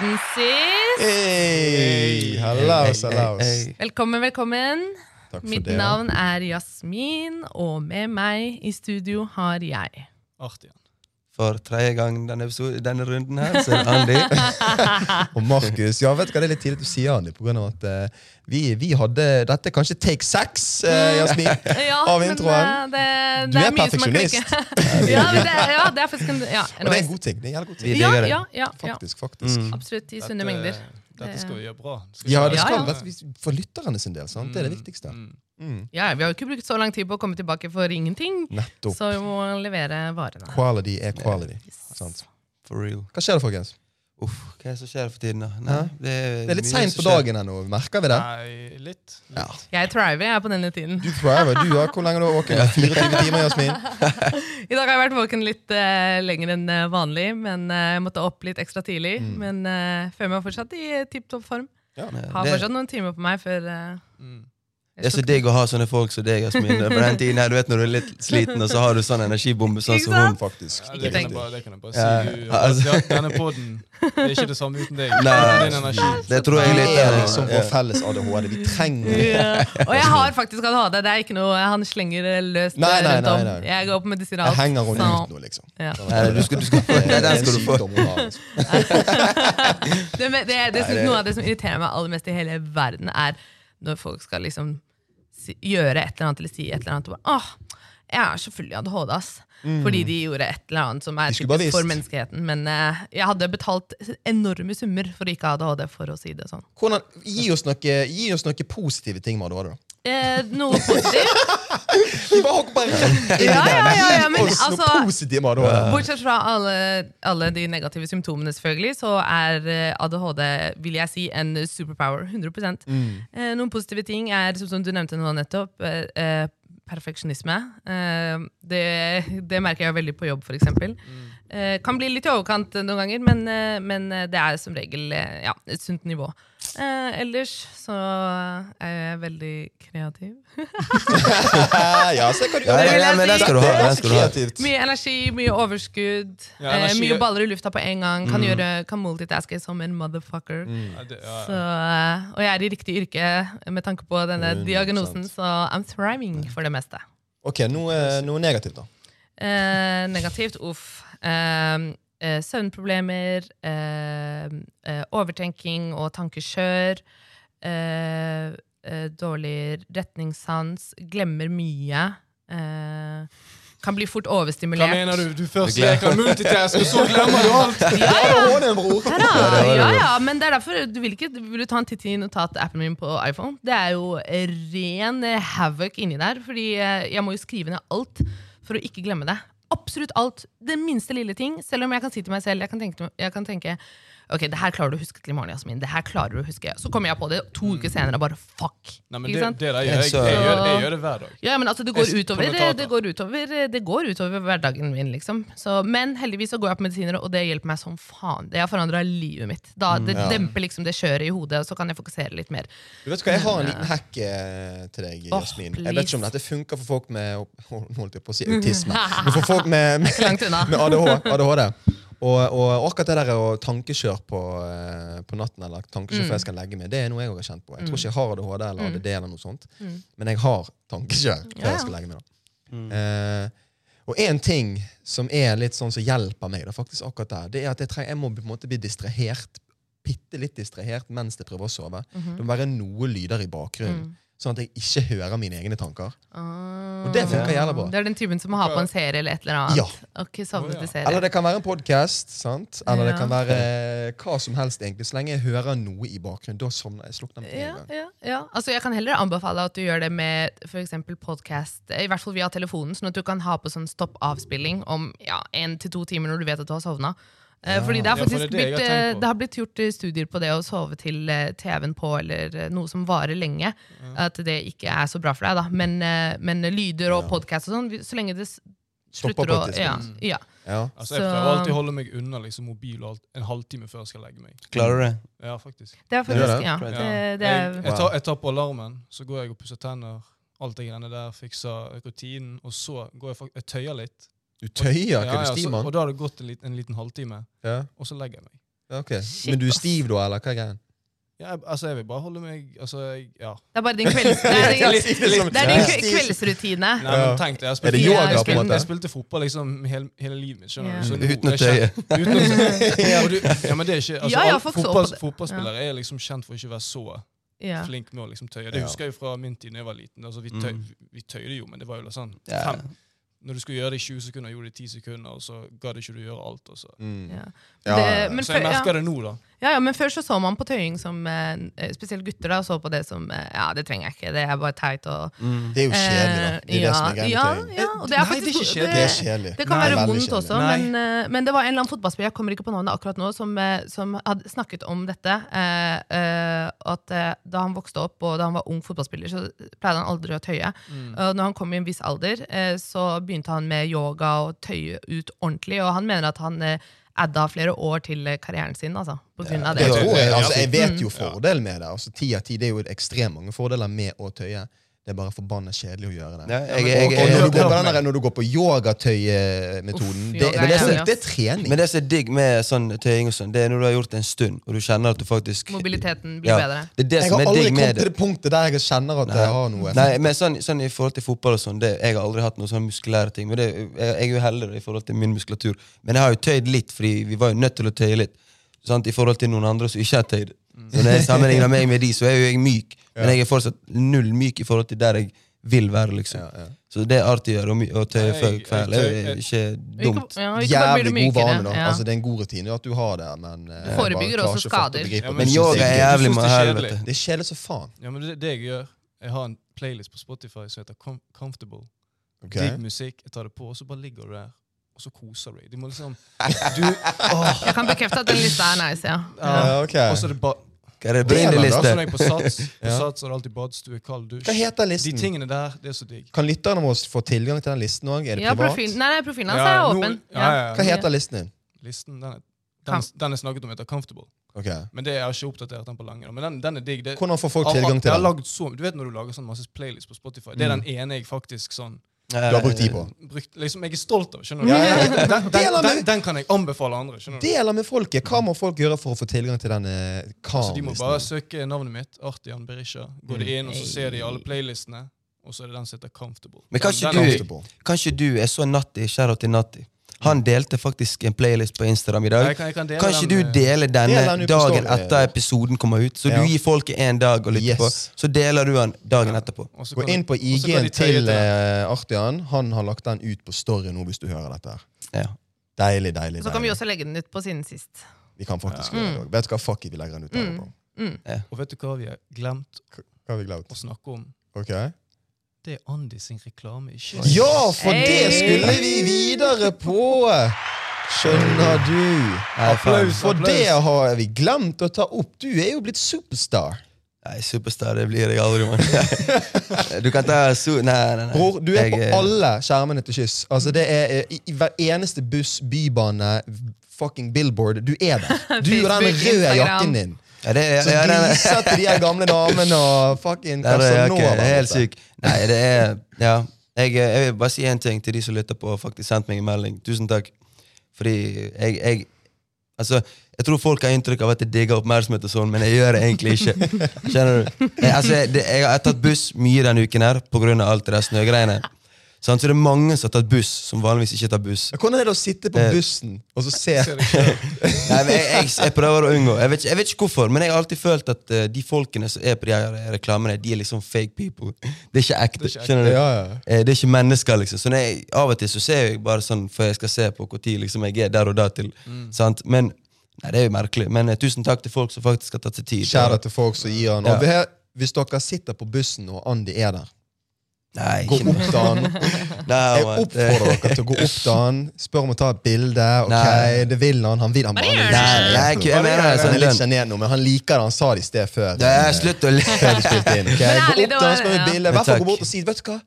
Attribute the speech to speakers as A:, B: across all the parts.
A: Alexis.
B: Hey, hallaus, hallaus.
A: Velkommen, velkommen.
B: Takk for
A: Mitt
B: det.
A: navn er Jasmin, og med meg i studio har jeg
C: Artig. han.
D: For tredje gang denne, episode, denne runden her, så er det Andy. Mm.
B: Og Markus. Ja, vet du hva, det er litt tidlig at du sier Andy, på grunn av at eh, vi, vi hadde dette er kanskje take seks, eh,
A: Mm.
B: Jasmin.
A: ja,
B: Av
A: men,
B: introen.
A: eh, det,
B: Du
A: det
B: er
A: mye som
B: perfeksjonist.
A: klikker. ja, men det, ja, det er faktisk en ja,
B: Og det er en god ting. det er en jævlig god ting.
D: Vi
A: ja,
D: digger det.
A: ja, ja, ja.
B: Faktisk, eh, faktisk.
D: Mm.
A: Absolutt. I sunne
C: Dette-
A: mengder.
C: eh, Dette skal vi gjøre bra. Skal
B: Ja,
C: vi
B: det
A: Ja,
C: gjøre
B: skal
A: ja.
B: være for lytterne sin del. sant? Det er det viktigste.
C: Mm.
B: Mm.
A: Ja, vi har jo ikke brukt så lang tid på å komme tilbake for ingenting,
B: Nettopp.
A: så vi må levere varene.
B: Quality er quality. Sant.
D: For real.
B: Hva skjer det, folkens?
D: Uff, hva er det som skjer for tiden, da?
B: Hæ?
D: det, er
B: Det er litt
D: mye
B: seint
D: som
B: på
D: skjer.
B: dagen ennå. Merker vi det?
C: Nei, litt.
B: Ja.
A: Jeg thriver, jeg, på denne tiden.
B: Du prøver. Du har hvor lenge du har våken? 24 timer, Jasmin?
A: I dag har jeg vært våken litt eh, lenger enn eh, vanlig, men eh, jeg måtte opp litt ekstra tidlig.
B: Mm.
A: Men uh, føler meg fortsatt i uh, tipp topp form. Har sånn-
D: Det-
A: fortsatt noen timer på meg før eh,
C: Mm.
A: jeg
D: Det er så
A: slutter.
D: digg å ha sånne folk som deg, Jasmin. På den tiden her, du vet når du er litt sliten, og så har du sånn energibombe sånn
A: Ikke
D: som hun.
A: sant?
B: Faktisk.
C: Ja,
A: Ikke
C: det, kan
A: tenk.
C: jeg bare, det kan jeg bare
D: Ja,
C: si. Du,
D: ja, altså.
C: at Denne poden er ikke det samme uten deg.
D: Nei,
C: Din energi.
D: det tror jeg
B: Det
D: litt
B: er
D: eh,
B: liksom
D: ja.
B: vår felles ADHD. Vi trenger det.
A: Ja. Og jeg har faktisk ADHD. Det er ikke noe han slenger eh, løst eh,
B: Nei, nei,
A: rundt om.
B: nei, nei.
A: Jeg går på medisiner
B: Jeg
A: alt. sånn.
B: henger henne
A: så-
B: ut nå, liksom.
A: Ja.
D: Nei, du skal- du skal-
B: Det er
D: den
B: en
D: skal du få.
B: sykdom hun har, liksom.
A: Det, det, det, det,
D: Nei, det-
A: noe av det som irriterer meg aller mest i hele verden, er når folk skal liksom si, gjøre et eller annet eller si et eller annet. Og bare, Åh, jeg er så full i ADHD, ass. Fordi de gjorde et eller annet som er
B: Mm. De skulle bare
A: typisk for
B: visst.
A: menneskeheten. Men eh, jeg hadde betalt enorme summer for å ikke ha ADHD, for å si det sånn.
B: Hvordan, gi, oss noe, gi oss noe positive ting med ADHD, da.
A: Eh, noe positivt.
B: Vi bare hopper bare rett inn i
A: Ja, ja,
B: den.
A: ja, ja, men
B: Gi oss noe
A: altså-
B: positivt med ADHD.
A: Bortsett fra alle, alle de negative symptomene, selvfølgelig, så er eh, ADHD, vil jeg si, en superpower. 100 Eh, noen positive ting er, som, som du nevnte nå nettopp, eh, eh, perfeksjonisme. Eh, det, det merker jeg veldig på jobb, f.eks. Eh, kan bli litt i overkant eh, noen ganger, men, eh, men eh, det er som regel eh, ja, et sunt nivå. Eh, ellers så er jeg veldig kreativ.
B: Ja, se hva du
D: Ja,
B: gjør.
A: vil
D: ja,
A: jeg
D: men den
A: si.
D: skal du ha. Den skal du ha.
B: kreativt.
A: Mye energi, mye overskudd.
C: Ja, energi- Mm.
A: eh, mye baller i lufta på en gang. Kan, gjøre, kan multitaske som en motherfucker.
C: Ja, det, ja.
A: Så, eh, og jeg er i riktig yrke med tanke på denne
B: 100%.
A: diagnosen, så I'm thriving for det meste.
B: Ok, noe, noe negativt, da.
A: Eh, negativt, uff. Eh, eh, søvnproblemer, eh, eh, overtenking og tankekjør. Eh, eh, dårlig retningssans. Glemmer mye. Eh, kan bli fort
C: Hva
A: overstimulert.
C: mener du? Du først leker multitask, og så glemmer du alt!
A: Ja, ja.
B: ADHD, bror.
A: Ja,
D: det var det.
A: ja, ja, men det er derfor du vil ikke Vil du ta en titt i notatappen min på iPhone? Det er jo ren eh, havoc inni der, fordi eh, jeg må jo skrive ned alt for å ikke glemme det. Absolutt alt. Det minste lille ting. Selv om jeg kan si til meg selv Jeg kan tenke, jeg kan tenke Ok, det her klarer du å huske til i morgen, Jasmin. Det her klarer du å huske. Så kommer jeg på det to uker senere og bare fuck.
C: Nei, men
A: Ikke
C: det,
A: sant?
C: det der gjør jeg.
D: Så-
C: Jeg gjør, jeg gjør det hver dag.
A: Ja, men altså, det
C: Jeg
A: går
C: er
A: utover,
C: kommentator.
A: det går utover, det går utover hverdagen min, liksom. Så, men heldigvis så går jeg på medisiner, og det hjelper meg som faen. Det har forandra livet mitt. Da,
B: Mm,
A: det demper liksom det kjøret i hodet, og så kan jeg fokusere litt mer.
B: Du vet hva, Jeg har en liten hack eh, til deg,
A: Åh,
B: Jasmin. Jeg vet ikke om
A: please.
B: dette funker for folk med Nå holdt jeg på å si autisme. Men for folk med, med,
A: langt unna.
B: med ADH, ADHD. Og, og akkurat det der å tankekjør på, eh, på natten eller tankekjør
A: Mm.
B: før jeg skal legge meg, det er noe jeg også har kjent på. Jeg tror ikke jeg har ADHD eller ADD, eller noe sånt, men jeg har tankekjør før
A: Mm. Ja, ja.
B: jeg skal legge meg. da. Eh, og én ting som er litt sånn som hjelper meg, da, faktisk akkurat der, det er at jeg, treng, jeg må på en måte bli distrahert bitte litt distrahert mens jeg prøver å sove.
A: Mhm.
B: Det må være noe lyder i bakgrunnen,
A: Mm.
B: sånn at jeg ikke hører mine egne tanker. Og det funker jævla bra.
A: Det er den typen som må ha på en serie eller et eller annet.
B: Ja.
A: Ok, sovnet
C: Å, ja.
A: til serie.
B: Eller det kan være en podkast, sant? Eller det
A: Ja.
B: kan være eh, hva som helst, egentlig. Så lenge jeg hører noe i bakgrunnen, da sovner jeg. Slukner jeg med
A: ja,
B: en gang.
A: ja, ja. Altså, jeg kan heller anbefale at du gjør det med f.eks. podkast, i hvert fall via telefonen, sånn at du kan ha på sånn stopp-avspilling om ja, én til to timer når du vet at du har sovna. Eh, Fordi det,
C: Ja,
A: er
C: for det er
A: faktisk
C: det jeg
A: blitt,
C: har
A: eh,
C: tenkt på.
A: det har blitt gjort eh, studier på det å sove til eh, TV-en på eller eh, noe som varer lenge. At det ikke er så bra for deg, da. Men, eh, men lyder og podkast og sånn, vi- så lenge det s-
B: Stopper
A: slutter å
B: på et
A: ja,
C: Mm.
B: tidspunkt.
A: ja.
B: Ja.
C: Altså, jeg
A: Så-
C: prøver alltid å holde meg unna liksom, mobil og alt, en halvtime før jeg skal legge meg.
D: Klarer du det?
C: Ja, faktisk.
A: Det er
B: Gjør
A: faktisk
B: det?
A: Ja.
D: Ja.
A: Det, det
C: jeg,
A: er,
C: jeg, tar, jeg tar på alarmen, så går jeg og pusser tenner, alt det greiene der, fikser rutinen, og så går jeg, fak- jeg tøyer litt.
B: Du tøyer,
C: Ja,
B: hva
C: ja,
B: du
C: så,
B: stimer.
C: og da har det gått en liten, en liten halvtime,
B: Ja.
C: og så legger jeg meg.
B: Ja, ok.
A: Shit,
B: Men du er
A: ass.
B: stiv da, eller hva er greien?
C: Ja, jeg, altså, jeg vil bare holde meg altså, jeg, ja.
A: Det er bare din, kvelds, det er din,
B: si det som-
A: det er din
B: Ja.
A: kve- kveldsrutine.
C: Nei, men tenk det. Jeg
B: Er det
C: spilte,
A: yoga,
C: jeg
A: på en
C: spilte,
B: måte?
C: jeg spilte fotball liksom hele, hele livet mitt.
A: Ja.
C: skjønner du?
B: Mm.
C: Så nå-
D: Uten å
C: jeg kjen-
D: tøye.
C: Uten å tøye. Og du, ja, men det er ikke, altså,
A: Ja, ja,
C: alle
A: folk så på
C: fotball,
A: det.
C: fotballspillere er liksom kjent for ikke å være så
A: Ja.
C: flink med å liksom tøye. Det
B: Ja.
C: husker jeg jo fra min tid da jeg var liten. Altså, vi, tøy, vi tøyde jo, men det var jo litt sånn
D: Ja.
C: fem. Når du skulle gjøre det i 20 sekunder, gjorde du det i 10 sekunder, og så gadd ikke du gjøre alt. Og så.
B: Mm.
A: Ja.
B: Ja, ja, ja.
A: Det- men
C: så jeg
A: før- ja.
C: merker det nå, da.
A: Ja, ja, men før så så man på tøying som eh, Spesielt gutter da, så på det som eh, Ja, det trenger jeg ikke, det er bare teit og
B: Det er jo kjedelig, da. Det er
A: eh, ja,
B: det som er greia
A: ja,
B: med tøying.
A: ja, og det er
C: Nei, det er
A: faktisk
C: ikke
B: Det er kjedelig.
A: Det kan
B: Nei,
A: være
B: veldig
A: vondt også,
C: Nei.
A: men, eh, men det var en eller annen fotballspiller jeg kommer ikke på navnet akkurat nå, som, eh, som hadde snakket om dette. eh, eh, at eh, Da han vokste opp og da han var ung fotballspiller, så pleide han aldri å tøye.
C: Mm.
A: Og når han kom i en viss alder, eh, så begynte han med yoga og tøye ut ordentlig. Og han mener at han eh, adda flere år til eh, karrieren sin altså, på grunn av
B: Det
A: det.
D: Ja,
B: tror jeg.
D: ja,
B: Altså, jeg vet jo
C: Mm. Ja.
B: fordelen med det. Altså, ti av ti det er jo ekstremt mange fordeler med å tøye. Det er bare forbanna kjedelig å gjøre det.
D: Ja, jeg, jeg,
B: Og når
D: jeg,
B: du går, på den der, når du går på yogatøyemetoden
A: Uff,
B: det,
A: yoga
B: men det, er
A: er
B: sånn-
A: jævlig, ass.
B: det er trening.
D: men det som er digg med sånn tøying, og sånn, det er når du har gjort det en stund, og du kjenner at du faktisk
A: Mobiliteten blir
D: Ja,
A: bedre.
D: Det er det
B: Jeg
D: som
B: har
D: er
B: aldri
D: digg
B: kommet
D: med
B: til
D: det.
B: det punktet der jeg kjenner at jeg har noe.
D: Nei, men sånn, sånn I forhold til fotball og sånn, det, jeg har aldri hatt noen sånne muskulære ting. Men det, jeg, jeg er jo heldig da, i forhold til min muskulatur. Men jeg har jo tøyd litt, fordi vi var jo nødt til å tøye litt. Sant? I forhold til noen andre som ikke har tøyd.
B: Mm.
D: Så når jeg sammenligner meg med de, så er jo jeg myk. Men jeg er fortsatt null myk i forhold til der jeg vil være, liksom. Så det er artig å gjøre, å my- å tøye
C: Nei,
D: før
C: jeg-
D: kveld.
C: jeg
D: Det
C: tøy-
D: er ikke
A: Ikke-
D: dumt.
A: ja, ikke bare blir du
B: Jævlig god
A: mykere,
B: vane, da.
A: ja.
B: Altså, det er en god rutine at du har det, men eh, jeg bare
A: forebygger
B: klarer
A: også
B: ikke å fatte og
A: skader.
B: begripe
C: Ja,
B: det.
C: men
D: Men
B: Jeg synes
D: yoga
B: det
D: er
B: er gøy.
D: jævlig
C: synes
D: med
C: det er
D: helvete.
B: Det er kjedelig som faen.
C: Ja, men det, det jeg gjør, jeg har en playlist på Spotify som heter Com Comfortable.
B: ok?
C: Digg musikk, jeg tar det på, og så bare ligger du der, og så koser du deg. Du må liksom du, åh,
A: Jeg kan bekrefte at den lista er nice, ja.
C: ja.
B: Ja, ok.
C: Og så er det ba
D: Hva er det
B: Det er vel
C: Altså,
D: brindeliste?
C: når jeg er på Sats, på
B: Ja.
C: sats er det alltid badstue, kald dusj.
B: Hva heter
C: De
B: listen?
C: tingene der, det er så digg.
B: Kan lytterne våre få tilgang til den listen òg? Er det
A: ja
B: privat?
A: profil, nei, nei, profilen hans
C: Ja,
A: er
C: nå-
A: åpen.
C: ja, ja, ja.
B: Hva heter listen din?
C: Listen, den er,
A: Kam-
C: den, den er snakket om heter Comfortable.
B: Ok.
C: Men det, jeg har ikke oppdatert den på lenge. da. Men den, den er digg. Det,
B: Hvordan får folk
C: jeg har-
B: tilgang til
C: jeg har
B: den? Mm.
C: lagd så, du vet når du lager sånn masse playlist på Spotify? Det er den ene jeg faktisk sånn
B: Du har
D: Eh,
B: brukt tid på.
C: brukt, liksom, Jeg er stolt av. skjønner du?
B: Ja, ja, ja.
C: Den, den,
B: Deler
C: den,
B: med-
C: den kan jeg anbefale andre. skjønner du?
B: Deler med folket. Hva må folk gjøre for å få tilgang til eh, denne
C: Så de må bare
B: karen?
C: søke navnet mitt, Artian Berisha. Går de inn, og så
B: Mm.
C: ser de alle playlistene. Og så er det den som heter Comfortable.
D: Men kanskje
C: den, den,
D: du- Kanskje du er så natty, kjære til natty.
B: Mm.
D: Han delte faktisk en playlist på Instagram i
C: Jeg
D: dag.
C: kan- jeg kan dele
D: Kanskje
C: den,
D: du
C: eh,
D: deler
B: Del
D: denne
B: den ut på
D: dagen
B: story.
D: etter episoden kommer ut? Så
B: Ja.
D: du gir folket en dag å lytte
B: Yes.
D: på, så deler du den dagen etterpå.
C: og så
B: Gå
C: kan
B: inn på
C: og så kan
B: IG-en
C: de tøye
B: til
C: den.
B: eh, Artian. Han har lagt den ut på story nå, hvis du hører dette. her.
D: Ja.
B: Deilig, deilig.
A: Så kan vi
B: deilig.
A: også legge den ut på siden sist.
B: Vi kan faktisk gjøre
C: Mm.
B: det òg. Vet du hva, fuck it, vi legger den ut der.
A: Mm.
B: bro.
C: Og vet du hva vi har glemt
B: Hva har vi glemt?
C: å snakke om?
B: Ok.
C: Det er Andi sin reklame. Ikke
B: Ja, for det
A: Hey!
B: skulle vi videre på! Skjønner du?
D: Nei, faen.
C: Applaus.
B: For det har vi glemt å ta opp. Du er jo blitt superstar.
D: Nei, superstar, det blir jeg aldri, mann. Du kan ta su... Nei, nei, nei.
B: Bror, du er
D: Jeg,
B: på
D: eh,
B: alle skjermene til kyss. Altså, det er eh, i, i hver eneste buss, bybane, fucking billboard. Du er der. Du og
A: Facebook,
B: den røde
A: Instagram.
B: jakken din.
D: Ja, det er,
B: Så
D: ja, nei, nei.
B: gliser til de her gamle damene og fucking
D: Nei, det er, ok,
B: Casanova.
D: det er
B: vet
D: helt
B: du.
D: syk. Nei, det er Ja. Jeg, eh, jeg vil bare si én ting til de som lytter på og faktisk sendt meg en melding. Tusen takk. Fordi jeg, jeg Altså, jeg tror folk har inntrykk av at jeg digger oppmerksomhet og sånn, men jeg gjør det egentlig ikke. Skjønner du? Jeg, altså, jeg- det, jeg har tatt buss mye denne uken her pga. alt det der snøgreiene. Sånn, så det er mange som har tatt buss, som vanligvis ikke tar buss.
B: Hvordan er det å sitte på bussen og så se
D: Nei, men jeg, jeg, jeg prøver å unngå. Jeg vet, ikke- jeg vet ikke hvorfor, men jeg har alltid følt at eh, de folkene som er på de her reklamene, de er liksom fake people. Det er ikke ekte.
C: ikke ekte.
D: Skjønner du?
B: Ja, ja.
D: Eh, Det er ikke mennesker, liksom. Så når jeg, av og til så ser jeg bare sånn, for jeg skal se på hvor tid liksom, jeg er der og da til.
B: Mm.
D: Sant? Men nei, det er jo merkelig. Men eh, tusen takk til folk som faktisk har tatt seg tid.
B: Kjære til folk som gir han.
D: Ja.
B: Og her, hvis dere sitter på bussen og Andi er der,
D: Nei,
B: gå
D: ikke
B: opp til han.
D: Nei,
B: Jeg
D: man,
B: oppfordrer
D: det-
B: dere til å gå opp til han, spør om å ta et bilde. ok,
D: Nei.
B: Det vil han. Han vil han bare
A: Nei,
D: Nei, jeg, jeg, jeg mener det er
B: Han er
D: sånn
B: litt
D: lønn.
B: sjenert nå, men han liker det. Han sa det i sted før.
D: Det
B: eh,
D: er slutt å le.
B: før vi spilte inn. ok? Gå
A: ærlig,
B: opp
A: det
B: til han,
A: var-
B: spør om et
A: ja.
B: bilde. Vær
D: Men
B: så
D: takk.
B: god bort og si Vet du hva?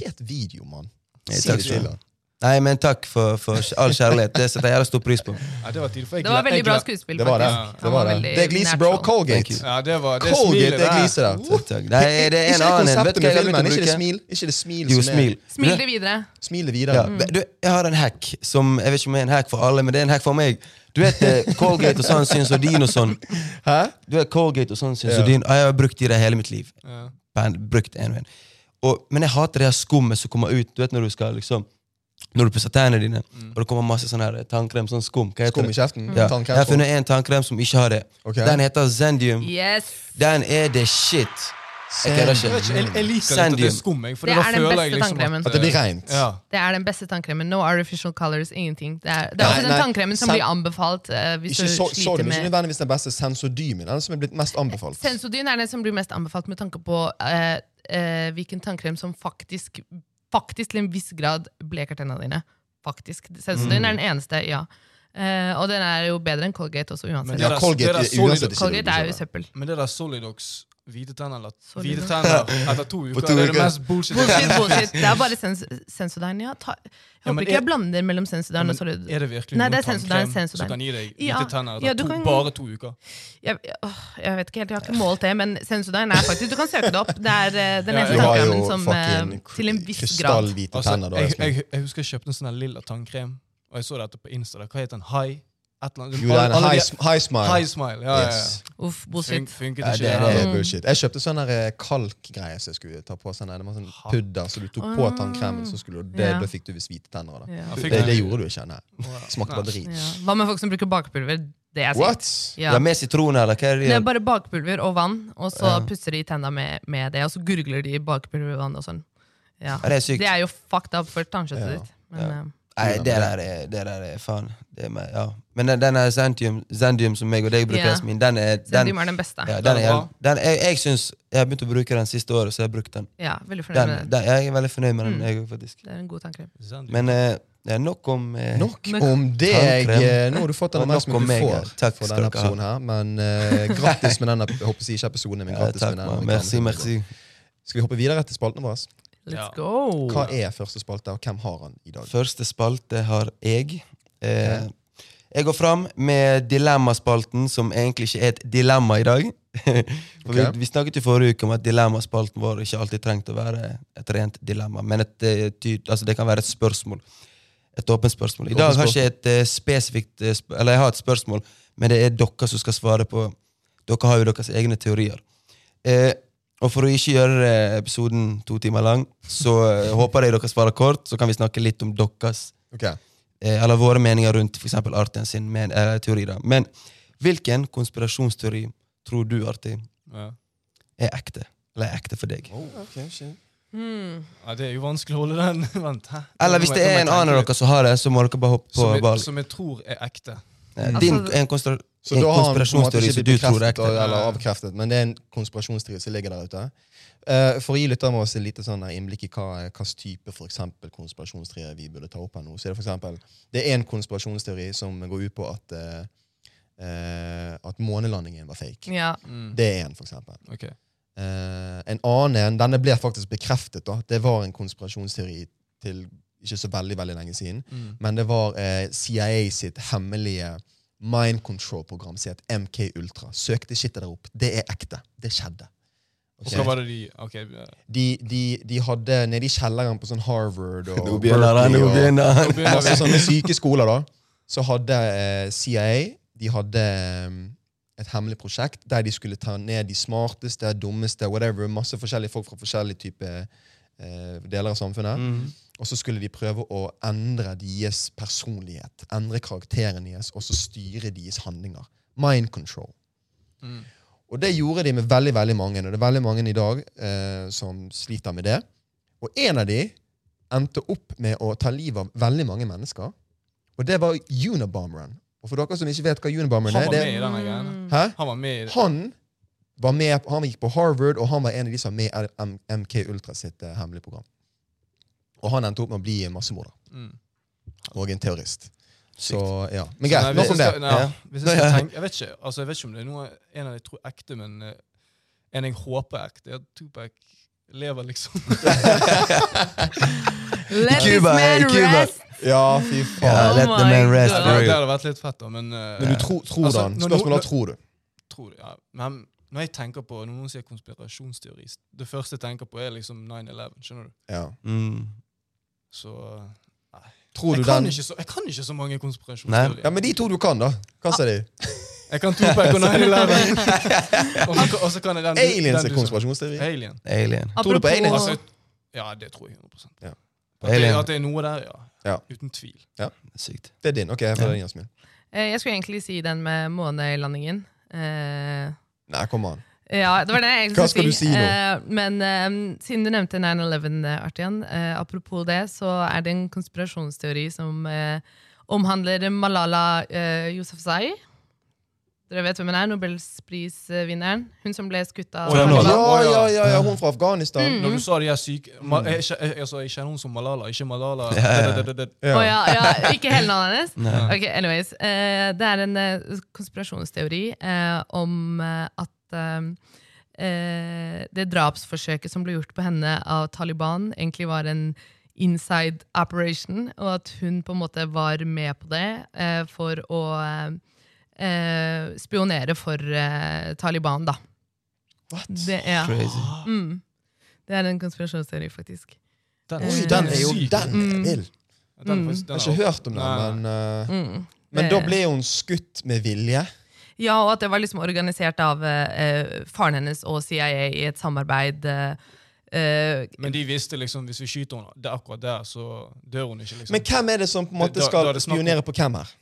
B: Fet video, mann.
D: Nei,
B: Si
D: takk
B: det
D: skal
B: til
D: du
B: han.
D: Nei, men takk for, for all kjærlighet. Det setter jeg jævla stor pris på.
C: Nei, det var tidlig, for jeg
A: Det var
C: gle- jeg
A: veldig bra
C: gle-
A: skuespill.
B: Det var det.
A: faktisk.
B: Det,
A: Han
B: var det.
A: veldig
B: det er gliser, bro.
A: natural.
B: Colgate.
D: Thank
C: Ja, det var det
B: Colgate,
C: smilet
B: det er gliser
C: der.
B: der.
D: Takk, takk. Nei, det er
B: Ikke
D: en
B: det
D: annen. Vet
B: konseptet
D: du
B: med
D: hva jeg har
B: filmen,
D: begynt å
B: ikke det
D: bruke?
B: smil. Ikke det smil
D: Jo,
B: som er
D: smil.
A: Smil det videre.
B: Smil det
D: Ja,
B: videre.
D: du, jeg har en hack som Jeg vet ikke om det er en hack for alle, men det er en hack for meg. Du vet eh, Colgate og sånn Synsordin og sånn.
B: Hæ?
D: Du vet Colgate og sånn
B: Ja.
D: Synsordin. Ja. Jeg har brukt de der hele mitt liv.
C: Ja.
D: Band, brukt en og en. Og, men jeg hater det her skummet som kommer ut. Du vet når du skal liksom Når du pusser tennene dine, og det kommer masse sånn her eh, tannkrem, sånn skum. Hva heter
B: Mm. Skum i
D: det?
B: kjeften?
D: Ja. Jeg har
B: Tannkrem?
D: funnet en tannkrem som ikke har det.
B: Ok.
D: Den heter Zendium.
A: Yes!
D: Den er the shit. Jeg kødder ikke.
C: Jeg, vet ikke, jeg, jeg liker litt at det
D: Sandium.
C: er skum. Jeg, for
A: Det
C: da
A: er den
C: føler
A: beste
C: jeg liksom
A: tannkremen.
B: At det blir rent.
C: Ja.
A: Det er den beste tannkremen. No artificial colors, ingenting. Det er, det er
B: Nei,
A: også den
B: nei,
A: tannkremen som
B: sen-
A: blir anbefalt eh, hvis
B: Ikke
A: du
B: so
A: sliter
B: sodium, ikke
A: med
B: nødvendigvis den beste sensodymen, er den som er blitt mest anbefalt.
A: Sensodyn er den som blir mest anbefalt med tanke på eh, eh, hvilken tannkrem som faktisk Faktisk til en viss grad bleker tennene dine. Faktisk. Sensodyn
B: Mm.
A: er den eneste, ja. Eh, og den er jo bedre enn Colgate også, uansett.
C: Men
B: Ja,
C: det er-
B: Colgate
C: det er
B: er
C: solid-
B: uansett ikke
A: Colgate er jo
B: det.
A: søppel.
C: Men det der Solidox, hvite tenner eller
A: Solidox.
C: Hvite tenner etter to uker,
D: to
C: det er det
D: uker.
C: mest bullshit.
A: Bullshit, bullshit. Det er bare sens Sensodyne. Ja, ta, jeg håper
C: men
A: ikke jeg
C: er-
A: blander mellom Sensodyne
C: Men
A: og Solid.
C: Er det virkelig
A: Nei,
C: noen
A: det er sensodyne,
C: tannkrem
A: sensodyne.
C: som kan gi deg hvite
A: Ja.
C: tenner etter
A: Ja, du
C: to,
A: kan-
C: bare to uker?
A: Jeg, åh, jeg vet ikke helt, jeg har ikke målt det, men Sensodyne er faktisk Du kan søke det opp. Det er eh, den
C: Ja,
A: eneste
B: Du har jo
A: tannkremen som eh,
B: fucking
A: til en viss grad
B: krystallhvite
C: Altså,
B: tenner. da, liksom.
C: jeg,
B: Espen.
C: jeg, jeg husker jeg kjøpte en sånn her lilla tannkrem, og jeg så dette på Insta. der. Hva heter den? High? Et eller annet.
B: Jo, det er en
C: Alle de-
B: high, sm- high smile.
C: High smile. Ja, ja,
B: Yes.
C: ja.
A: Uff,
C: Fun,
A: bullshit.
C: funket
B: Ja,
C: ikke.
B: det
C: heller.
B: er
A: Mm.
B: bullshit. Jeg kjøpte sånn der, eh, kalkgreie som jeg skulle ta på. Sånn, der, det var sånn pudder, så du tok på
A: Ah.
B: tannkremen, så skulle du, det,
A: Ja.
B: da fikk du visst hvite tenner. av det.
A: Ja.
C: Jeg fikk
B: Det, det
C: den.
B: gjorde du ikke. Nei. Smakte bare drit.
A: Ja. Hva med folk som bruker bakpulver? Det er sykt.
B: What?
A: Ja.
D: Ja. Med sitroner, eller hva er
A: Det
D: det?
A: er bare bakpulver og vann, og så
D: Ja.
A: pusser de tenna med, med det, og så gurgler de bakpulver og vann og sånn. Ja.
D: Ja, det er sykt.
A: Det er jo fucked up for tannkjøttet
B: Ja.
A: ditt. Men, eh,
D: Nei, det der er, det der er faen. Det er meg, ja. Men den, den her Zendium, Zendium som jeg og deg bruker,
A: Ja.
D: Yasmin, den er den,
A: Sendium er den beste.
D: ja,
A: Ja,
D: den er,
C: Den er bra.
D: helt- den, jeg, jeg syns Jeg har begynt å bruke den siste året, så jeg har brukt den.
A: veldig fornøyd
D: den,
A: med det.
D: den jeg er veldig fornøyd med den,
A: Mm.
D: jeg òg, faktisk.
A: Det er en god tannkrem.
C: Zendium.
D: Men eh, det er nok om eh,
B: Nok
A: Men-
B: om deg.
D: Tannkrem.
B: eh, Nå har du fått den
D: Og nok
B: oppmerksomheten
D: om meg,
B: du
D: ja.
B: får.
D: Takk
B: for
D: skal
B: denne
D: dere ha.
B: episoden her, Men eh, gratis med denne jeg håper å si ikke episoden, men
D: ja,
B: gratis
D: eh, Takk,
B: med
D: man.
B: den.
D: Merci, merci.
B: Skal vi hoppe videre til spaltene våre?
A: Let's
C: Ja.
A: go!
B: Hva er første spalte, og hvem har han i dag?
D: Første spalte har jeg. Eh, jeg går fram med dilemmaspalten, som egentlig ikke er et dilemma i dag. For
B: Ok.
D: vi, vi snakket jo forrige uke om at dilemmaspalten vår ikke alltid trengte å være et rent dilemma, men et, eh, ty- altså det kan være et spørsmål. Et åpent spørsmål. I
B: Åpent
D: dag har jeg ikke et eh, spesifikt eh, sp Eller jeg har et spørsmål, men det er dere som skal svare på Dere har jo deres egne teorier. Eh, og for å ikke gjøre eh, episoden to timer lang, så eh, håper jeg dere svarer kort, så kan vi snakke litt om deres
B: Ok,
D: eh, eller våre meninger rundt f.eks. Arten sin men, eh, teori. da. Men hvilken konspirasjonsteori tror du, Arti,
C: Ja.
D: er ekte? Eller er ekte for deg?
A: Hmm.
C: Ja, det er jo vanskelig å holde den. Vent, hæ?
D: Eller hvis det er en annen av dere som har det, så må dere bare hoppe på
C: som jeg,
D: ball.
C: som jeg tror er ekte.
D: Eh,
A: Mm.
D: Din
A: Altså-
D: en konstra-
B: Så
D: en
B: da har han på en måte
D: konspirasjonsteori
B: ikke
D: som
B: blitt
D: du tror er
B: bekreftet
D: ekte.
B: eller avkreftet, men det er en konspirasjonsteori som ligger der ute. Eh, for å gi lytterne våre et lite sånn her innblikk i hva hvilken type for eksempel, konspirasjonsteorier vi burde ta opp her nå, så er det for eksempel, det er en konspirasjonsteori som går ut på at, eh, eh, at månelandingen var fake.
A: Ja.
C: Mm.
B: Det er en, for eksempel.
C: Ok.
B: Eh, en annen en, denne ble faktisk bekreftet, da. Det var en konspirasjonsteori til ikke så veldig, veldig lenge siden.
C: Mm.
B: Men det var eh, CIA sitt hemmelige mind control-program som het MK Ultra. Søk det shitet der opp. Det er ekte. Det skjedde.
C: Og
B: Ok.
C: hva var det de Ok, eh,
B: De, de, de hadde nede i kjelleren på sånn Harvard og
D: Nå begynner han, nå
B: Berkeley og
D: begynner han!
C: nå begynner
B: masse
C: vi.
B: sånne syke skoler, da, så hadde eh, CIA de hadde mm, et hemmelig prosjekt der de skulle ta ned de smarteste, dummeste, whatever, masse forskjellige folk fra forskjellige typer eh, deler av samfunnet.
D: Mm.
B: Og så skulle de prøve å endre deres personlighet, endre karakteren deres, og så styre deres handlinger. Mind control.
C: Mm.
B: Og det gjorde de med veldig veldig mange, og det er veldig mange i dag eh, som sliter med det. Og en av de endte opp med å ta livet av veldig mange mennesker, og det var Unabomberen. Og for dere som ikke vet hva Unabomberen
C: Han
B: er
C: var med
B: det,
C: i denne greia.
A: Mm.
B: Hæ?
C: Han var med i det.
B: Han var med, han gikk på Harvard, og han var en av de som var med i M- MK Ultra sitt eh, hemmelige program. Og han endte opp med å bli massemorder
C: Mm.
B: og en terrorist. Så
D: Sykt.
B: ja. Men
C: Så nei,
B: greit,
C: eh, hvis
B: nok om
C: jeg
B: det.
C: skal- nei,
D: Ja.
C: hvis Jeg skal
D: Ja.
C: tenke- jeg vet ikke altså jeg vet ikke om det er noe en av de tror er ekte, men eh, en jeg håper er ekte, er at Tupac lever, liksom.
A: Let this
D: Cuba,
A: man
D: Cuba.
A: rest!
B: Ja, fy
D: Ja,
A: Oh
D: let the
A: my
D: man rest.
A: God.
C: det hadde- det
D: bro.
C: hadde vært litt fett, da, men, eh,
B: Men du tror, tror
C: Altså,
B: den.
C: når
B: Spørsmålet
C: noen-
B: er tror du.
C: tror det, ja. Men når jeg tenker på, når noen sier konspirasjonsteori, det første jeg tenker på, er liksom 9-11. Skjønner du?
B: Ja.
D: Mm.
C: Så eh, nei,
B: Tror du
C: Jeg kan,
B: den
C: ikke så, jeg kan ikke så mange
B: Ja,
C: konspirasjonsteorier.
B: men de to du kan, da. Hva sa de?
C: Jeg kan Tupac og 9-11. Og så- Og så kan jeg den du-
B: Aliens
C: den
B: er
C: du sa.
B: konspirasjonsteori.
C: Alien.
D: Alien.
B: Tror du på aliens?
C: Altså, ja, det tror jeg 100
B: Ja.
C: At, det,
D: Alien.
C: at det er noe der, ja.
B: Ja.
C: Uten tvil.
A: Mhm.
D: Sykt.
B: Det er din. ok, jeg får
D: Ja.
B: den, Jasmin.
A: Eh, Jeg skulle egentlig si den med månelandingen. Eh,
B: Nei, kom an.
A: Ja, det var det jeg
B: Hva skal du si nå?
A: Eh, men eh, siden du nevnte 9-11, eh, Artian, eh, apropos det, så er det en konspirasjonsteori som eh, omhandler Malala eh, Yousafzai. Dere vet hvem hun er? Nobelsprisvinneren. Hun som ble skutt av
C: Å, ja,
B: Ja,
C: Malala.
B: ja, ja, ja, hun fra Afghanistan.
C: Når du sa de her syke Ma, jeg, jeg, jeg, altså, jeg kjenner hun som Malala, ikke Malala.
D: ja.
C: Det- det- det- det-
B: Ja.
A: Å, ja, ja, ikke hele navnet hennes?
D: Nei.
A: Ok, anyways. eh, det er en eh, konspirasjonsteori eh, om eh, at eh, eh, det drapsforsøket som ble gjort på henne av Taliban, egentlig var en inside operation, og at hun på en måte var med på det eh, for å eh, eh, spionere for eh, Taliban, da. Det er,
D: Crazy.
A: mm, det er en konspirasjonsteori, faktisk.
C: Den,
B: Oi, den er jo
C: syk.
B: den er
A: Mm.
B: vill!
C: Den er
B: Jeg
C: faktisk-
B: har
C: den
B: ikke
C: er-
B: hørt om den,
C: Nei.
B: men eh,
A: Mm.
B: Men
A: Det-
B: da ble hun skutt med vilje.
A: Ja, og at det var liksom organisert av eh, eh, faren hennes og CIA i et samarbeid. eh, eh,
C: Men de visste liksom hvis vi skyter henne det er akkurat der, så dør hun ikke. liksom.
B: Men hvem er det som på en måte
C: Da- da
B: skal
C: er det snakk om-
B: spionere på hvem her?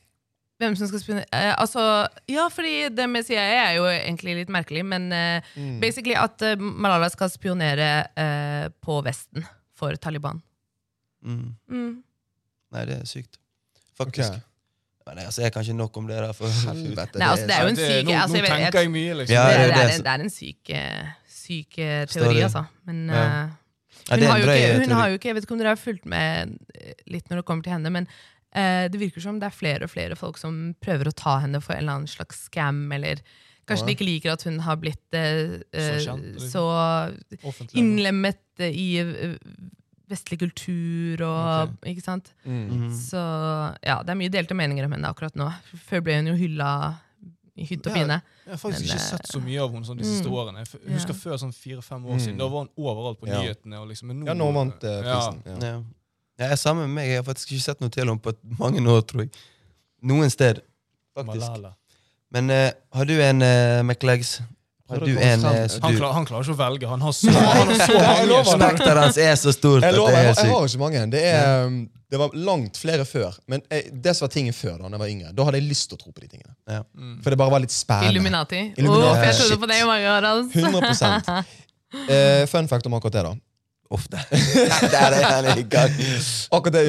A: hvem som skal spionere eh, Altså, ja, fordi det med CIA er jo egentlig litt merkelig, men eh,
D: Mm.
A: basically at eh, Malala skal spionere eh, på Vesten for Taliban.
D: Mm.
A: Mm.
D: Nei, det er sykt.
B: Ok.
D: Faktisk. Men altså, jeg kan ikke nok om det der. For,
B: Helvete,
A: Nei, altså, det er jo en
C: Nei,
A: syk
C: nå,
A: altså,
C: nå
A: jeg vet- jeg-
C: tenker jeg mye, liksom.
D: Ja,
A: det,
D: det er
A: det, er,
D: det.
A: en- det er en syk, eh, syk eh, teori,
D: Story.
A: altså. Men
D: Ja.
A: eh,
D: Ja,
A: Hun,
D: det er
A: har
D: en
A: jo
D: drøy
A: ikke, hun
D: teori.
A: har jo ikke, Jeg vet ikke om dere har fulgt med eh, litt når det kommer til henne, men eh, det virker som det er flere og flere folk som prøver å ta henne for en eller annen slags scam, eller kanskje de ikke liker at hun har blitt eh, eh,
C: Så kjent, liksom.
A: så
C: Offentlig.
A: innlemmet eh, i eh, vestlig kultur og Ikke sant?
B: Mm.
A: Så ja, det er mye delte meninger om henne akkurat nå. Før ble hun jo hylla i hytt og
C: Ja.
A: pine.
C: Jeg har faktisk
A: Men,
C: ikke sett så mye av henne sånn de siste årene. Jeg f-
A: Mm. Ja.
C: husker før sånn fire-fem år siden. Da var hun overalt på
B: Mm. Ja.
C: nyhetene. og liksom, men nå,
B: Ja, nå vant eh,
C: Ja.
B: prisen. Ja.
D: Ja. Ja, jeg er sammen med meg. Jeg har faktisk ikke sett noe til henne på mange år, tror jeg. Noen sted, faktisk.
C: Malala.
D: Men eh, har du en uh, McLegs? Har
B: Prøvde
D: du
B: å komme
D: en
B: frem.
D: eh, som
C: Han,
D: du
C: klar, han klarer ikke å velge. Han har så, han har så
B: Nei, jeg
C: mange.
B: lover det.
D: Spekteret hans er så stort
B: Jeg
D: at
B: lover, jeg,
D: det er
B: har- jeg
D: sykt.
B: har ikke så mange. Det, er, um, det var langt flere før. Men jeg, det som var tingen før, da når jeg var yngre, da hadde jeg lyst til å tro på de tingene.
D: Ja.
C: Mm.
B: For det bare var litt spennende.
A: Illuminati. Å,
B: Illuminati,
A: for jeg trodde
B: shit.
A: på det i mange år. Altså.
B: 100 Eh, Fun fact om akkurat det, da.
D: Ofte. Der er han i gang.
B: Akkurat det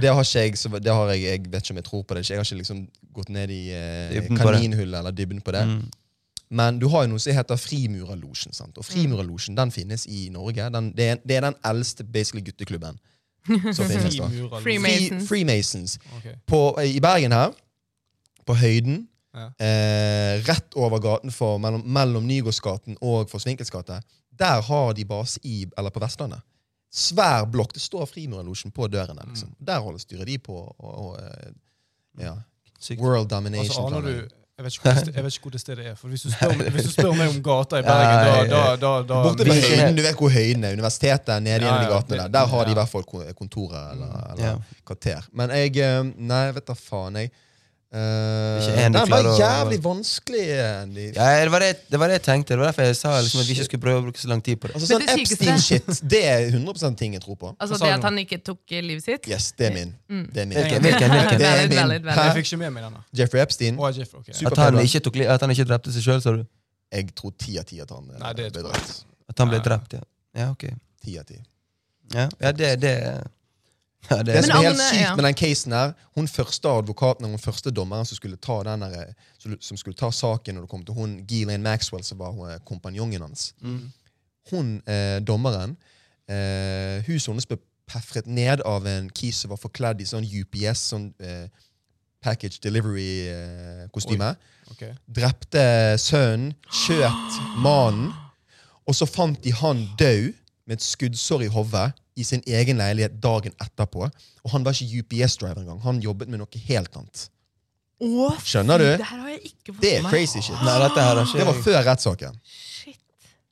A: Frimurere.
B: det har ikke jeg, så det har jeg, jeg vet ikke om jeg tror på det. Jeg har ikke liksom gått ned i eh,
D: Dybden på det.
B: kaninhullet eller dybden på det.
D: Mm.
B: Men du har jo noe som heter Frimurerlosjen. sant? Og Frimurerlosjen den finnes i Norge. Den, det, er, det er den eldste basically gutteklubben som finnes. da.
C: Frimurer,
A: Free
B: Fri,
C: liksom.
A: Masons.
B: Freemasons.
C: Ok.
B: På, eh, I Bergen her, på høyden,
C: Ja.
B: eh, rett over gaten for, mellom, mellom Nygårdsgaten og Forsvinkels gate, der har de base i, eller på Vestlandet. Svær blokk. Det står Frimurerlosjen på dørene. liksom.
C: Mm.
B: Der holder styret de på. Og, og, eh, ja.
D: Sykt.
B: World
C: Altså,
B: domination.
C: aner du,
B: planlegger.
C: jeg vet, ikke hvor det sted, jeg vet ikke hvor det stedet er. For Hvis du spør, hvis du spør meg om gata i Bergen, da, da, da,
B: Borte
C: da
B: ved
D: Hvilken-
B: høyden, Du vet hvor høyden er. Universitetet er nede igjen
C: Ja,
B: i
C: ja,
B: gatene. Der
C: det-
B: Der har de i
C: ja.
B: hvert fall ko- kontoret eller, eller
D: Mm. Ja.
B: kvarter. Men jeg eh, Nei, vet da faen, jeg. Eh,
D: Ikke en du
B: den var
D: klarer å-
B: jævlig vanskelig. Andy.
D: Ja, det, var det, det var det jeg tenkte. Det var derfor jeg sa liksom, at vi ikke skulle prøve å bruke så lang tid på det.
B: Altså
A: Men
B: Sånn
A: det sykeste-
B: Epstein-shit, det er 100 ting jeg tror på.
A: Altså
C: Hva sa
A: det
C: du
A: at
C: nå?
A: han ikke tok eh, livet sitt.
B: Yes, det er min. Det er min.
D: Hvilken? hvilken, hvilken?
B: Det er
A: Mm. Valid,
B: min.
A: valid, valid.
B: Hæ?
C: Jeg fikk ikke med meg denne.
B: Jeffrey Epstein.
C: Å, jeg er Jeff, ok.
B: Super-
D: At han ikke, tok, li- at han ikke drepte seg sjøl, sa du?
B: Jeg tror ti av ti at han
C: Nei,
B: er
C: det tror jeg.
B: bedratt.
D: At han ble
C: Nei.
D: drept, ja. Ja, ok.
B: Ti av ti.
D: Ja, ja det, det ja, det,
B: Det som er helt
A: Agne,
B: sykt
A: ja.
B: med den casen her, hun første advokaten og hun første dommeren som skulle ta, den der, som- som skulle ta saken når det kom til hun, Ghislaine Maxwell, som var hun, eh, kompanjongen hans Hun, eh, dommeren, eh, huset hennes ble peffret ned av en kis som var forkledd i sånn UPS, sånn eh, package eh, delivery-kostyme.
C: Ok.
B: drepte sønnen, skjøt mannen, og så fant de han død med et skuddsår i hodet i sin egen leilighet dagen etterpå. Og han var ikke UPS-driver engang. Han jobbet med noe helt annet.
A: Å,
B: Skjønner du?
A: Det her har jeg ikke fått
B: Det
A: med
B: er
A: meg.
B: crazy shit.
D: Nei, dette her er
B: Det var
D: ikke
B: før rettssaken.
A: Shit.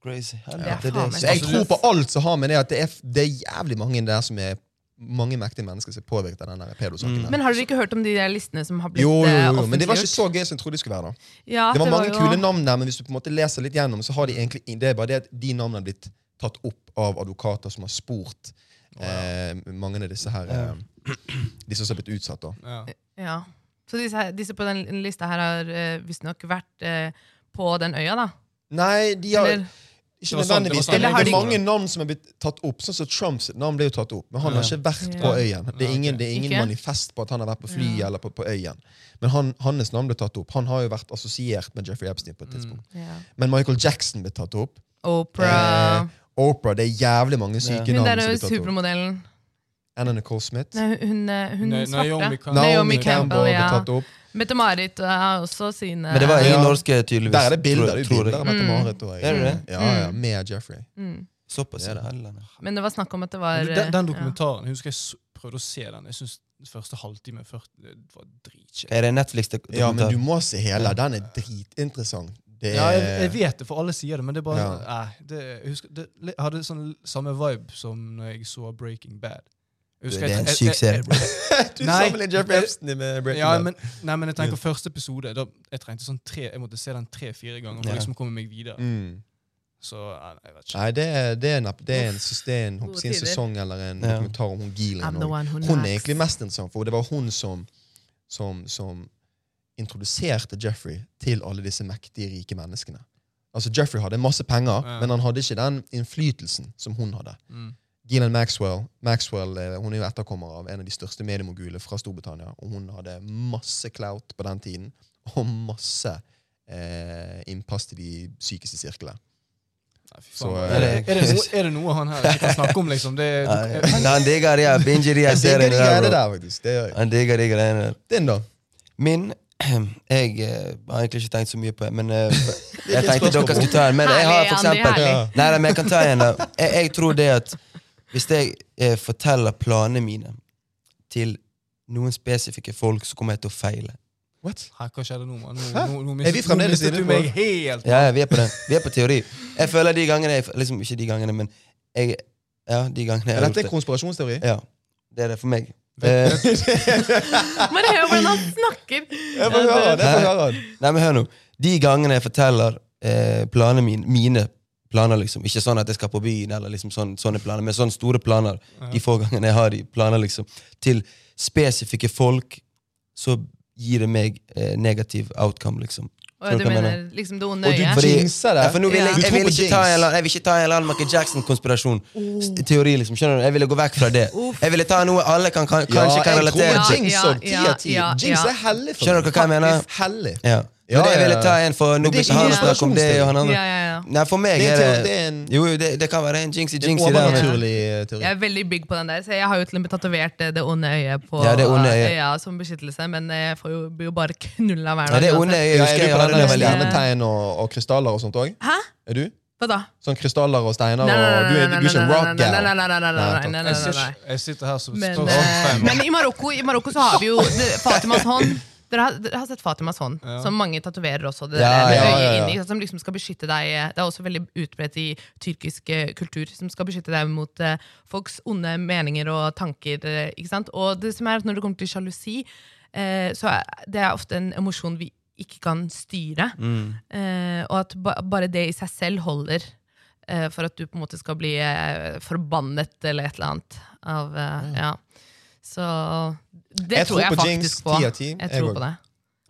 D: crazy.
A: Ja, faen
D: Helvete, Altså, det
A: meg.
D: er
B: Så jeg
D: sykt.
B: tror på alt som har med det at det er, det er jævlig mange der som er mange mektige mennesker som er påvirket av den der pedosaken.
D: Mm.
B: her.
A: Men har dere ikke hørt om de der listene som har blitt
B: Jo, jo,
A: eh,
B: jo, jo, men det var ikke
A: offentliggjort?
B: så gøy som jeg trodde det skulle være. da.
A: Ja,
B: Det var mange
A: jo-
B: kule navn der, men hvis du på en måte leser litt gjennom, så har de egentlig, det er bare det at de navnene er blitt tatt opp av advokater som har spurt eh, mange av disse her, eh, disse som har blitt utsatt. da.
C: Ja.
A: Ja. Så disse, her- disse på den lista her har eh, visstnok vært eh, på den øya, da?
B: Nei, de har
A: Eller,
B: ikke
C: var sånn- det var
B: nødvendigvis.
C: sånn
B: Det
A: Eller har
B: er
A: de-
B: mange navn som er blitt tatt opp. Sånn som Trumps navn ble jo tatt opp, men han har
D: Ja.
B: ikke vært på øyen. Det
C: Ja,
B: er
C: ok.
B: ingen, det er ingen
A: Ikke?
B: manifest på at han har vært på fly
A: Ja.
B: eller på, på øyen. Men han, hans navn ble tatt opp. Han har jo vært assosiert med Jeffrey Epstein
C: Mm.
B: på et tidspunkt.
A: ja.
B: Men Michael Jackson ble tatt opp.
A: Opera
B: Eh, Oprah, det er jævlig mange syke
A: Hun der
B: navn
A: er
B: som
A: jo
B: blir tatt opp.
A: supermodellen.
B: Anna Nicole Smith.
A: Nei, hun, eh, hun, hun
C: Na-
A: svarte.
C: Naomi Campbell.
A: Naomi Campbell,
B: ble
A: ja.
B: tatt opp.
A: Mette-Marit eh, har også sine
D: Men det var ingen
B: Ja.
D: norske, tydeligvis.
B: Der er det bilder. Det
D: tror-
B: er jo
D: tror jeg.
B: bilder av Mette-Marit. og jeg.
D: Er det det?
B: Ja, ja, Med Jeffrey.
A: Mm.
D: Såpass,
B: Det er
D: ja.
B: det.
D: Helvende.
A: Men det var snakk om at det var
C: Men du,
A: eh,
C: Den, den
A: ja.
C: dokumentaren jeg husker jeg s- prøvde å se den. Jeg synes den første halvtime først, det var dritkjedelig.
D: Er det Netflix-dokumentar?
B: Ja, men du må se hele. Den er dritinteressant. Det
C: Ja, jeg, jeg
B: er,
C: vet det, for alle sier det, men det er bare
B: Ja.
C: nei, det, jeg husker, det li- hadde sånn samme vibe som når jeg så Breaking Bad.
D: Det
C: Jeg husker
D: er
C: jeg-
D: en
C: jeg-
D: syk
C: jeg-
D: serie, bro.
B: du
C: Nei.
B: sammenligner Jeffrey Epstein med Breaking
C: Ja,
B: Bad.
C: men, nei, men jeg tenker første episode da, Jeg trengte sånn tre, jeg måtte se den tre-fire ganger for
D: Ja.
C: liksom å komme meg videre.
B: Mm.
C: Så nei, jeg vet ikke.
B: Nei, det er, det er en, det er en, det er en,
A: Gode
B: sin
A: tider.
B: sesong eller en
D: Ja.
B: dokumentar om hun Gillian.
A: I'm the
B: også.
A: one who
B: Hun er
A: knocks.
B: egentlig mest interessant, for det var hun som, som, som introduserte Jeffrey til alle disse mektige, rike menneskene. Altså, Jeffrey hadde masse penger,
C: Ja.
B: men han hadde ikke den innflytelsen som hun hadde.
C: Mm.
B: Gillian Maxwell Maxwell eh, hun er jo etterkommer av en av de største mediemogulene fra Storbritannia. og Hun hadde masse clout på den tiden, og masse eh, innpass til de sykeste sirklene.
C: Nei, fy
B: Så,
C: faen.
B: eh,
C: er, det, er, det noe, er det noe han her ikke kan snakke om, liksom? Det,
D: Ja, ja. Han digger ja, binger de her
B: Jeg digger
D: seriene
B: de
D: der,
B: greiene
D: bro.
B: der, faktisk. Det gjør jeg.
D: Han digger de greiene der.
B: Din, da?
D: Min Jeg eh, har egentlig ikke tenkt så mye på det, men eh, jeg
B: ditt
D: tenkte
B: spørsmål.
D: dere skulle ta en. Men jeg har
A: Herlig, Andy,
D: for eksempel
A: herlig.
B: Ja.
D: Nei, nei, men jeg kan ta en. da. Jeg, jeg tror det at hvis jeg eh, forteller planene mine til noen spesifikke folk, så kommer jeg til å feile.
B: What?
C: Hæ, hva skjedde nå, mann? Nå,
B: Hæ?
C: nå, nå
B: Er vi
C: mistet, nå
B: fremdeles
C: mistet
B: inne
C: du
B: på-
C: meg helt!
D: Ja, ja, vi er på det. Vi er på teori. Jeg føler de gangene jeg, Liksom ikke de gangene, men jeg Ja, de gangene jeg
B: Er
D: har
B: dette en
D: gjort det.
B: konspirasjonsteori?
D: Ja, det er det for meg. Eh,
C: Vet- vet-
A: Bare hør hvordan han snakker!
B: Jeg får høre den, jeg får
D: Hæ?
B: høre den.
D: Nei, men hør nå. De gangene jeg forteller eh, planene mine, mine planer, liksom, ikke sånn at jeg skal på byen, eller liksom sånn, sånne planer, men sånne store planer, de få gangene jeg har de planer, liksom, til spesifikke folk, så gir det meg eh, negativ outcome, liksom.
A: Og
D: Tror
A: du
D: dere jeg
A: mener liksom det onde
B: Og
A: øyet?
B: du
D: Fordi-
B: jinxer det.
D: Ja, for nå vil
A: Ja.
D: jeg,
B: Du
D: jeg,
B: tror
D: vil
B: på
D: ikke ta en
B: jinx.
D: eller annen- jeg vil ikke ta en eller annen Michael Jackson-konspirasjon. S- Teori, liksom. Skjønner du? Jeg ville gå vekk fra det.
A: Oh. Uff.
D: Jeg ville ta noe alle kan, kan, kanskje
B: jeg tror
D: kan relatere
B: på
D: til.
B: jinx
A: Ja,
B: og ti av ti.
A: ja, ja,
B: Jinx
A: ja.
B: er hellig for
D: Skjønner
B: meg.
D: dere hva jeg mener?
B: Faktisk hellig.
D: Ja.
B: Ja,
D: Men det
B: ja,
D: jeg ville
B: ja.
D: ta en for nå
B: Men det er
D: begynte
B: ikke
D: han å
A: en
D: snakke om det, og han andre.
A: Ja, ja, ja.
D: Nei, for meg
B: Det er en
D: er det
B: teori- det er en-
D: Jo, jo, det, det kan være en jinxy
B: Det er en
D: jinxy der. Men,
B: overnaturlig eh, teori.
A: Jeg er veldig big på den der, så jeg har jo til og med tatovert eh, det onde øyet på
D: Ja, det onde øyet.
A: øya som beskyttelse, men eh, jeg får jo, blir jo bare knulla hver
D: ja,
A: dag.
D: det onde
A: uansett.
D: jeg
B: Ja,
D: husker
B: er du
D: jeg
B: på
D: hadde
B: den
D: det
B: med
D: veldig
A: Ja.
B: stjernetegn og, og krystaller og sånt òg?
A: Hæ?
B: Er du?
A: Hva da?
B: Sånn krystaller og steiner og Du er du er ikke en rock
A: nei, nei, nei, nei,
B: gal.
A: nei, nei, nei, nei, nei,
C: Jeg
A: nei, nei.
C: sitter- Jeg sitter her som
A: Men,
C: står
A: eh,
C: sånn
A: men i, Marokko, i Marokko så har vi jo det- Fatimas hånd. Dere har, dere har sett Fatimas hånd,
C: Ja.
A: som mange tatoverer også. Det
D: Ja,
A: der, med
B: ja, ja,
A: øyet
B: ja.
A: inni, ikke sant, Som liksom skal beskytte deg Det er også veldig utbredt i tyrkisk eh, kultur, som skal beskytte deg mot eh, folks onde meninger og tanker. eh, ikke sant? Og det som er at når det kommer til sjalusi, eh, så er det er ofte en emosjon vi ikke kan styre.
B: Mm.
A: Eh, og at ba bare det i seg selv holder eh, for at du på en måte skal bli eh, forbannet eller et eller annet. Av, eh, ja. Så det
B: Jeg
A: tror
B: tror
A: jeg
B: på Jinx,
A: faktisk på.
B: 10 av 10.
A: Jeg
B: Jeg
A: tror
B: går.
A: på det.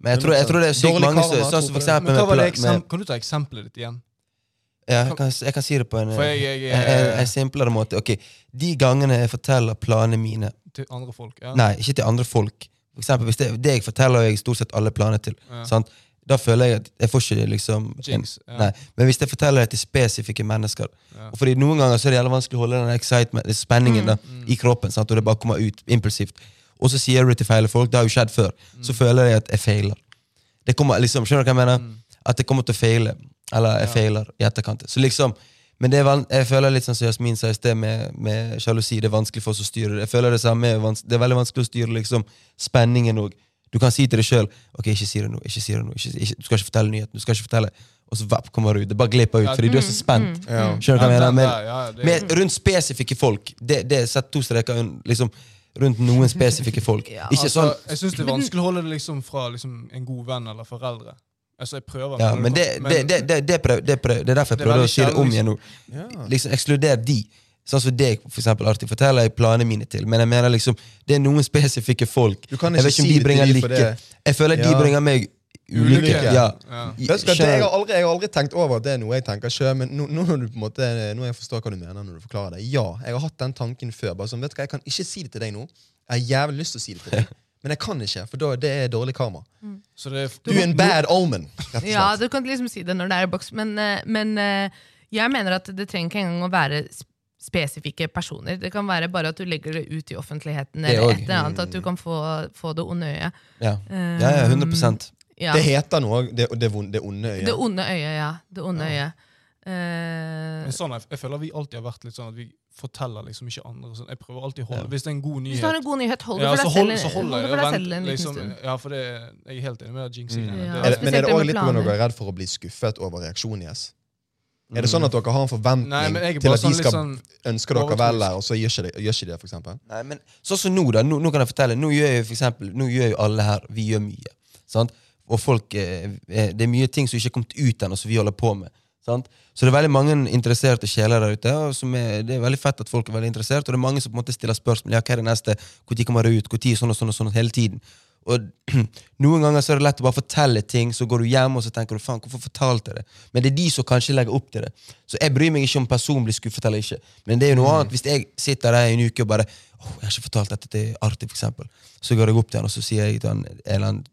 D: Men jeg tror, jeg tror det er sykt
B: Dårlig
D: mange som
B: karma,
D: sånn som for
B: tror jeg.
D: eksempel
C: Men hva
D: med,
C: var det
D: pla- med
C: eksem- Kan du ta eksempelet ditt igjen?
D: ja, jeg, kan, jeg kan si det på en,
C: For jeg- jeg- jeg-
D: en, en- en simplere måte. Ok, De gangene jeg forteller planene mine
C: Til andre folk? Ja.
D: Nei, ikke til andre folk. For eksempel, hvis det, det jeg forteller, har jeg stort sett alle planer til.
C: Ja.
D: Sant? Da føler jeg at jeg får ikke liksom en,
C: Jinx, ja.
D: Nei, Men hvis jeg forteller det til spesifikke mennesker
C: Ja. Mm,
D: og fordi Noen ganger så er det jævlig vanskelig å holde den excitement, spenningen da, i kroppen, sant? og det bare kommer ut impulsivt. Og så sier du det til feil folk. Det har jo skjedd før.
C: Mm.
D: Så føler jeg at jeg feiler. Det kommer liksom, Skjønner du hva jeg mener?
C: Mm.
D: At jeg kommer til å feile. Eller jeg feiler i etterkant. Så liksom, men det er van jeg føler litt sånn som Jasmin sa i sted, med, med sjalusi. Det er vanskelig for oss å styre det. Jeg føler Det samme, er vans- det er veldig vanskelig å styre liksom, spenningen òg. Du kan si til deg sjøl Ok, ikke si det nå. ikke si det nå, ikke, si- ikke, Du skal ikke fortelle nyheten. du skal ikke fortelle. og så vapp, kommer det ut. Det bare glipper ut,
C: Ja, mm,
D: fordi du er så spent.
B: Ja.
D: Skjønner du hva jeg
C: Ja,
D: mener?
C: den
D: Men,
C: der, ja, det-
D: men rundt spesifikke folk. Det, det er satt to streker un- liksom, rundt noen spesifikke folk.
A: Ja,
D: Ikke sånn
C: Altså, jeg syns det er vanskelig å holde det liksom fra liksom, en god venn eller foreldre. Altså, jeg prøver,
D: ja, men det, det, det, det, det, prøv, det, prøv, det er derfor jeg
C: Det er
D: prøvde
C: veldig
D: å si det om
C: sjelden,
D: igjen nå.
B: Ja.
D: Liksom, Ekskluder de. Sånn som deg, for eksempel, Arti, forteller jeg planene mine til. Men jeg mener liksom, det er noen spesifikke folk.
B: Du kan
D: Jeg
B: ikke
D: vet ikke om
B: si
D: de
B: det
D: bringer
B: til de for
D: lykke.
B: det.
D: Jeg føler de
B: Ja.
D: bringer meg ulykke.
C: Ulykke.
D: Ja.
C: Ja.
B: Husk at det, jeg,
D: Selv-
B: har aldri, jeg har aldri tenkt over at det er noe jeg tenker selv, men nå, nå, når du på en måte, nå jeg forstår hva du mener når du forklarer det. Ja, jeg har hatt den tanken før. bare sånn, vet du hva, Jeg kan ikke si det til deg nå. Jeg har jævlig lyst til å si det til deg, men jeg kan ikke, for da, det er dårlig karma.
C: Så det er,
B: Du er en bad omen, rett og slett.
A: Ja, du kan liksom si det når det er i boks, men, eh, men eh, jeg mener at det trenger ikke engang å være sp- spesifikke personer. Det kan være bare at du legger det ut i offentligheten,
D: Det
A: eller
D: òg.
A: et eller annet, at du kan få, få det onde øyet. Eh,
D: Ja. ja, ja, 100
A: Ja.
B: Det heter noe, det, det, vond- det onde øyet.
A: Det onde øyet, ja. Det onde øyet. Eh,
C: men sånn, jeg, jeg føler vi alltid har vært litt sånn at vi forteller liksom ikke andre. og Sånn. Jeg prøver alltid å holde,
D: Ja.
C: Hvis det er en god
A: hvis du har en
C: nyhet
A: god nyhet, hold det
C: ja,
A: for
C: så
A: deg
C: hold-
A: selv,
C: så
A: hold
C: holder
A: det
C: jeg
A: for
C: og
A: deg
C: vent,
A: selv en liten
C: liksom,
A: stund.
C: Ja, for det, jeg er helt enig med
A: Mm.
C: jinxing.
A: Ja.
B: Er det, men er
A: Spesielt
B: det
A: med
B: òg litt pga. at
A: planer.
B: dere er redd for å bli skuffet over reaksjonen deres? Er det sånn at dere har en forventning
C: Mm. Nei, men jeg er
B: til
C: bare
B: at de
C: sånn litt
B: skal
C: sånn
B: ønske dere
C: overtroisk.
B: vel, her, og så gjør ikke de, gjør ikke de det, for eksempel?
D: Nei, men sånn som nå, da. Nå, nå kan jeg fortelle. Nå gjør jo for eksempel, nå gjør jo alle her Vi gjør mye. Sant? Og folk eh, eh, Det er mye ting som ikke er kommet ut ennå, som vi holder på med. Sant? Så det er veldig mange interesserte sjeler der ute. Og som er, det er veldig fett at folk er veldig interessert, og det er mange som på en måte stiller spørsmål ja, hva er det neste, når kommer det ut, når sånn og sånn og sånn, hele tiden. Og Noen ganger så er det lett å bare fortelle ting, så går du hjem og så tenker du, faen, hvorfor fortalte jeg det? Men det er de som kanskje legger opp til det. Så jeg bryr meg ikke om personen blir skuffet eller ikke. Men det er jo noe annet hvis jeg sitter der i en uke og bare åh, jeg har ikke fortalt dette til Arti, for eksempel. Så går jeg opp til han og så sier jeg til han en eller annen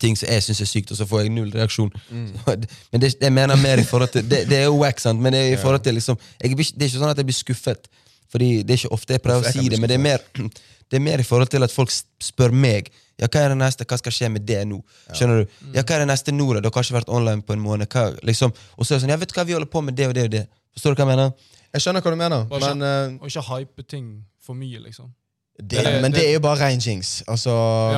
D: ting som jeg syns er sykt, og så får jeg null reaksjon.
B: Mm.
D: Men det, det jeg mener mer i forhold til Det, det er jo wack, sant, men det er, i forhold til, liksom, jeg blir, ikke- det er ikke sånn at jeg blir skuffet. Fordi Det er ikke ofte jeg prøver
B: Uff,
D: å
B: jeg
D: si
B: kan bli
D: det, men det er, mer, det er mer i forhold til at folk s- spør meg ja, hva er det neste, hva skal skje med det nå. Skjønner du?
B: Mm.
D: Ja, Hva er det neste nå? da? Dere har ikke vært online på en måned. Hva, liksom. Og så er det sånn ja, vet du hva, vi holder på med det og det og det. Forstår du hva jeg mener?
B: Jeg skjønner hva du mener,
C: Bare
B: men, eh,
C: Og ikke hype ting for mye, liksom.
B: det,
C: det-
B: men det
C: det-
B: er jo bare rein jinx. Altså,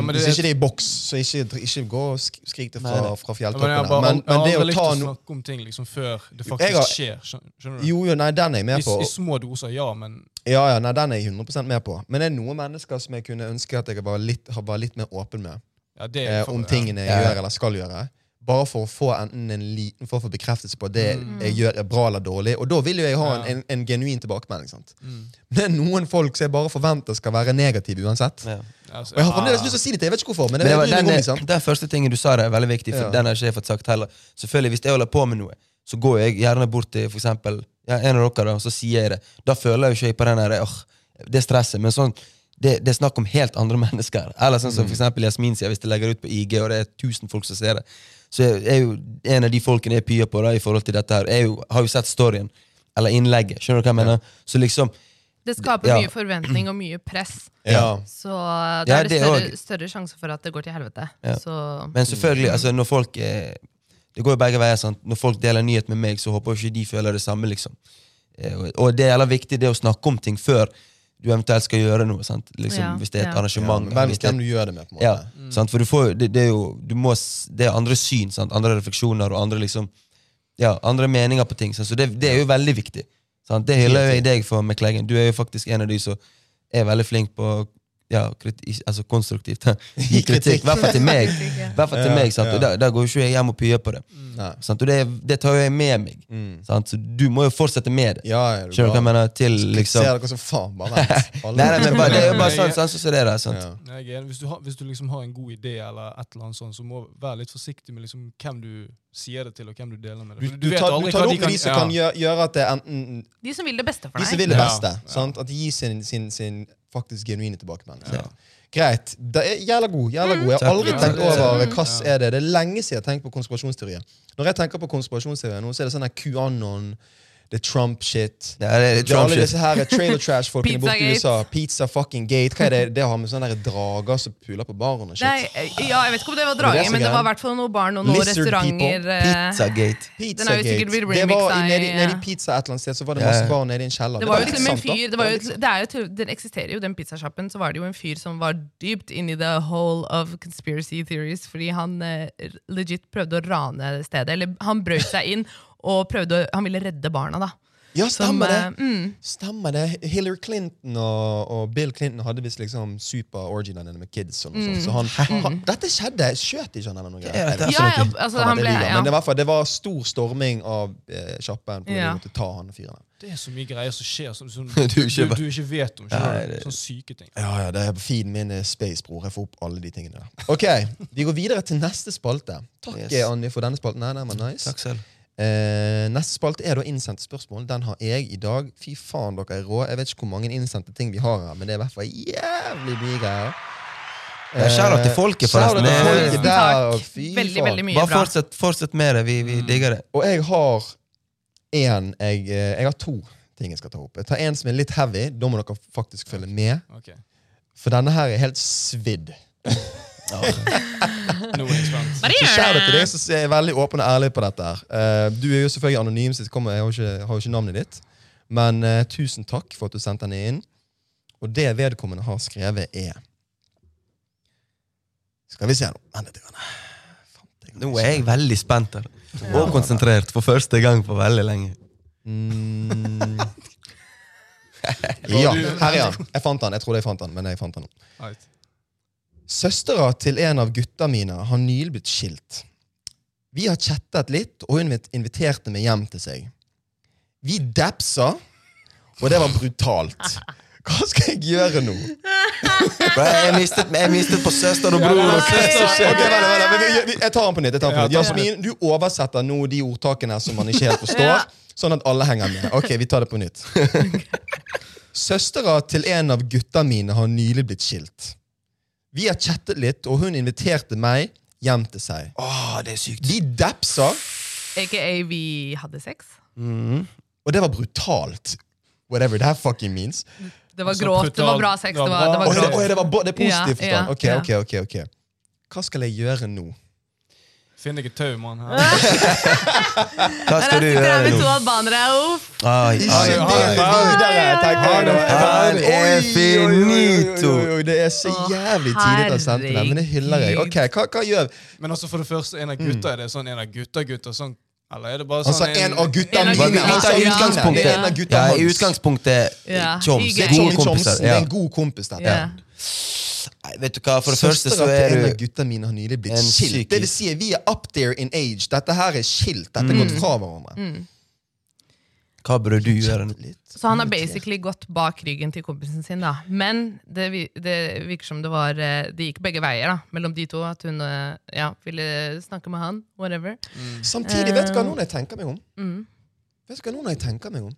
C: men det-
B: hvis ikke det er i boks, så ikke, ikke gå og sk- skrik det
D: Nei,
B: fra,
D: nei.
B: fra
C: Ja, men jeg har
B: fjelltoppene.
C: bare
B: Men,
C: jeg har
B: men det å
C: aldri likt
B: ta
C: å
B: no...
C: snakke om ting liksom før det
B: jeg har-
C: faktisk skjer. skjøn- Skjønner du?
B: Jo, jo, nei, den er jeg
C: I,
B: med på.
C: I små doser, ja, men
B: Ja, ja, nei, den er jeg 100 med på. Men det er noen mennesker som jeg kunne ønske at jeg var litt, var litt mer åpen med.
C: ja, det
B: eh,
C: for-
B: om
C: ja.
B: tingene jeg
D: Ja.
B: gjør eller skal gjøre. Bare for å få enten en liten form for bekreftelse på at det jeg gjør, er bra eller dårlig. Og da vil jo jeg ha en,
C: Mm. Ja.
B: en, en genuin tilbakemelding. sant?
C: Mm.
B: Men det er noen folk som jeg bare forventer skal være negative uansett.
D: Ja.
C: Altså,
B: Og jeg har fremdeles
C: ja.
B: lyst til å si det til jeg vet ikke hvorfor. men det
D: Men det
B: er
D: var,
B: jeg
D: den, eh,
B: bryr meg om, liksom.
D: den første tingen du sa der, er veldig viktig. For
B: Ja.
D: den har ikke jeg fått sagt heller. Selvfølgelig, Hvis jeg holder på med noe, så går jeg gjerne bort til for eksempel, ja, en av dere, da, og så sier jeg det. Da føler jeg jo ikke jeg på den der, åh, det stresset. Men sånn, det, det er snakk om helt andre mennesker. Eller sånn
B: Mm.
D: som for eksempel Jasmin sier, hvis jeg legger ut på IG, og det er tusen folk som ser det, så er er jo en av de folkene jeg pyer på da, i forhold til dette her, jeg jo, har jo sett storyen. Eller innlegget. Skjønner du hva jeg mener? Så liksom,
A: Det skaper
D: Ja.
A: mye forventning og mye press.
B: Ja.
A: Så
D: Ja,
A: da er det
D: det
A: større,
D: òg.
A: større sjanse for at det går til helvete.
D: Ja.
A: Så
D: Men
A: Mm.
D: selvfølgelig, altså når folk eh, Det går jo begge veier. sant? Når folk deler nyhet med meg, så håper jeg ikke de føler det samme. liksom. Eh, og- Og det er jævla viktig det å snakke om ting før du eventuelt skal gjøre noe. sant? Liksom,
A: Ja,
D: Hvis det er et
A: ja.
B: Ja,
D: arrangement.
B: men hvem,
D: hvis det er
B: hvem Mm. du gjør det med, på en måte.
D: ja, sant? For du får, jo- det, det er jo du må, s- Det er andre syn, sant? andre refleksjoner og andre liksom ja, andre meninger på ting. Sant? Så det, det er jo veldig viktig. Sant? Det hyller jo jeg deg for, McLeggan. Du er jo faktisk en av de som er veldig flink på ja, kriti, altså konstruktivt. Gi kritikk. I hvert fall til meg. I hvert fall til
B: Ja,
D: meg sant? Og
B: ja.
D: der, der går jo ikke jeg hjem og pyer på det.
C: Mm.
B: Nei.
D: Sant? Og det, det tar jo jeg med meg. Sant? Så du må jo fortsette med det.
B: Ja, Mm. ja, du
D: Skjønner du hva jeg
B: bare
D: mener? Til liksom
B: ser dere som faen, bare vent. Alle-
D: Nei, nei, men bare, det er jo bare sånn, sånn som det er. Sant?
B: Ja.
C: Nei, jeg er enig. Hvis du, har, hvis du liksom har en god idé, eller et eller annet sånt, så må være litt forsiktig med liksom hvem du sier det til, og hvem du deler med det.
B: Du,
C: For
B: du, tar, du
C: aldri
B: tar
C: hva
B: det opp med de som kan gjøre, gjøre at det er enten
A: de som vil det beste for
B: De som
A: deg.
B: vil det
C: Ja.
B: beste. Sant? At de gir sin, sin, sin faktisk genuine tilbakemelding. Greit. Det er jævla god. jævla god. Jeg har
D: Takk.
B: aldri
C: Ja,
B: tenkt
C: det-
B: over
C: Mm.
B: hva er det Det er lenge siden jeg har tenkt på konspirasjonsteorier. Når jeg tenker på konspirasjonsteorier nå, så er det sånn her QAnon det er Trump-shit.
D: Det er, det er sånn
B: Det er alle
D: Trump-shit.
B: disse her trailer trash-folkene borte i
A: Pizzagate.
B: USA. Pizza fucking gate. Hva er det det har med sånne her drager som puler på baren og
A: Nei, eh,
B: shit?
A: ja, jeg vet ikke om det var
B: det er
A: drager,
B: så
A: men det var i
B: gærent.
A: hvert fall noen barn og noen
B: Lizard
A: restauranter.
B: people,
A: eh,
D: Pizzagate.
A: Den har jo sikkert
B: Pizzagate.
A: blitt
B: Det var
A: remixa
B: i-
A: i-
B: nedi,
A: ja.
B: nedi pizza et eller annet sted, så var det
D: Ja, ja.
B: masse barn nede i en kjeller.
A: Det var jo
B: litt
A: til og med en
B: sant, da.
A: fyr det, var jo, til- det er jo til, Den eksisterer jo, den pizzasjappen. Så var det jo en fyr som var dypt inni the hole of conspiracy theories. Fordi han eh, legit prøvde å rane stedet. Eller han brøt seg inn og prøvde å, han ville redde barna, da.
B: Ja,
A: Som,
B: stemmer det!
A: eh, mm,
B: Stemmer det. Hillary Clinton og, og Bill Clinton hadde visst liksom super-originene med kids. Og noe
A: Mm.
B: sånt. Så han, han, dette skjedde! Skjøt ikke han eller noe?
D: er
B: greier? Jeg
D: dette
B: vet
A: ja,
B: ikke.
A: ja, altså,
B: Han
A: han
B: hadde
A: ble,
B: livet,
A: ja.
B: Men det var, for, det var stor storming av eh, sjappen. fordi
A: Ja.
B: de måtte ta han fyren.
C: Det er så mye greier som skjer som, som du,
D: Du
C: du,
D: ikke-
C: ikke vet om.
D: Nei,
C: Skjønner.
D: det-
C: du? Sånne syke ting.
B: Ja, ja, det er feeden min er space, bror. Jeg får opp alle de tingene der. Ok, Vi går videre til neste spalte. Takk,
D: Yes.
B: Andy, for denne spalten. Nei, den var nice.
D: Takk selv.
B: Eh, neste spalte er da innsendte spørsmål. Den har jeg i dag. Fy faen, dere er rå. Jeg vet ikke hvor mange innsendte ting vi har her, men det er i hvert fall jævlig mye greier.
D: Ja, shout-out til folket,
B: Eh, shout-out
D: forresten.
B: til
D: Det-
B: folket
A: Tusen takk.
B: der, og fy
A: Veldig,
B: faen.
A: veldig mye
D: Bare
A: bra.
D: fortsett, fortsett med det. Vi,
B: Mm.
D: vi digger det.
B: Og jeg har en, jeg, eh, jeg har to ting jeg skal ta opp. Jeg tar en som er litt heavy. Da må dere faktisk følge med,
C: Ok,
B: for denne her er helt svidd.
C: Nå er jeg spent.
B: Så
A: Maria!
B: kjære til deg som er veldig åpen og ærlig på dette. her. Eh, du er jo selvfølgelig anonym, så jeg, kommer, jeg har, jo ikke, har jo ikke navnet ditt. Men eh, tusen takk for at du sendte den inn. Og det vedkommende har skrevet, er Skal vi se nå. Vent litt. grann. Fant jeg
D: Nå er jeg veldig spent her. Og konsentrert for første gang på veldig lenge.
B: Mm. Ja, her er han. Jeg fant han. Jeg trodde jeg fant han, men jeg fant han nå.
C: Right.
B: Søstera til en av gutta mine har nylig blitt skilt. Vi har chattet litt, og hun invit- inviterte meg hjem til seg. Vi dapsa, og det var brutalt. Hva skal jeg gjøre nå?
D: Bro, jeg mistet, jeg mistet på søster og bror. og
B: Ok,
D: søster.
B: vent, vent, vent, vent, jeg- Jeg tar den på nytt. jeg tar den på nytt. Jasmin, du oversetter nå de ordtakene som man ikke helt
A: Ja.
B: forstår, sånn at alle henger med. Ok, vi tar det på nytt. Søstera til en av gutta mine har nylig blitt skilt. Vi har chattet litt, og hun inviterte meg hjem til seg.
D: Åh, det er sykt.
B: De dapsa,
A: AKA vi hadde sex.
D: Mm.
B: og det var brutalt. Whatever that fucking means.
A: Det var
C: Altså,
A: gråt, det var bra
C: brutal.
A: sex,
C: Det var
A: det var, det
B: Oi,
A: var
B: det,
A: gråt.
B: oi, det, var, bo- det er positivt
A: Ja,
B: forstand. Ok,
A: ja,
B: ok, ok, ok. Hva skal jeg gjøre nå?
C: Finn deg et tau, mann. her.
D: Hva
A: Der
D: skal du
A: sitter
B: eh,
A: jeg
D: gjøre
A: med to
D: nå?
A: albanere. Uff.
D: Ai,
B: Ikke
D: ai,
B: det
D: ai.
B: videre, tenker jeg da.
D: Han er
B: Oi, oi, oi, oi,
D: finito.
B: oi, oi, Det er så
A: Å,
B: jævlig tidlig å sende det, men det hyller jeg. Ok, hva, hva gjør vi?
C: Men altså, for det første, en av
B: Mm.
C: gutta, er det sånn en av gutta, gutta, sånn, eller er det bare sånn
B: Altså, en av gutta
A: En av
B: mine.
A: gutta,
B: Han sa
A: ja.
B: utgangspunktet. Det er en av
D: Utgangspunktet
B: gutta
D: ja, i
B: hans.
D: utgangspunktet
A: Ja,
D: Tjoms.
A: i
D: Gode
B: Tommy
D: kompiser.
B: Thomsen, det
D: Ja.
B: er en god kompis, dette.
A: Ja.
D: Nei, Vet du hva, for det første
B: Søstera
D: så
B: til
D: er
B: en av
D: du
B: gutta mine har nylig blitt
D: en
B: skilt.
D: psykisk-
B: Det vil si, vi er up there in age. Dette her er skilt. Dette er gått
A: Mm.
B: fra hverandre.
D: Hva burde du gjøre nå?
B: Litt.
A: Så han har basically gått bak ryggen til kompisen sin, da. Men det, vi- det virker som det var eh, Det gikk begge veier, da. Mellom de to. At hun eh, ja, ville snakke med han. Whatever. Mm.
B: Samtidig, vet du hva noen jeg tenker meg om? Vet du hva noen jeg tenker meg om?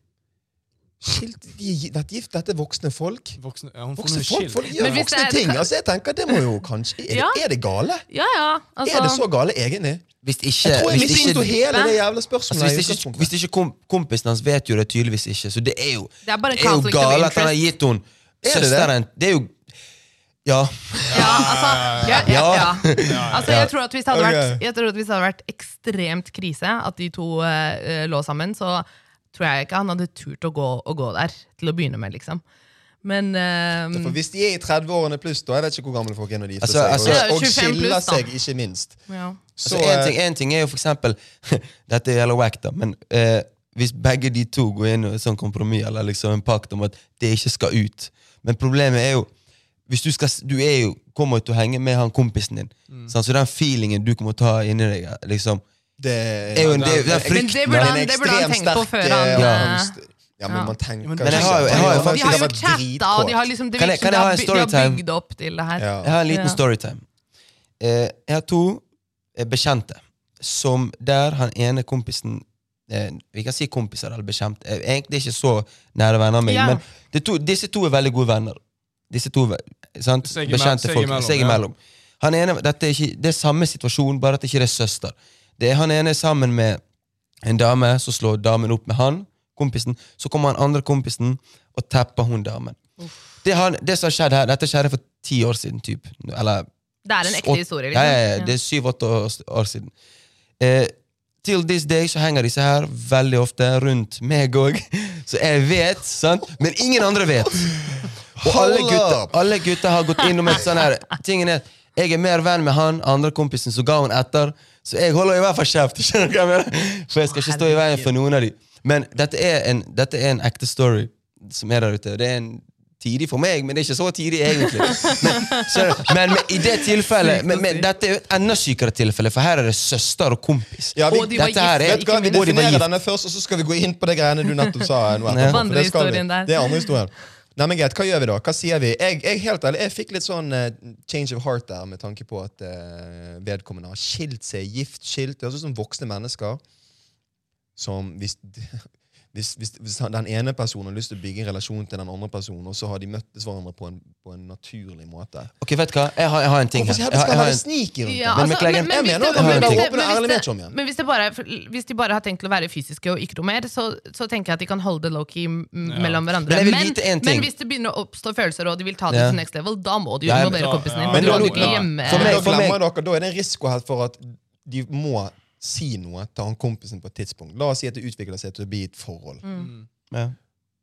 B: Skilt, de er gi- vært gift, dette er voksne folk.
C: voksne, ja, hun får
B: Voksne
C: noe
B: folk,
C: skilt.
B: folk gjør
A: Men hvis
B: voksne
A: det er-
B: ting. Altså, jeg tenker, det må jo kanskje Er,
A: Ja.
B: det, er det gale?
A: Ja ja. Altså,
B: Er det så gale, egentlig?
D: Hvis ikke,
B: Jeg tror jeg
D: Eh, hvis
B: misforsto
D: ikke,
B: hele det jævla
D: altså,
B: spørsmålet. i
D: hvis ikke,
B: utgangspunktet.
D: hvis ikke kom, kompisen hans vet jo det tydeligvis ikke, så det er jo
A: Det er bare
D: det er jo
A: conflict of
D: gale at han har
A: interest.
D: gitt henne
B: det det?
D: søsteren Det er jo Ja.
A: Ja, altså, ja, ja,
D: Ja.
A: ja. altså jeg, tror at hvis det hadde
B: Ok.
A: vært, jeg tror at hvis det hadde vært ekstremt krise at de to eh, eh, lå sammen, så tror jeg ikke han hadde turt å gå, å gå der til å begynne med, liksom. Men eh,
B: For hvis de er i 30-årene pluss, da Jeg vet ikke hvor gamle folk er når de gifter
D: Altså,
B: seg.
D: altså-
B: og, og
A: 25
B: skiller
A: pluss, da.
B: seg, ikke minst.
A: ja.
B: Så,
D: Altså, en,
B: eh,
D: ting, en ting er jo for eksempel Dette gjelder wack, da, men eh, hvis begge de to går inn i et sånt kompromiss eller liksom en pakt om at det ikke skal ut Men problemet er jo hvis Du, skal, s- du er jo, kommer jo til å henge med han kompisen din,
B: Mm.
D: sant? så den feelingen du kommer til å ta inni deg, liksom,
B: det
D: er jo en, det, er- det er
A: Men
D: frykten.
A: det burde
D: da.
A: han- det burde han
B: ekstremt
A: tenke på
B: sterk,
A: før han,
B: eh,
A: eh,
B: angst. Ja, men
A: ja.
B: man tenker
C: Men
B: ikke sånn.
D: jeg har jo- jeg har jo
A: De
B: på det.
D: faktisk-
A: har jo
B: Det vært
A: chatta, og de har
B: dritkåt.
A: liksom, det
D: Kan jeg-
A: virker som
D: kan
A: de
D: jeg
A: har,
D: ha en
A: by- de har
D: storytime?
A: bygd opp til det her.
B: Ja.
D: Jeg har en liten
A: Ja.
D: storytime. Eh, jeg har to eh, bekjente som der han ene kompisen eh, Vi kan si kompiser eller bekjent. Eh, egentlig ikke så nære venner av meg,
A: Ja.
D: men det to, disse to er veldig gode venner. Disse to ve- sant?
C: Seg imell-
D: bekjente
C: seg
D: folk.
C: imellom,
D: Seg
C: ja.
D: imellom. Han ene, dette er ikke, det er samme situasjon, bare at det ikke er søster. Det er Han ene er sammen med en dame, så slår damen opp med han. kompisen, så kommer han andre kompisen og tapper hun damen. Det, har, det som har skjedd her, Dette skjedde for ti år siden, typ. eller
A: Det er en ekte
D: Åt-
A: historie.
D: Ja,
A: Liksom.
D: ja, ja, det er syv-åtte år, år siden. Eh, til this day så henger disse her veldig ofte rundt meg òg, så jeg vet, sant? men ingen andre vet. Og
B: Hold
D: alle gutter,
B: up!
D: alle gutter har gått innom et sånn her Tingen er, jeg er mer venn med han andre kompisen som ga hun etter, så jeg holder i hvert fall kjeft. skjønner du hva jeg mener? For jeg skal ikke stå i veien for noen av de. Men dette er en, dette er en ekte story som er der ute. Det er en tidlig for meg, men det er ikke så tidlig egentlig. Men, skjønner du? men, men i det tilfellet men, men dette er jo et enda sykere tilfelle, for her er det søster og kompis.
B: Ja, vi,
A: Og de var
D: Dette her
A: gift,
D: er
B: vet du hva, vi
A: ikke
D: Og de var
B: definerer
D: gift.
B: denne først, og så skal vi gå inn på det greiene du nettopp sa. Nå, etterpå, for
D: Ja.
B: det skal vi.
A: Vandrehistorien der.
B: Det er andre historien. Nei, men greit, Hva gjør vi da? Hva sier vi? Jeg, jeg, helt ærlig, jeg fikk litt sånn eh, change of heart der med tanke på at eh, vedkommende har skilt seg, gift, skilt. Det høres ut som voksne mennesker som hvis, hvis, hvis, hvis den ene personen har lyst til å bygge en relasjon til den andre personen, og så har de møttes hverandre på en, på en naturlig måte.
D: Ok, vet du hva? Jeg har, jeg har en ting
B: Hvorfor
D: her.
B: skal
D: Jeg
B: det
D: har, jeg har
B: være
D: en,
B: sneaky rundt
A: Ja,
B: det?
D: Men
A: altså,
D: beklager,
B: jeg
A: hvis
B: mener
A: det-
B: at det
A: men
D: er
A: hvis
D: åpen
A: det-
B: og
A: men hvis
B: ærlig
A: det-
B: vet om igjen.
A: Men hvis, det bare, for- hvis de bare har tenkt til å være fysiske og ikke noe mer, så, så tenker jeg at de kan holde det low-key m- mellom hverandre.
D: Men jeg vil
A: men,
D: vite en ting.
A: men hvis det begynner å oppstå følelser, og de vil ta det
D: Ja.
A: til next level, da må du jo
D: Ja, jeg-
A: involvere
C: ja,
A: kompisen din.
C: ja,
A: men du
D: ja,
A: har
D: ja.
A: jo ikke hjemme
D: For
B: Men
D: meg-
B: da glemmer
D: meg-
B: dere, da er det en risiko her for at de må si noe til han kompisen på et tidspunkt. La oss si at det utvikler seg til å bli et forhold.
D: ja.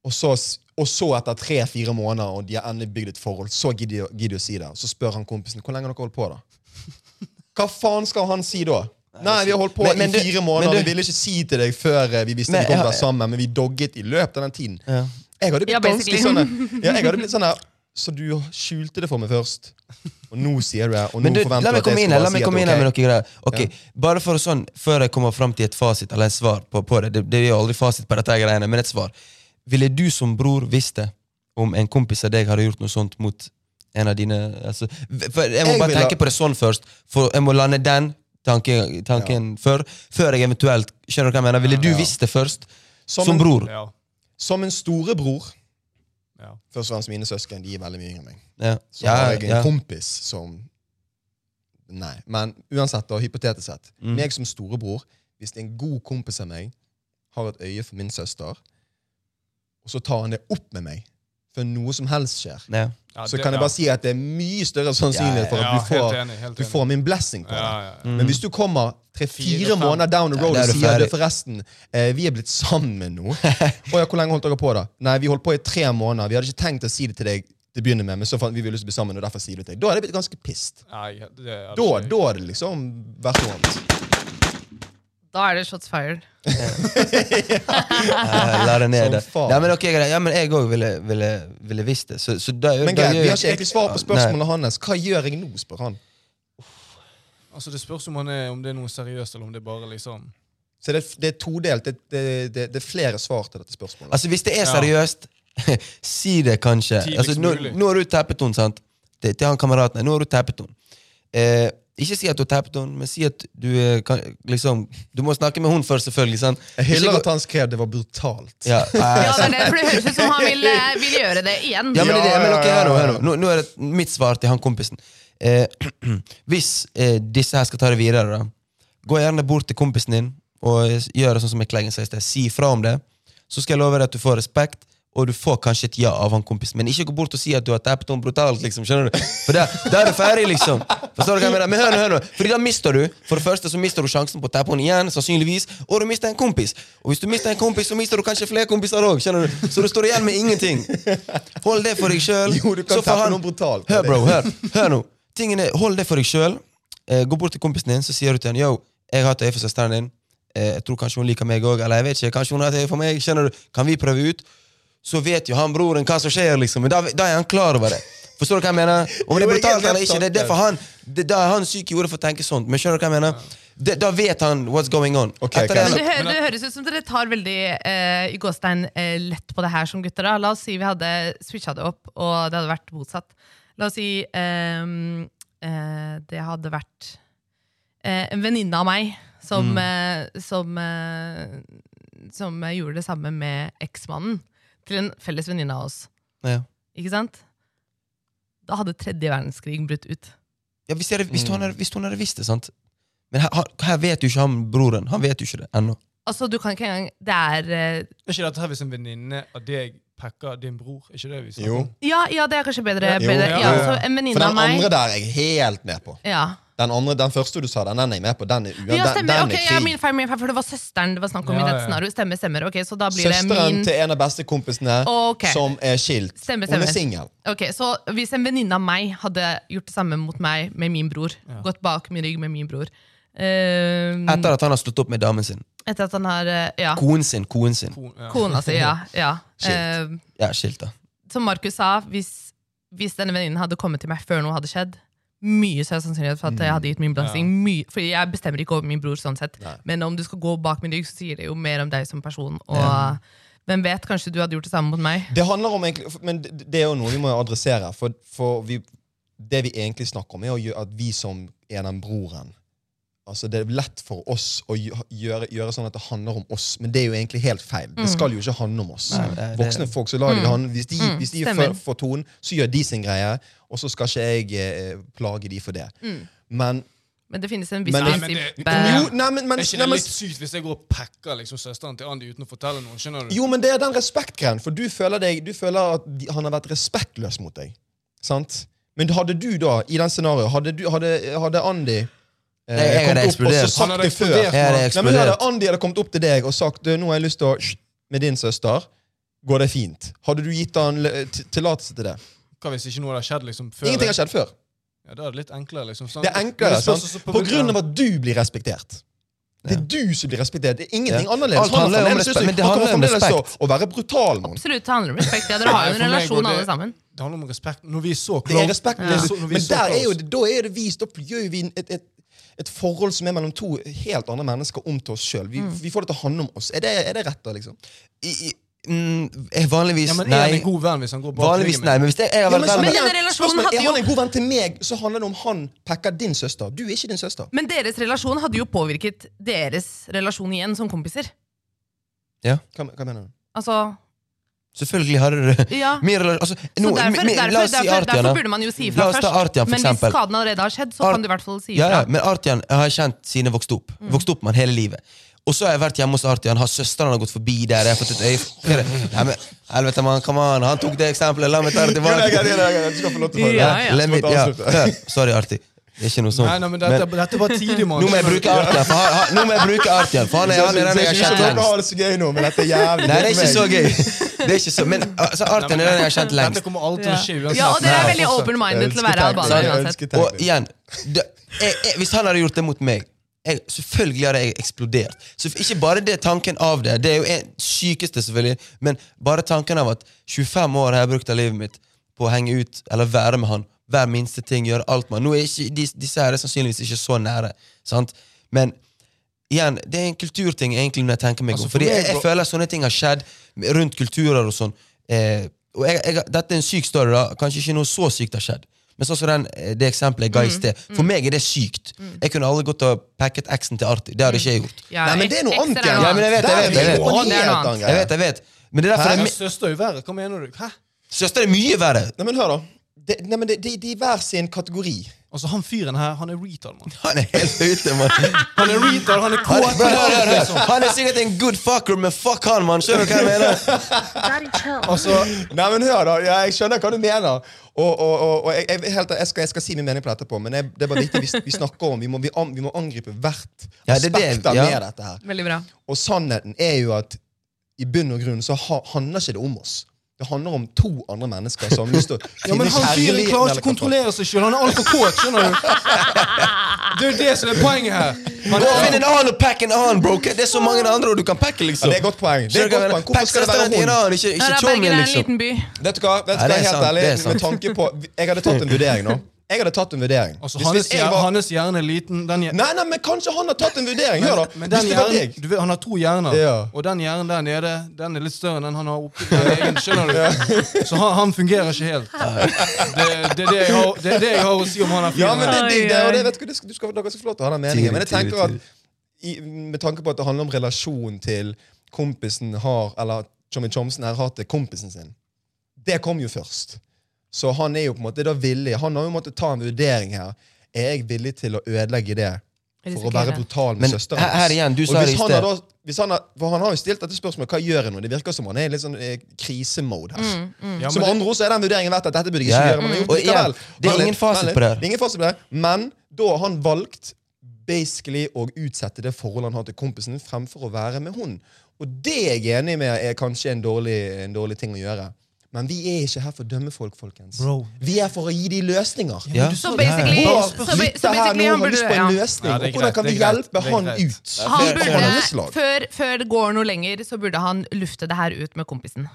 B: Og så, og så etter tre-fire måneder, og de har endelig bygd et forhold, så gidder de- gidder de å si det. Så spør han kompisen hvor lenge har dere holdt på, da. Hva faen skal han si da? Nei, vi har holdt på
D: Men- men
B: i
D: du-
B: fire måneder.
D: men
B: vi
D: du-
B: ville ikke si til deg før eh, vi visste
D: Men
B: vi kom til å
D: jeg har-
B: være sammen, men vi dogget i løpet av den tiden.
D: Ja.
B: Jeg hadde blitt
A: Ja,
B: ganske
A: basically.
B: sånn her- ja, jeg hadde blitt sånn her Så du skjulte det for meg først, og nå sier du det, og nå
D: Men du, la
B: forventer du
D: meg
B: at jeg
D: komme
B: skal
D: inn her,
B: bare
D: la
B: si
D: meg
B: at
D: komme
B: det
D: inn
B: er
D: her med
B: ok.
D: noen greier. Ok,
B: Ja.
D: Bare for å sånn, Før jeg kommer fram til et fasit, eller et svar på, på det, det det er jo aldri fasit på dette her greiene, men et svar. Ville du som bror visst det om en kompis av deg hadde gjort noe sånt mot en av dine altså, v- for Jeg må
B: Jeg
D: bare
B: ville-
D: tenke på det sånn først, for jeg må lande den tanken, tanken før, før jeg eventuelt Skjønner du hva jeg mener? Ville du
B: Ja.
D: visst det først?
B: Som
D: Som,
B: en-
D: bror?
C: Ja.
B: Som en storebror
C: Ja.
B: Først og fremst mine søsken, de er veldig mye yngre enn meg.
D: Ja.
B: Så
D: Ja,
B: har jeg en
D: ja.
B: kompis som Nei. Men uansett, da, hypotetisk sett.
D: Mm.
B: Meg som storebror, hvis en god kompis av meg har et øye for min søster, og så tar han det opp med meg før noe som helst skjer,
D: Ja.
C: Ja,
B: så
C: det-
B: kan jeg bare
C: ja.
B: si at det er mye større sannsynlighet for
C: ja,
B: at du
C: Helt
B: får,
C: enig. Helt
B: du
C: enig.
B: får min blessing på
C: ja,
B: det.
C: ja, ja.
B: Men hvis du kommer
C: Fire,
B: tre-fire
C: fem.
B: måneder down the
D: Ja,
B: road
D: da er
B: og
D: du
B: sier
D: ferdig.
B: det forresten, eh, vi er blitt sammen nå. Å ja, hvor lenge holdt dere på da? Nei, vi holdt på i tre måneder. Vi hadde ikke tenkt å si det til deg til å begynne med, men så fant vi vi ville lyst til å bli sammen, og derfor sier det til deg. Da er det blitt ganske pissed.
C: Nei, det
B: Da,
C: er absolutt-
B: da er det liksom vært vondt.
A: Da er det shots fired.
D: Ja, Eh, La det
B: Som
D: ned der.
B: faen.
D: Nei, men ok, greit. Ja, men jeg òg ville, ville, ville visst det. Så, så da,
B: Men
D: da
B: greit,
D: gjør
B: vi
D: jeg-
B: har ikke egentlig svar på spørsmålet hans. Hva gjør jeg nå, spør han.
C: Altså, Det spørs om, han er, om det er noe seriøst, eller om det er bare liksom
B: Så det, det er todelt. Det, det, det, det er flere svar til dette spørsmålet.
D: Altså, hvis det er
C: Ja.
D: seriøst, si det kanskje.
C: Tidligst
D: Altså, nå,
C: mulig.
D: nå har du tappet henne, sant? Til, til han kameraten. Nå har du tappet henne. Eh, ikke si at du har tappet henne, men si at du eh, kan, liksom Du må snakke med henne først, selvfølgelig. sant?
B: Jeg hyller
D: Ikke
B: at han skrev det var brutalt.
D: gå- Ja,
A: Ja, det
D: eh,
A: er det, for det høres ut som han vil, eh, vil gjøre det igjen.
D: Ja, men, det, er det, men
B: Ja,
D: ok,
B: ja, ja,
D: hør
B: ja.
D: nå, hør nå. Nå, nå er det mitt svar til han kompisen. Eh, hvis eh, disse her skal ta det videre, da, gå gjerne bort til kompisen din og gjør det sånn som jeg kleggen sa i sted. Si fra om det. Så skal jeg love deg at du får respekt, og du får kanskje et ja av han kompisen. Men ikke gå bort og si at du har tappet henne brutalt, liksom. skjønner du? For da, da er du ferdig, liksom. Forstår du hva jeg mener? Men hør nå, hør nå. Fordi da mister du For det første så mister du sjansen på å tappe henne igjen, sannsynligvis. Og du mister en kompis. Og hvis du mister en kompis, så mister du kanskje flere kompiser òg. Så du står igjen med ingenting. Hold det for deg sjøl.
B: Jo, du kan tappe noen brutalt.
D: Hør, bro, hør, hør nå. Tingen er, Hold det for deg sjøl. Eh, gå bort til kompisen din, så sier du til han, Yo, jeg har hatt øye for søsteren din. Eh, jeg tror kanskje hun liker meg òg. Eller jeg vet ikke, kanskje hun har hatt øye for meg. Skjønner du? Kan vi prøve ut? Så vet jo han broren hva som skjer, liksom. Men da, da er han klar over det. Forstår du hva jeg mener? Om det
B: Jo,
D: er
B: jeg er
D: brutalt
B: helt
D: eller ikke, det, det er for han det, Da er han syk i hodet for å tenke sånt. Men skjønner du hva jeg mener? Det, da vet han what's going on.
B: Ok, ok.
A: Men
D: det,
A: det, hø det høres ut som dere tar veldig eh, i gåstein eh, lett på det her som gutter. Da. La oss si vi hadde switcha det opp, og det hadde vært motsatt. La oss si ehm, eh, det hadde vært eh, en venninne av meg som,
B: Mm.
A: eh, som, eh, som eh, gjorde det samme med eksmannen til en felles venninne av oss.
D: ja.
A: Ikke sant? Da hadde tredje verdenskrig brutt ut.
D: Ja, hvis, jeg, hadde- hvis, hun hadde, hvis hun hadde visst det, sant? Men her, her vet jo ikke han broren. Han vet jo ikke det ennå.
A: Altså, du kan ikke engang Det er eh,
C: Er ikke dette her hvis en venninne av deg pakker din bror? Er ikke det vi snakker
B: Jo.
C: om?
A: Ja, ja det er kanskje bedre.
B: Jo,
A: bedre.
C: ja,
A: Ja,
C: ja, ja.
A: så en
B: For
A: venninne av
B: den
A: meg
B: andre der er jeg helt med på.
A: Ja,
B: Den, andre, den første du sa, den, den er jeg med på. Den er, uan-
A: ja
B: den,
A: stemmer.
B: den
A: Ok,
B: er
A: ja,
B: krig.
A: min feil, min feil, for det var søsteren det var snakk om.
C: Ja,
A: i
C: ja,
A: dette
C: ja.
A: stemmer, stemmer, stemmer. Ok, Så da blir det
B: Søsteren
A: min
B: til en av bestekompisene
A: Ok.
B: som er skilt.
A: Stemmer,
B: Hun
A: stemmer.
B: er singel.
A: Ok, Så hvis en venninne av meg hadde gjort det samme mot meg med min bror,
C: Ja.
A: gått bak min rygg med min bror eh,
D: Etter at han har slått opp med damen sin.
A: Etter at han har eh, Ja,
D: Konen sin. Konen sin.
C: Kon- ja.
A: kona si, ja. ja.
B: Shit.
A: Eh,
D: Ja, skilt, da.
A: som Markus sa, hvis, hvis denne venninnen hadde kommet til meg før noe hadde skjedd, mye større sannsynlighet for at
D: Mm.
A: jeg hadde gitt min blomstring. Mye, fordi jeg bestemmer ikke over min bror, sånn sett.
B: Nei.
A: Men om du skal gå bak min rygg, så sier det jo mer om deg som person. Og hvem vet, kanskje du hadde gjort det samme mot meg.
B: Det handler om egentlig, Men det det er jo noe vi må adressere. For, for vi, det vi egentlig snakker om, er å gjø- at vi som er den broren Altså Det er lett for oss å gjø- gjøre, gjøre sånn at det handler om oss, men det er jo egentlig helt feil. Det skal jo ikke handle om oss.
D: Nei, det er-
B: Voksne folk, så lar de det handle. Hvis de,
A: Mm. Mm,
B: hvis de
A: stemmer.
B: får, får tonen, så gjør de sin greie, og så skal ikke jeg eh, plage de for det.
A: Mm.
B: Men
A: Men det finnes en viss
B: Men det-
A: prinsipp.
C: Men
A: eh,
B: jo, nei, men, men,
C: Er ikke
B: nei,
C: det
B: men
C: litt sykt hvis jeg går og pakker liksom, søsteren til Andy uten å fortelle noen? skjønner du?
B: Jo, men det er den respektgreien, for du føler, deg, du føler at de- han har vært respektløs mot deg. Sant? Men hadde du da, i den scenarioet, hadde, du- hadde, hadde Andy eh,
D: Nei, jeg hadde
B: kommet opp og så
D: eksplodert.
C: Han
B: sagt
C: hadde
B: det før?
C: eksplodert.
D: Jeg hadde
B: Nei, men da hadde
D: eksplodert.
B: Andy hadde kommet opp til deg og sagt du, nå har jeg lyst til å sh- med din søster. Går det fint? Hadde du gitt han l- t- tillatelse til det?
C: Hva hvis ikke noe hadde skjedd liksom, før?
B: Ingenting har skjedd før.
C: Ja, da er det litt enklere. liksom. sant?
B: Det er
C: Men
B: enklere.
C: spørs
B: Sant?
C: også
B: På grunn av at du blir respektert. Det er du som blir respektert. Det er ingenting
D: Ja.
B: annerledes.
D: Alt handler om
B: fremdeles
D: respekt,
B: lyst-
D: men det
B: han kommer
D: handler
B: fremdeles
D: om
B: til Å å være brutal mot
A: Absolutt, det handler om respekt. Ja, dere har jo en
C: Nei, for meg går
A: relasjon,
C: det-
A: alle sammen.
C: Det handler om respekt. Når vi er så
B: Det er
C: close-
B: respekt.
C: Når
B: det er
C: vi-
B: så-
C: når vi
B: Men
C: så
B: der er jo,
C: close.
B: da er det vist, da gjør vi et, et, et forhold som er mellom to helt andre mennesker, om til oss sjøl. Vi, vi får det til å handle om oss. Er det, er det rett, da? liksom?
D: I, i, mm, eh, vanligvis
C: ja, men Er han
D: nei.
C: en god venn hvis han går bak
D: Vanligvis nei, men hvis jeg, jeg har
B: Ja,
D: vært venn
A: men
D: med
A: denne relasjonen
B: spørsmålet,
A: hadde
B: er han
A: jo-
B: en god venn til meg, så handler det om han pekker din søster. Du er ikke din søster.
A: Men deres relasjon hadde jo påvirket deres relasjon igjen som kompiser.
B: Hva, hva mener du?
A: Altså,
D: Selvfølgelig har dere det.
A: ja.
D: Min relasjon altså,
A: Så
D: nå,
A: derfor,
D: mi- mi-
A: derfor,
D: La oss si
A: derfor,
D: Artian,
A: derfor
D: da.
A: burde man jo si
D: La
A: ifra
D: oss ta
A: først.
D: Artian, for
A: men hvis
D: eksempel.
A: skaden allerede har skjedd, så
D: Ar-
A: kan du i hvert fall si
D: Ja,
A: ifra.
D: ja, men Artian har jeg kjent siden jeg vokste opp. Vokste opp med han hele livet. Og så har jeg vært hjemme hos Artian, har søsteren har gått forbi der. jeg har fått et øye for- Nei, men, helvete, man, come on, Han tok det eksempelet, la meg ta det tilbake.
B: Du skal få lov til å
A: Ja, ja.
D: Let me- ja, hør, Sorry, Arti. Det er ikke noe
B: sånn.
D: sånt.
C: Nei, nei, men dette, dette var tidlig, mann.
D: nå må jeg bruke Artian, for han, han, nå må jeg bruke Artian, for han er, han er den jeg har kjent lengst.
B: det så gøy nå, men dette er jævlig
D: Nei, det er ikke så gøy. Det er ikke så, men altså, Artian er den jeg har kjent lengst.
C: Dette kommer alltid til å skje
A: Ja.
C: uansett.
A: ja, og dere er veldig
C: Fortsett.
A: open-minded til å være albanere uansett.
D: Og igjen, det, jeg, jeg, hvis han hadde gjort det mot meg jeg, Selvfølgelig hadde jeg eksplodert. Så Ikke bare det tanken av det, det er jo en sykeste, selvfølgelig, men bare tanken av at 25 år har jeg brukt av livet mitt på å henge ut eller være med han. Hver minste ting, gjøre alt med han. Nå er ikke, de, disse her er sannsynligvis ikke så nære, sant? men igjen, det er en kulturting egentlig når jeg tenker meg
C: Altså,
D: om.
C: for
D: Fordi jeg,
C: meg,
D: jeg
C: bro-
D: føler at sånne ting har skjedd rundt kulturer og sånn. Eh, og jeg, jeg, dette er en syk story, da. Kanskje ikke noe så sykt har skjedd. Men sånn som den, eh, det eksempelet jeg ga i
C: Mm,
D: sted. For meg er det sykt. Jeg kunne aldri gått og packet eksen til Arti. Det hadde ikke jeg gjort.
A: Ja,
B: Nei, men det er noe
A: ekstra
B: annet.
A: noe
D: Ja, men jeg vet, jeg vet, jeg vet.
A: Det er noe annet.
D: Jeg vet, jeg vet. Men det er derfor
B: Hæ?
D: det er
C: Men
D: mi-
C: Søster er jo verre. Hva mener du? Hæ?
D: Søster er mye verre.
B: Nei, men hør, da. De, nei, men de, de, de er hver sin kategori.
C: Altså, Han fyren her, han er retard, mann.
D: Han er helt ute, mann.
C: Han er retard, han er
D: Han,
C: kåt.
D: hør, hør, hør, hør. han er sikkert en good fucker, men fuck han, mann. Skjønner du hva jeg mener?
E: Gotta chill.
B: Altså, nei, men hør da, ja, Jeg skjønner hva du mener. Og, og, og, og jeg, jeg, helt, jeg, skal, jeg skal si min mening på dette, på, men jeg, det er bare viktig vi, vi snakker om. Vi må, vi, an, vi må angripe hvert
D: Ja, det er
B: aspekt
D: det,
B: av
D: ja.
B: med dette her.
A: Veldig bra.
B: Og sannheten er jo at i bunn og grunn så ha, handler ikke det om oss. Det handler om to andre mennesker som har lyst til å
C: Ja, men han fyren
B: kjærligheten
C: klarer
B: eller
C: ikke å
B: hva faen.
C: kontrollere seg sjøl. Han er altfor kåt, skjønner du. Det er jo det som er poenget her.
D: Gå
C: Han
D: og
C: er
D: Finn en annen og pack en annen, bro. Det er så mange andre ord du kan packe,
B: Ja,
D: liksom.
B: det er et godt poeng. Det er et godt poeng. Hvorfor skal det være
D: hun?
B: hun?
A: Ja,
D: Ikke, ikke
A: da,
D: Tommy,
A: Bergen er en
D: liksom.
A: liten by.
B: Vet du hva, vet du
D: Ja,
B: hva
D: det er
B: helt
D: sant,
B: ærlig,
D: det er sant.
B: med tanke på Jeg hadde tatt en vurdering nå. Jeg hadde tatt en vurdering.
C: Altså,
B: Hvis-
C: Hans,
B: hvis jeg
C: hjerne-
B: var-
C: hans hjerne er liten. Den hjerne,
B: Nei, nei, men kanskje han har tatt en vurdering. Hør, da.
C: men den
B: Hvis det var
C: hjernen,
B: deg.
C: du vet, han har to hjerner,
B: Ja.
C: og den hjernen der nede Den er litt større enn den han har oppi den egen. Skjønner du? Så han, han fungerer ikke helt. Det, det, er det, jeg har, det er det jeg har å si om han er fin.
B: Ja, men det, det,
A: Oi,
B: det, og
A: oi.
B: det vet du, hva, det skal, du skal, dere skal få lov til å ha den meningen. Men jeg
D: Tidlig,
B: tenker at i, med tanke på at det handler om relasjon til kompisen har, eller Tommy Chomsen her har til kompisen sin, det kom jo først. Så han er jo på en måte da villig. Han har jo måttet ta en vurdering her. Er jeg villig til å ødelegge det for å være brutal med
D: Men
B: søsteren
D: her, her igjen, du
B: Og
D: sa det
B: hvis
D: i
B: han, har
D: sted.
B: da, hvis han, har, for han har jo stilt dette spørsmålet hva gjør jeg nå. Det virker som han er i litt sånn eh, krisemode her.
C: Ja,
B: Som
C: men
B: andre ord så er den vurderingen verdt at dette burde jeg ikke
D: Ja, ja.
B: gjøre. Men han har gjort
D: Og igjen,
B: likevel.
D: det er
B: Vent
D: ingen
B: litt,
D: fasit
B: vent litt.
D: på det her.
B: Det er ingen fasit på det. Men da har han valgt basically å utsette det forholdet han har til kompisen, fremfor å være med hun. Og det er jeg enig med er kanskje en dårlig, en dårlig ting å gjøre. Men vi er ikke her for å dømme folk, folkens.
C: Bro.
B: Vi er for å gi de løsninger.
C: Ja, men du
A: Så
C: sa det her.
A: basically,
B: Bare
A: så, ba- så
B: lytte her
A: basically
B: nå
A: han
B: har
A: burde
B: lyst på
A: ja.
B: en løsning.
C: Ja,
B: og
C: det er
B: Hvordan
C: greit,
B: kan
C: det
B: vi
C: er greit,
B: hjelpe
C: det er
B: han
C: greit.
B: ut?
A: Han
B: Det kommer
A: burde,
B: hans lag.
A: før, før det går noe lenger, så burde han lufte det her ut med kompisen.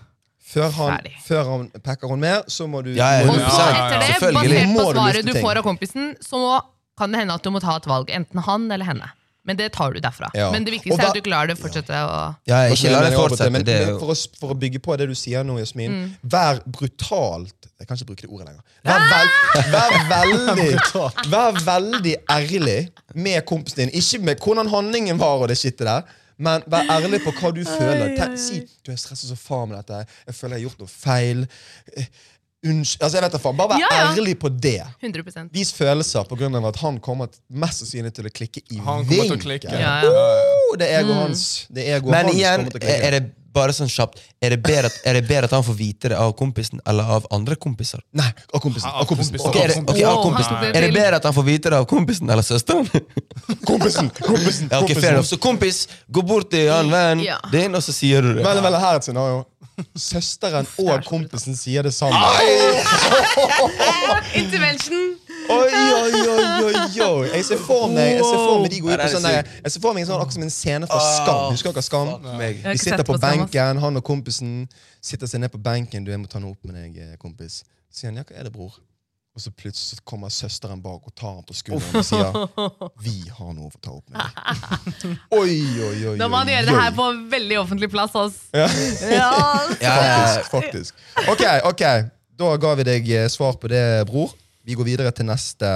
B: Før han,
A: Ferdig.
B: før han pakker hun mer, så må du
D: Ja, ja,
A: Og
B: må du-
C: ja,
A: så
C: ja, ja.
A: etter det,
D: Selvfølgelig.
A: basert på
B: Må du lufte
A: svaret du
B: ting.
A: får av kompisen, så kan det hende at du må ta et valg. Enten han eller henne. Men det tar du derfra.
B: Ja.
A: Men det
B: Og
A: viktigste
B: hva-
A: er at du klarer det å fortsette å
D: Ja, ikke la det
B: Men-
D: fortsette.
B: men-
D: Det er
B: men
D: jo
B: for, å, s- for å bygge på det du sier nå, Jasmin.
A: Mm.
B: Vær brutalt Jeg kan ikke bruke det ordet lenger. Vær,
A: Ah!
B: vel, vær, veldig, vær veldig ærlig med kompisen din. Ikke med hvordan handlingen var, og det skittet der. Men vær ærlig på hva du føler. Tenk- Si du er stresset som faen med dette. Jeg føler jeg har gjort noe feil. Eh, Unnskyld. Altså, jeg vet da faen. Bare vær
A: Ja, ja.
B: ærlig på det.
A: 100
B: Vis følelser på grunn av at han kommer t- mest sannsynlig til å klikke i
C: Han kommer til å
B: vinkel.
C: klikke.
A: Ja, Mm. ja.
B: Oh, det er egoet hans. Det er egoet
D: Men
B: hans
D: igjen,
B: kommer til å klikke.
D: er det bare sånn kjapt Er det bedre at, er det bedre at han får vite det av kompisen eller av andre kompiser?
B: Nei, av kompisen.
C: Ja,
B: Av kompisen.
C: kompisen.
B: Av
D: Ok, er det,
B: kompisen.
D: ok, av
A: Wow,
D: kompisen.
A: han tok det
D: er det
A: til.
D: bedre at han får vite det av kompisen eller søsteren?
B: kompisen. kompisen,
D: ja, ok, fair enough. Så kompis, gå bort til han vennen
A: Ja.
D: din, og så sier du det.
B: Vel, vel, her er et scenario. Søsteren og kompisen sier det sammen.
A: Intervention!
B: Oi, oi, oi, oi, oi. Jeg ser for meg jeg ser for meg de går ut
D: Wow.
B: på sånn der- Jeg ser for meg en sånn akkurat som en scene fra Skam. Husker dere Skam?
D: Ah, meg.
A: Jeg har
B: De
A: ikke
B: sitter
A: sett
B: på
A: på Skam, ass.
B: benken, han og kompisen sitter seg ned på benken. Du, jeg må ta noe opp med deg, eh, kompis. Så sier han, ja, hva er det, bror? Og så plutselig så kommer søsteren bak og tar han på skulderen og sier, vi har noe å ta opp med deg. Oi, oi, oi, oi.
A: Da må han gjøre det her
B: oi.
A: på veldig offentlig plass. ass. Ja.
D: Ja, ja,
B: Faktisk, faktisk. Ok, ok. Da ga vi deg eh, svar på det, bror. Vi går videre til neste.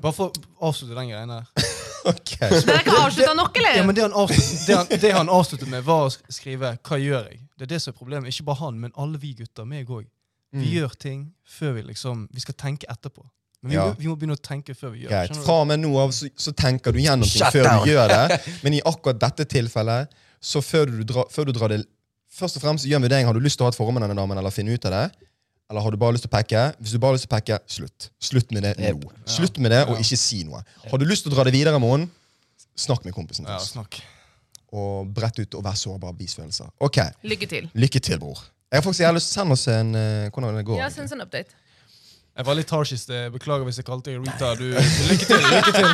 C: Bare for å avslutte den greia der.
B: Ok.
A: Dere ikke avslutta nok,
C: Ja, men
A: eller?
C: det han, avsluttet, det, han, det han avsluttet med, var å sk- skrive 'Hva gjør jeg?' Det er det som er problemet. Ikke bare han, men alle vi gutter. meg også. Vi
D: Mm.
C: gjør ting før vi liksom Vi skal tenke etterpå. Men vi,
B: Ja.
C: må, vi må begynne å tenke før vi gjør
B: Greit.
C: skjønner du?
B: Fra og med nå av så, så tenker du gjennom ting
D: Shut
B: før
D: down.
B: du gjør det. Men i akkurat dette tilfellet, så før du, dra, før du drar det Først og fremst gjør en vurdering. Har du lyst til å ha et forhold med denne damen, eller finne ut av det? Eller har du bare lyst til å pakke? Hvis du bare har lyst til å pakke, slutt. Slutt med det
D: Yep.
B: nå. Slutt med det, og ikke si noe. Har du lyst til å dra det videre med henne, snakk med kompisen
C: Ja,
B: først.
C: snakk.
B: Og brett ut og vær sårbar. Vis følelser. Ok,
A: Lykke til.
B: Lykke til, bror. Jeg har faktisk jeg har lyst til å sende oss en eh, hvordan det går.
A: Ja, send oss en update.
C: Jeg var litt harsh i sted. Beklager hvis jeg kalte deg Rita. Du, lykke til! lykke til.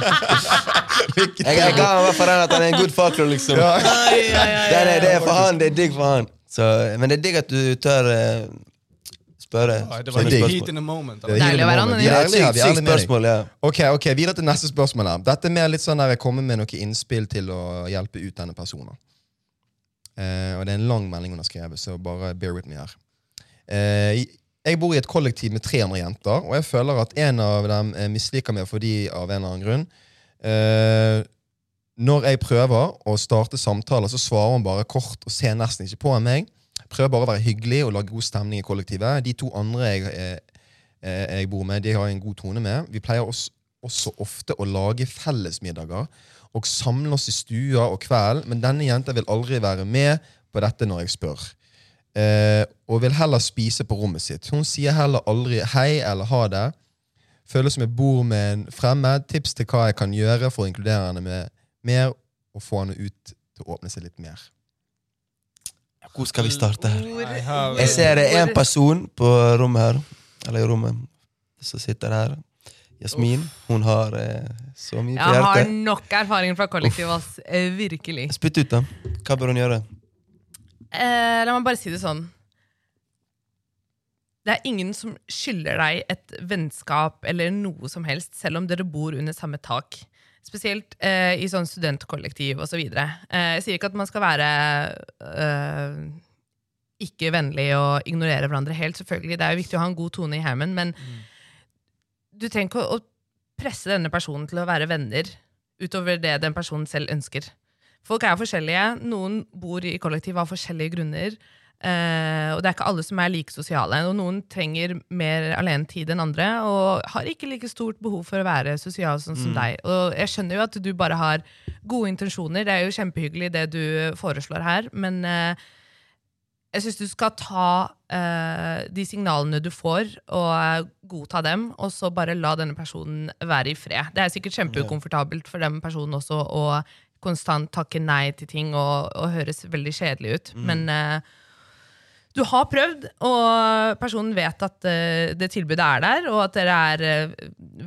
B: Lykke
D: Jeg, jeg ga han i hvert fall den at han er en good fucker, liksom.
B: Ja.
D: Det er, det er for han, det er digg for han. Så, men det er digg at du tør eh, spørre
C: Nei, det
D: sånne
C: var
B: digg.
C: litt
D: spørsmål.
C: heat in the moment.
B: Det er
C: Eller?
A: Deilig å være
B: moment.
A: anonym.
B: Vi er
D: Ja,
B: ærlige her,
D: sykt
B: vi er
D: sykt
B: ærlige med deg.
D: spørsmål, ja.
B: Ok, ok, Videre til neste spørsmål. her. Dette er mer litt sånn der, Jeg kommer med noen innspill til å hjelpe ut denne personen. Eh, og Det er en lang melding hun har skrevet, så bare bear with me her. Eh, jeg bor i et kollektiv med 300 jenter, og jeg føler at en av dem eh, misliker meg fordi av en eller annen grunn. Eh, når jeg prøver å starte samtaler, så svarer hun bare kort og ser nesten ikke på meg. Prøver bare å være hyggelig og lage god stemning i kollektivet. De to andre jeg, eh, eh, jeg bor med, de har jeg en god tone med. Vi pleier også, også ofte å lage fellesmiddager og samle oss i stua og kvelden, men denne jenta vil aldri være med på dette når jeg spør. Eh, og vil heller spise på rommet sitt. Hun sier heller aldri hei eller ha det. Føles som jeg bor med en fremmed. Tips til hva jeg kan gjøre for å inkludere henne med mer og få henne ut til å åpne seg litt mer.
D: Hvor skal vi starte her?
C: Nei, her-
D: Jeg ser det er en person på rommet her, eller i rommet, som sitter her. Jasmin. Hun har eh, så mye på
A: Jeg har
D: hjertet.
A: nok erfaring fra kollektiv, ass. Eh, Virkelig.
D: Spytt ut, da. Hva bør hun gjøre?
A: Eh, la meg bare si det sånn. Det er ingen som skylder deg et vennskap eller noe som helst, selv om dere bor under samme tak. Spesielt eh, i sånn studentkollektiv osv. Så videre. eh, jeg sier ikke at man skal være eh, ikke vennlig og ignorere hverandre helt. selvfølgelig. Det er jo viktig å ha en god tone i heimen, men du trenger ikke å, å presse denne personen til å være venner utover det den personen selv ønsker. Folk er forskjellige. Noen bor i kollektiv av forskjellige grunner. Eh, og det er ikke alle som er like sosiale. Og noen trenger mer alenetid enn andre, og har ikke like stort behov for å være sosial sånn som deg. Og jeg skjønner jo at du bare har gode intensjoner. Det er jo kjempehyggelig det du foreslår her, men eh, jeg syns du skal ta eh, de signalene du får, og eh, godta dem, og så bare la denne personen være i fred. Det er sikkert kjempeukomfortabelt for den personen også å konstant takke nei til ting og, og høres veldig kjedelig ut, men eh, du har prøvd, og personen vet at eh, det tilbudet er der, og at dere er eh,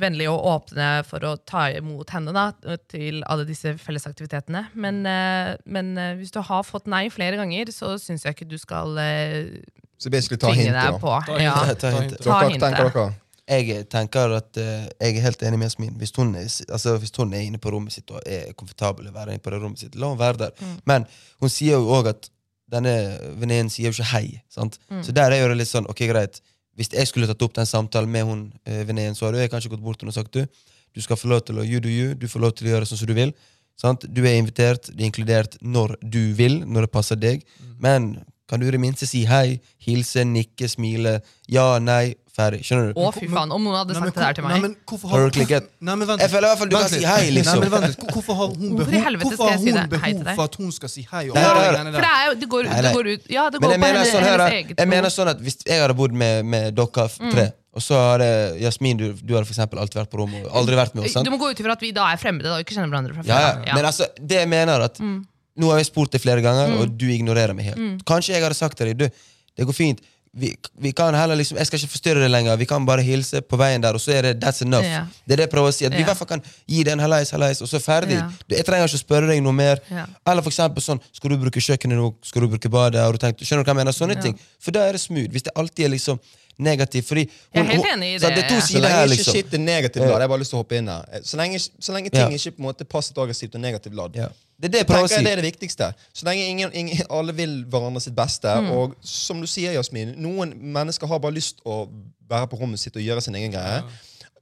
A: vennlige og åpne for å ta imot henne da, til alle disse fellesaktivitetene. Men, eh, men eh, hvis du har fått nei flere ganger, så syns jeg ikke du skal eh,
B: Så basically ta
A: tvinge
B: hintet,
A: deg
B: da.
A: på.
C: Ta
A: Ja.
C: hintet.
D: Ta hintet.
A: Ta
B: Dere,
A: hintet.
B: tenker dere?
D: Jeg tenker at eh, jeg er helt enig med Yasmin. Hvis hun er, altså, hvis hun er inne på rommet sitt og er komfortabel å være inne på det rommet sitt, la hun være der. Men hun sier jo òg at denne venninnen sier jo ikke hei. Sant? Så der er jo det litt sånn, ok greit, hvis jeg skulle tatt opp den samtalen med hun uh, venninnen, så hadde jeg kanskje gått bort til henne og sagt du, du skal få lov til å you do you, du får lov til å gjøre sånn som du vil. Sant? Du er invitert, du er inkludert når du vil, når det passer deg. Men kan du i det minste si hei, hilse, nikke, smile, ja, nei, ferdig. Skjønner du?
A: Å, fy faen, om noen hadde
C: Nei, men
A: sagt det der til
C: hvor- Nei,
A: meg.
C: men hvorfor
D: Har
C: har
D: du klikket?
C: hvorfor- Nei, men vent
D: Jeg
C: litt.
D: føler i hvert fall du
C: Vent
D: kan si
C: litt.
D: hei, liksom.
C: Nei, men vent litt. Hvor- Hvorfor har hun
A: Hvorfor i
C: behov,
A: helvete
C: hvorfor
A: skal
C: har
A: jeg si
C: hun
A: det? Hei til
C: behov
A: deg.
C: for at hun skal si hei? Og
D: Nei,
C: alle
D: nei, nei.
C: greiene
A: For
C: der?
A: det, er jo, det, går,
D: Nei,
A: det
D: nei.
A: går ut Ja, det går
D: Men jeg
A: på
D: mener,
A: hennes,
D: sånn her,
A: hennes
D: at-
A: eget
D: jeg mener
A: behov. Mm.
D: sånn at hvis jeg hadde bodd med, med dere f- tre, og så hadde Jasmin du, du hadde for eksempel alltid vært på rommet og aldri vært med oss, sant?
A: Du må gå ut ifra at vi da er fremmede og ikke kjenner hverandre fra før.
D: Ja, ja.
A: da.
D: Men altså, det jeg mener at
A: Mm.
D: Nå har jeg spurt deg flere ganger, og du ignorerer meg helt. Kanskje jeg hadde sagt til deg du, det går fint. Vi, vi kan heller liksom, Jeg skal ikke forstyrre deg lenger. Vi kan bare hilse på veien der, og så er det that's enough.
A: Ja.
D: Det er det jeg prøver å si. At vi i
A: Ja.
D: hvert fall kan gi den halleis, halleis, og så ferdig.
A: Ja.
D: Du, jeg trenger ikke å spørre deg noe mer.
A: Ja.
D: Eller for eksempel sånn Skal du bruke kjøkkenet nå? Skal du bruke badet? Har du tenkt, skjønner du hva jeg mener? Sånne ting. For da er det smooth. Hvis det alltid er liksom negativt. Fordi
A: Jeg er helt enig i
D: sant,
A: det.
D: det er to
A: Så
B: Så
D: sider
B: lenge
D: her,
B: ikke
D: liksom.
B: shit er negativt ladd, jeg har bare lyst til å hoppe inn her. Eh, Så lenge, så lenge ting
D: Ja.
B: ikke på en måte passer til aggressivt og negativt ladd.
D: Ja. Det er det jeg prøver å
B: Tenker jeg
D: si.
B: det er det viktigste. Så lenge ingen, ingen, alle vil hverandre sitt beste.
A: Mm.
B: Og som du sier, Jasmin, noen mennesker har bare lyst å være på rommet sitt og gjøre sin egen greie.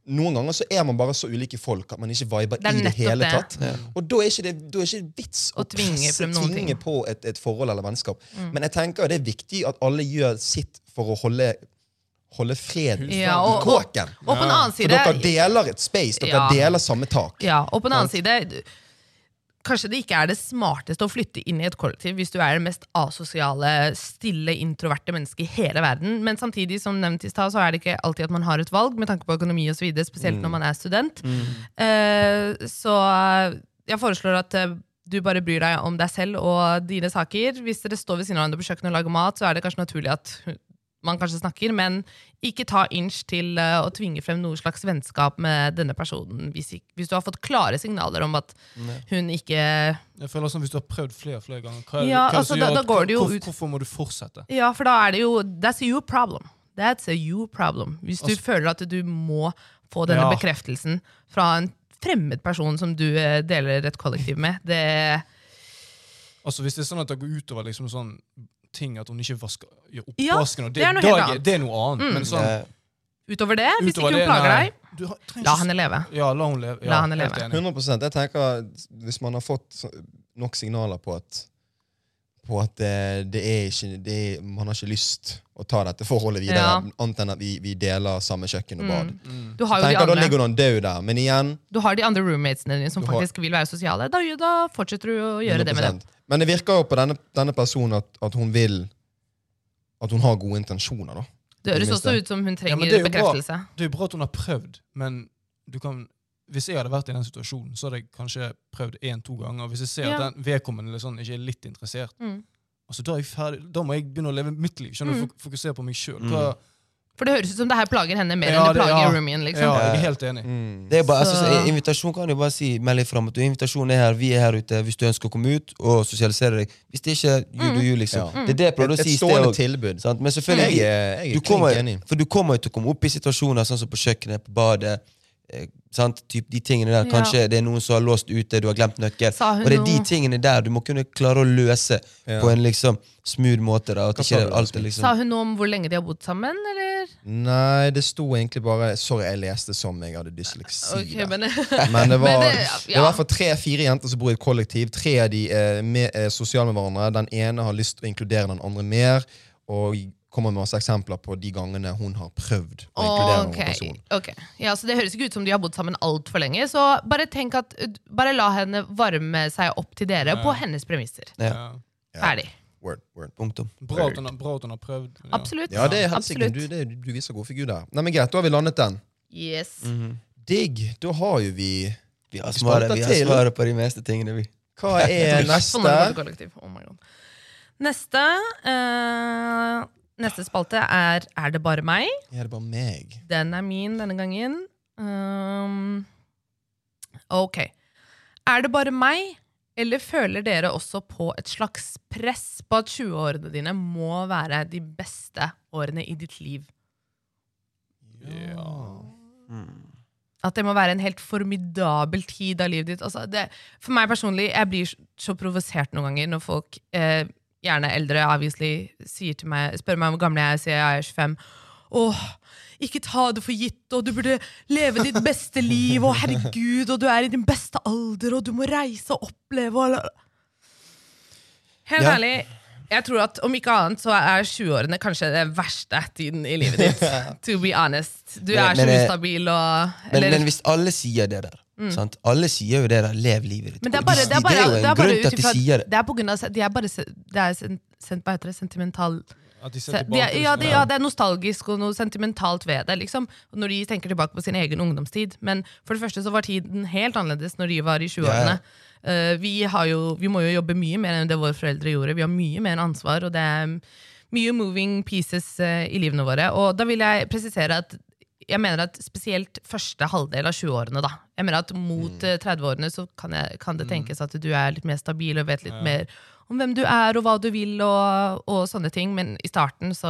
B: Noen ganger så er man bare så ulike folk at man ikke viber
A: Det er
B: i det
A: nettopp
B: hele
A: det.
B: tatt. Og da er ikke det, da er ikke det vits å,
A: Å tvinge
B: presse-
A: frem noen
B: tvinge
A: ting. Mm.
B: på et, et forhold eller vennskap. Men jeg tenker jo det er viktig at alle gjør sitt for å holde, holde fred i
A: Ja, og- og-
B: kåken.
A: Og på den annen
B: For
A: side
B: dere deler et space, dere
A: Ja.
B: deler samme tak.
A: Ja, og på den annen side du- Kanskje det ikke er det smarteste å flytte inn i et kollektiv hvis du er det mest asosiale, stille, introverte mennesket i hele verden. Men samtidig, som nevnt i stad, så er det ikke alltid at man har et valg med tanke på økonomi osv., spesielt når man er student. Eh, så eh, jeg foreslår at eh, du bare bryr deg om deg selv og dine saker. Hvis dere står ved siden av hverandre på kjøkkenet og lager mat, så er det kanskje naturlig at man kanskje snakker, men ikke ta inch til eh, å tvinge frem noe slags vennskap med denne personen hvis, ikk- hvis du har fått klare signaler om at hun ikke
C: Jeg føler sånn Hvis du har prøvd flere og flere ganger, hva er,
A: Ja,
C: hva er det
A: altså,
C: som
A: da-
C: gjør
A: da
C: at-
A: går det jo
C: hvor-
A: ut-
C: Hvorfor må du fortsette?
A: Ja, for da er det jo That's a you problem. That's a you problem. Hvis du
C: Altså-
A: føler at du må få denne
C: Ja.
A: bekreftelsen fra en fremmed person som du eh, deler et kollektiv med, det
C: Altså Hvis det er sånn at det går utover liksom sånn ting at hun ikke vasker, gjør
A: Ja,
C: oppvasken og det,
A: det er noe
C: da
A: helt annet.
C: Det er noe annet. Men sånn,
D: Eh,
A: Utover det, hvis
C: utover
A: ikke
C: det,
A: hun plager
C: nei.
A: deg,
C: Du har- trenger
A: la
C: ikke-
A: henne leve.
C: Ja, la hun leve. Ja,
A: La henne
C: helt
A: leve.
C: enig.
B: 100 Jeg tenker at Hvis man har fått så- nok signaler på at på at det, det er ikke det er, Man har ikke lyst å ta dette forholdet videre,
A: Ja.
B: annet enn at vi, vi deler samme kjøkken og bad.
A: Mm.
C: Mm.
A: Du har jo de
B: Tenker Da
A: andre,
B: ligger noen død der. Men igjen
A: du har de andre roommatesene dine som
B: Du har-
A: faktisk vil være sosiale. Da, da fortsetter du å gjøre det med dem.
B: 100%. Men det virker jo på denne, denne personen at, at hun vil At hun har gode intensjoner. da
A: Det høres
B: det
A: også
B: minste.
A: ut som hun
C: Ja,
A: trenger
C: men det er jo bra.
A: bekreftelse.
C: Det er jo bra at hun har prøvd, men du kan hvis jeg hadde vært i den situasjonen, så hadde jeg kanskje prøvd én-to ganger. Hvis jeg ser
A: Ja.
C: at den vedkommende eller sånn, ikke er litt interessert,
A: Mm.
C: altså, da, er jeg ferdig, da må jeg begynne å leve mitt liv. Skjønner du? Fok- Fokusere på meg sjøl.
A: Mm.
C: Ja,
A: For det høres ut som det her plager henne mer
C: Ja,
A: enn det
C: det-
A: plager
C: ja. Mm.
A: roomien. liksom.
C: jeg er helt enig.
D: Det er bare, altså,
A: Så-
D: så invitasjon kan jo bare si meld deg fram. at du- Invitasjonen er her, vi er her ute hvis du ønsker å komme ut og sosialisere deg. Hvis det ikke you do you, liksom.
B: Ja. Mm.
D: Det er det jeg prøvde å
B: Et,
D: si
B: et
D: i sted
B: stående
D: også,
B: tilbud.
D: sant? Men selvfølgelig,
B: Jeg er, jeg
D: du
B: er klink
D: kommer,
B: enig.
D: for du kommer jo til å komme opp i situasjoner sånn som på kjøkkenet, på badet. Eh, sant? Typ de tingene der.
A: Ja.
D: Kanskje det er noen som har låst ute, du har glemt nøkkel.
A: Sa hun
D: Og det er de
A: noe-
D: tingene der du må kunne klare å løse
B: Ja.
D: på en liksom smooth måte. da, at
B: Hva sa
D: ikke
B: du,
D: alt er
B: Yasmin?
D: liksom...
A: Sa hun noe om hvor lenge de har bodd sammen? eller? eller?
B: Nei, det sto egentlig bare Sorry, jeg leste som jeg hadde dysleksi.
A: Ok,
B: der.
A: men
B: Men det var,
A: Men
B: det,
A: det- ja.
B: var i hvert fall tre-fire jenter som bor i et kollektiv. Tre av de er med, er sosiale med hverandre. Den ene har lyst til å inkludere den andre mer. Og kommer med masse eksempler på de gangene hun har prøvd å inkludere
A: Ok,
B: noen person.
A: ok. Ja, så Det høres ikke ut som de har bodd sammen altfor lenge. Så bare tenk at uh, Bare la henne varme seg opp til dere på hennes premisser.
C: Ja.
B: Ja.
A: Ferdig.
B: Word, word.
D: Punktum.
C: Bra, at hun, har- bra at hun har prøvd. Ja.
A: Absolutt.
B: Ja, det er helsike.
A: Absolutt.
B: Du, det, du viser god figur der. Nei, men Greit, da har vi landet den.
A: Yes.
B: Mm. Digg. Da har jo vi
D: Vi har
B: Vi
D: svaret,
B: spalter
D: vi har
B: til.
D: svaret på de meste tingene, vi.
B: Hva er
A: For
B: neste?
A: mange måter kollektiv. Oh my God. Neste eh, Neste spalte er Er det bare meg?
B: Er det bare meg?
A: Den er min denne gangen. Um, ok. Er det bare meg, eller føler dere også på et slags press på at 20-årene dine må være de beste årene i ditt liv?
C: Ja.
A: At det må være en helt formidabel tid av livet ditt. Altså, det, for meg personlig, jeg blir så provosert noen ganger når folk, eh, gjerne eldre, obviously, sier til meg, spør meg hvor gammel jeg er, sier jeg er 25. Åh, ikke ta det for gitt, og du burde leve ditt beste liv, og herregud, og du er i din beste alder, og du må reise og oppleve. Og la- Helt
D: Ja.
A: ærlig, jeg tror at om ikke annet så er 20-årene kanskje den verste tiden i livet ditt. To be honest. Du
D: Men-
A: er så
D: men, eh,
A: ustabil og
D: Men,
A: eller- Mm.
D: men hvis alle sier det der sant? Alle sier jo det der. Lev livet ditt.
A: Men det er
D: Og
A: bare,
D: de-
A: det er bare,
D: det er jo en
A: det er bare
D: grunn til
A: ut
D: at de
A: ifra
D: sier det.
A: Det er på grunn av De er bare se- Det er sen, sen, hva heter det, sentimental
C: At de ser
A: se- de
C: tilbake
A: er, ja,
C: liksom,
A: det, ja, det er nostalgisk og noe sentimentalt ved det. Liksom, når de tenker tilbake på sin egen ungdomstid. Men for det første så var tiden helt annerledes når de var i 20-årene. Eh, vi, har jo, vi må jo jobbe mye mer enn det våre foreldre gjorde. Vi har mye mer ansvar, og det er mye moving pieces eh, i livene våre. Og da vil jeg presisere at jeg mener at spesielt første halvdel av 20-årene, da. Jeg mener at mot eh, 30-årene så kan, jeg, kan det tenkes at du er litt mer stabil og vet litt mer om hvem du er og hva du vil og, og sånne ting, men i starten så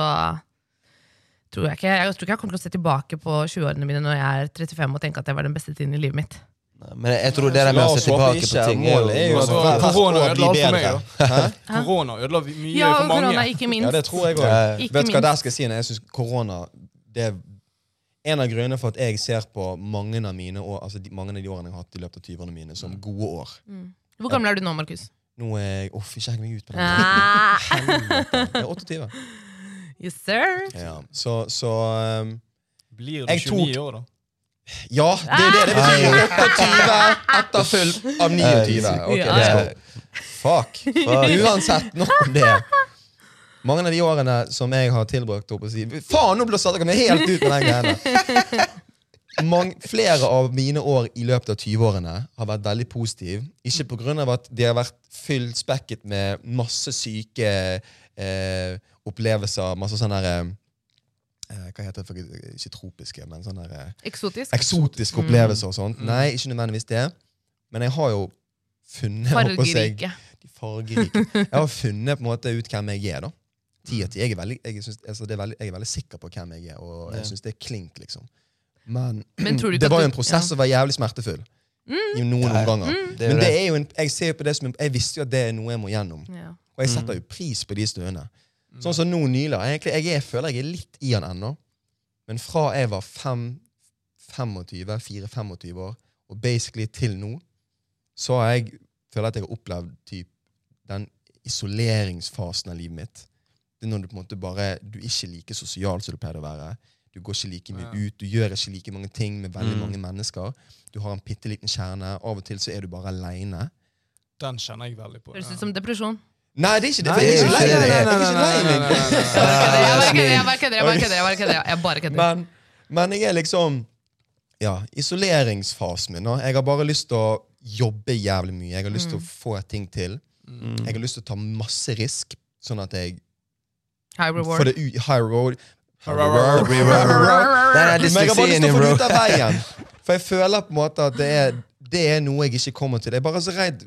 A: tror jeg ikke Jeg tror ikke jeg kommer til å se tilbake på 20-årene mine når jeg er 35 og tenke at det var den beste tiden i livet mitt.
D: Nei, Men jeg tror det der med å se tilbake på ting er
B: Målet er jo
D: jo
B: at
C: Så
B: hvert
C: Altså, korona
B: år
C: ødela alt
B: blir
C: for meg,
B: bedre.
C: Korona ødela vi- mye
A: Ja,
C: for
A: og
C: mange.
A: korona, ikke minst.
B: Ja, det tror jeg òg.
D: Ja, ja.
A: Ikke
B: Vet du hva
A: minst.
B: der skal jeg si? Nei, Jeg synes korona det er en av grunnene for at jeg ser på mange av mine år, altså de, mange av de årene jeg har hatt i løpet av 20-årene mine, som
A: Mm.
B: gode år.
A: Hvor gammel er du nå, Markus?
B: Nå er jeg Uff, ikke heng meg ut på den.
A: Ah,
B: Helvete. Jeg er 28.
A: yes, sir.
B: Ja, så, så um,
C: Blir du
B: Jeg tok-
C: 29 år, da?
B: Ja, det er jo det det betyr. 28 etterfulgt av 29. Ok,
A: Ja.
B: let's go. Fuck.
D: Fuck.
B: Uansett, nok om det. Mange av de årene som jeg har tilbrakt opp å si Faen, nå blåste dere meg helt ut med den greia der. Mang- flere av mine år i løpet av 20-årene har vært veldig positive. Ikke pga. at de har vært fyllspekket med masse syke eh, opplevelser. Masse sånne der, eh, Hva heter det? for- Ikke tropiske, men sånne der, eh,
A: Eksotisk.
D: Mm.
B: eksotiske opplevelser og sånt. Nei, ikke nødvendigvis det. Men jeg har jo funnet holdt på å si,
A: Fargerike.
B: de fargerike. Jeg har funnet på en måte ut hvem jeg er. da. Ti av ti. Jeg, er veldig, jeg, synes, altså, det er veldig, jeg er veldig sikker på hvem jeg er, og
D: Ja.
B: jeg syns det er klink, liksom. Men,
A: Men tror du ikke
B: det
A: at
B: var
A: du-
B: jo en prosess
A: ja. Mm.
B: som var jævlig smertefull. I noen
D: Ja, ja.
B: omganger.
D: Det er jo
B: Men det
D: det.
B: er jo en, jeg ser jo på det som en, jeg visste jo at det er noe jeg må gjennom.
A: Ja.
B: Og jeg setter jo pris på de stundene. Sånn som nå nylig. Egentlig, jeg er, føler jeg er litt i han ennå. Men fra jeg var fem- 25, 4-25 år, og basically til nå, så har jeg føler at jeg har opplevd typ, den isoleringsfasen av livet mitt. Det er når du på en måte bare, du er ikke like sosial som du pleide å være. Du går ikke like mye
C: Ja.
B: ut, du gjør ikke like mange ting med veldig
D: Mm.
B: mange mennesker. Du har en bitte liten kjerne. Av og til så er du bare aleine.
C: Den kjenner jeg veldig på.
A: Høres
C: ja.
A: ut som depresjon.
B: Nei, det er ikke det.
D: Nei,
B: for jeg er ikke
D: det
B: lei
D: er
B: meg.
D: ikke det.
B: Jeg er ikke lei
A: Jeg
B: meg.
D: Ah,
A: bare kødder, jeg bare
D: snill.
A: kødder, jeg bare kødder, jeg bare kødder. Jeg bare kødder.
B: Men, men jeg er liksom Ja, isoleringsfasen min. nå. Jeg har bare lyst til å jobbe jævlig mye. Jeg har lyst til å få ting til. Jeg har lyst til å ta masse risk, sånn at jeg
A: High
B: får
A: reward.
B: det ut high road. High
C: Row,
B: road.
D: Den er
C: row,
B: Men jeg har bare lyst
D: dysleksien
B: til
D: din,
B: å få
D: bro.
B: det ut av veien. For jeg føler på en måte at det er, det er noe jeg ikke kommer til. Jeg er bare så redd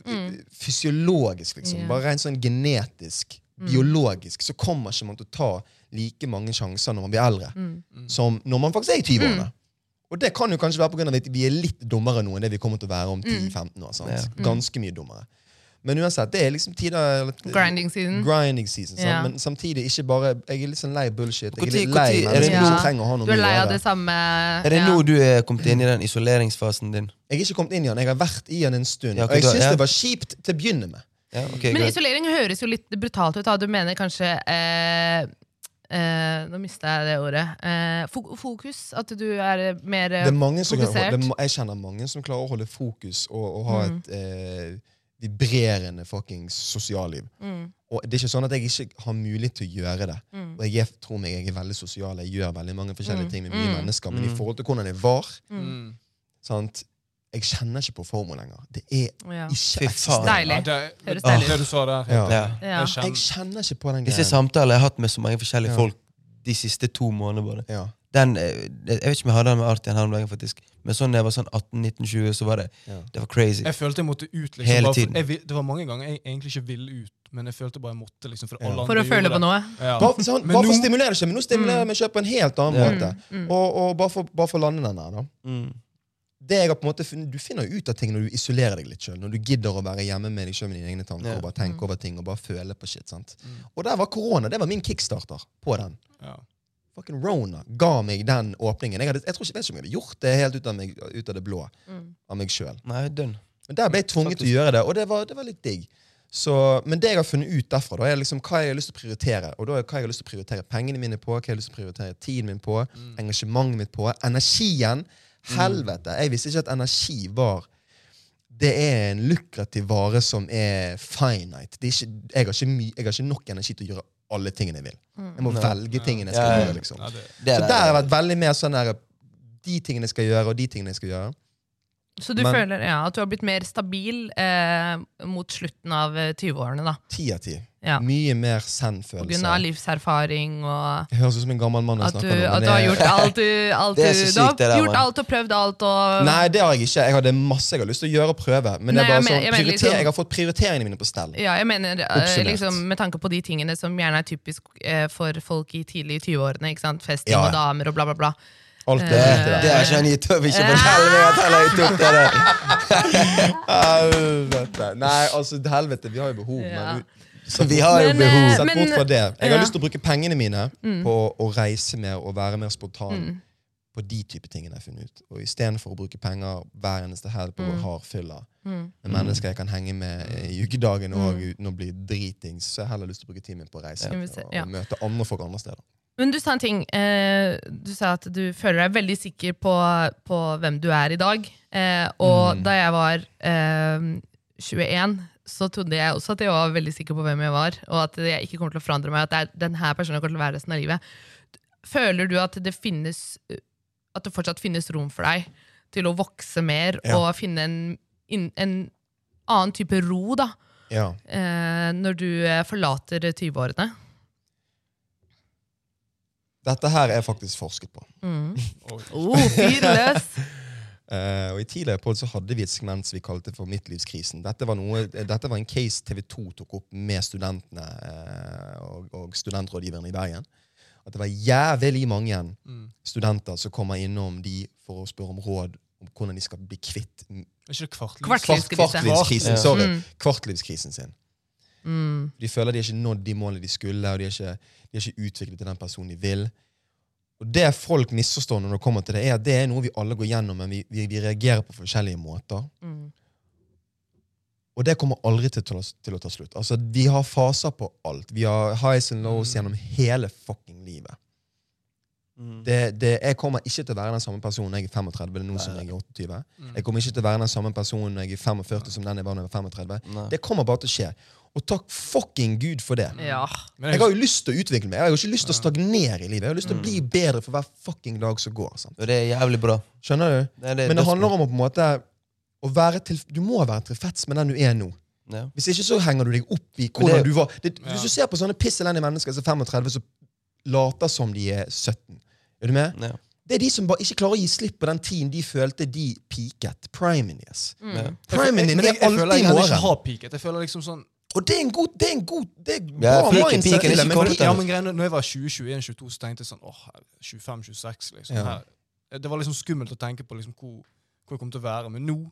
B: fysiologisk, liksom.
A: Mm. Ja. Mm.
B: Bare rent sånn genetisk, biologisk, så kommer ikke man til å ta like mange sjanser når man blir eldre,
A: Mm.
B: som når man faktisk er i 20-årene. Og det kan jo
A: Mm.
B: kanskje være pga. at vi er litt dummere nå enn det vi kommer til å være om 10-15 år. sant? Ganske mye dummere. Men uansett, det er liksom tider
A: Grinding season.
B: Grinding season sant?
A: Ja.
B: Men samtidig ikke bare Jeg er litt sånn lei bullshit. Jeg
D: Hvor
B: er
D: tid-
B: litt
D: hvor
B: lei
D: tid- er
B: mennesker
D: det
B: som
A: nå-
B: trenger å
A: Du
B: ha noe
A: er
B: mye
A: lei
B: å
A: av det
B: gjøre.
A: samme
D: Er det
A: ja.
D: nå du er kommet inn i den isoleringsfasen din?
B: Jeg er ikke kommet inn i den. Jeg har vært i den en stund.
D: Ja,
B: og jeg
D: ok, da-
B: syns
D: ja.
B: det var kjipt til å begynne med.
D: Ja, ok,
A: Men
D: greit.
A: isolering høres jo litt brutalt ut. Da. Du mener kanskje eh, eh, Nå mista jeg det ordet. Eh, fo- fokus. At du er eh, mer eh,
B: Det er mange som kan,
A: fokusert.
B: det, er ma- jeg kjenner mange som klarer å holde fokus og, og ha
A: Mm.
B: et eh, vibrerende fuckings sosialliv.
A: mm,
B: Og det er ikke sånn at jeg ikke har mulighet til å gjøre det.
A: mm,
B: Og jeg er, tror meg jeg er veldig sosial, jeg gjør veldig mange forskjellige
A: Mm.
B: ting med mye
A: Mm.
B: mennesker, men i
D: Mm.
B: forhold til hvordan jeg var
A: mm,
C: Mm.
B: sant? Jeg kjenner ikke på FOMO lenger. Det er
A: ja.
B: ikke
D: Fy faen.
B: eksisterende.
A: Deilig.
C: Ja, det,
A: Høres deilig ut.
C: det du sa der.
B: Ja.
C: helt
D: Ja.
C: enig.
A: Ja.
C: Jeg
B: Jeg
C: kjenner-
B: kjenner ikke på den
D: Disse
B: greia.
D: samtalene jeg har hatt med så mange forskjellige
B: Ja.
D: folk de siste to månedene. bare.
B: Ja.
D: Den, eh, jeg vet ikke om jeg hadde den med Artian her om dagen, faktisk. Men sånn da jeg var sånn 18-19-20, så var det
B: Ja.
D: det var crazy.
C: Jeg følte jeg måtte ut. Liksom,
D: Hele
C: bare for-
D: tiden.
C: Jeg, vil- det var mange ganger jeg egentlig ikke ville ut, men jeg følte bare jeg måtte. Liksom, for,
B: Ja.
C: alle andre
A: For å føle
C: gjorde
A: på noe.
C: det. Ja.
B: Bare, sånn,
C: Men
B: bare for å
C: nå-
B: stimulere seg, men nå stimulerer jeg meg selv på en helt annen
D: Ja.
B: måte.
A: Mm, mm.
B: Og, og bare, for, bare for å lande den der, da.
D: Mm.
B: det jeg har på en måte funnet, Du finner jo ut av ting når du isolerer deg litt sjøl. Når du gidder å være hjemme med deg sjøl med dine egne tanker
D: Ja.
B: og bare tenke
A: Mm.
B: over ting og bare føle på shit. sant?
C: Mm.
B: Og der var korona. Det var min kickstarter på den.
C: Ja.
B: Fucking Rona ga meg den åpningen. Jeg, hadde, jeg tror ikke, vet ikke om jeg hadde gjort det helt ut av, meg, ut av det blå
A: Mm.
B: av meg sjøl.
D: Nei, dønn.
B: Men der ble jeg tvunget til å gjøre det, og det var, det var litt digg. Så, men det jeg har funnet ut derfra, da, er liksom hva jeg har lyst til å prioritere. Og da er hva jeg har lyst til å prioritere pengene mine på, hva jeg har lyst til å prioritere tiden min på,
D: Mm.
B: engasjementet mitt på, energien. Helvete! Jeg visste ikke at energi var Det er en lukrativ vare som er finite. Det er ikke, jeg, har ikke my, jeg har ikke nok energi til å gjøre alle tingene jeg vil. Jeg må
D: Nei.
B: velge tingene jeg skal
D: Ja, ja.
B: gjøre. liksom.
C: Ja, det,
D: Det
B: Så
D: er det.
B: der har jeg vært veldig mer sånn der, de tingene jeg skal gjøre, og de tingene jeg skal gjøre.
A: Så du
B: Men-
A: føler ja, at du har blitt mer stabil eh, mot slutten av eh, 20-årene, da.
B: Ti av ti.
A: Ja.
B: Mye mer
A: På grunn av
B: send-følelse.
A: livserfaring og
B: Jeg høres ut som en gammel mann. jeg
A: at du,
B: snakker nå,
A: at
B: men
A: du har
B: jeg-
A: gjort alt du, alt du,
D: Det er så
A: du har
D: sykt, det der,
A: gjort
D: mann.
A: alt og prøvd alt og
B: Nei, det har jeg ikke. Jeg hadde masse jeg har lyst til å gjøre og prøve. Men det
A: Nei,
B: er bare
A: jeg mener-
B: sånn,
A: jeg mener
B: prioriter-
A: liksom-
B: jeg har fått prioriteringene mine på stell.
A: Ja, jeg mener eh,
B: Oppsummert.
A: liksom, Med tanke på de tingene som gjerne er typisk eh, for folk i tidlig 20-årene. ikke sant? Festing
B: Ja, ja.
A: og damer og bla, bla, bla.
B: Alt
D: Det,
B: det der.
D: det har ikke han gitt opp. Ikke fortell meg at han har gitt opp det der.
B: Helvete. Nei, altså, helvete. Vi har jo behov,
A: Ja.
B: men Så
D: Vi har jo
A: Men, eh,
D: behov.
B: Sett
A: Men-
B: bort fra det. Jeg har
A: ja. Mm.
B: lyst til å bruke pengene mine på å reise mer og være mer spontan på de type tingene jeg har funnet ut. Og istedenfor å bruke penger hver eneste helg på mm. hardfylla med
A: Mm.
B: mennesker jeg kan henge med i ukedagen og uten å bli dritings, så har jeg heller lyst til å bruke tiden min på å reise
A: Ja.
B: og, og møte andre folk andre steder.
A: Men du sa en ting. Eh, du sa at du føler deg veldig sikker på, på hvem du er i dag. Eh, og da jeg var eh, 21, så trodde jeg også at jeg var veldig sikker på hvem jeg var. Og at jeg ikke kommer til å forandre meg. At det er denne personen kommer til å være resten av livet. Føler du at det finnes At det fortsatt finnes rom for deg til å vokse mer
B: Ja.
A: og finne en, inn- en annen type ro da
B: Ja.
A: eh, når du eh, forlater 20-årene?
B: Dette her er faktisk forsket på.
A: Mm.
C: Oi.
A: Oh, fyr løs!
B: Eh, og I tidligere podd så hadde vi et segment som vi kalte for Midtlivskrisen. Dette var, noe, eh, dette var en case TV 2 tok opp med studentene eh, og, og studentrådgiverne i Bergen. At det var jævlig mange
C: mm.
B: studenter som kommer innom de for å spørre om råd om hvordan de skal bli kvitt
C: Er ikke det kvartlys?
A: Kvart-
B: kvart, kvartlivskrisen,
D: Ja.
B: sorry,
A: Mm.
B: kvartlivskrisen sin.
A: Mm.
B: De føler de har ikke nådd de målene de skulle, og de har ikke, de har ikke utviklet til den personen de vil. Og Det folk misforstår når det kommer til det, er at det er noe vi alle går gjennom, men vi, vi, vi reagerer på forskjellige måter.
A: Mm.
B: Og det kommer aldri til, å ta- til å ta slutt. Altså, Vi har faser på alt. Vi har highs and lows gjennom hele fucking livet. Det, det, jeg kommer ikke til å være den samme personen når jeg er 35 eller nå som jeg er 28.
C: Mm.
B: Jeg kommer ikke til å være den samme personen når jeg er 45 som den jeg var da jeg var 35.
D: Nei.
B: Det kommer bare til å skje. Og takk fucking Gud for det.
A: Ja.
C: Men
B: Jeg
C: jeg,
B: har jo lyst til å utvikle meg. Jeg har jo ikke lyst til å stagnere i livet. Jeg har lyst til
D: Mm.
B: å bli bedre for hver fucking dag som går. Sant?
D: Og det er jævlig bra.
B: Skjønner du?
D: Det er Eh, det,
B: Men det handler om å på en måte å være til, Du må være tilfreds med den du er nå.
D: ja.
B: Hvis ikke så henger du deg opp i
D: Men
B: hvordan
D: det-
B: du var. Det,
C: Ja.
B: Hvis du ser på sånne pisselendige mennesker som er 35, som later som de er 17 Er du med?
D: Ja.
B: Det er de som bare ikke klarer å gi slipp på den tiden de følte de peaket. Primen yes.
A: Mm.
D: Ja.
B: Primen
C: jeg,
B: din
C: men jeg,
B: er alltid i
C: jeg føler jeg heller ikke
B: morgen.
C: har peaket. Jeg føler liksom sånn
B: Og det er en god Det er en god, det er bra
D: Ja, peaken-
B: mindset
D: peaken er
B: til det,
D: ikke
B: men
D: kommet
B: de-
C: Ja, men greiene, når jeg var 20, 21, 22, så tenkte jeg sånn åh, 25-26, liksom.
B: Ja.
C: Her. Det var liksom skummelt å tenke på liksom, hvor, hvor jeg kom til å være. Men nå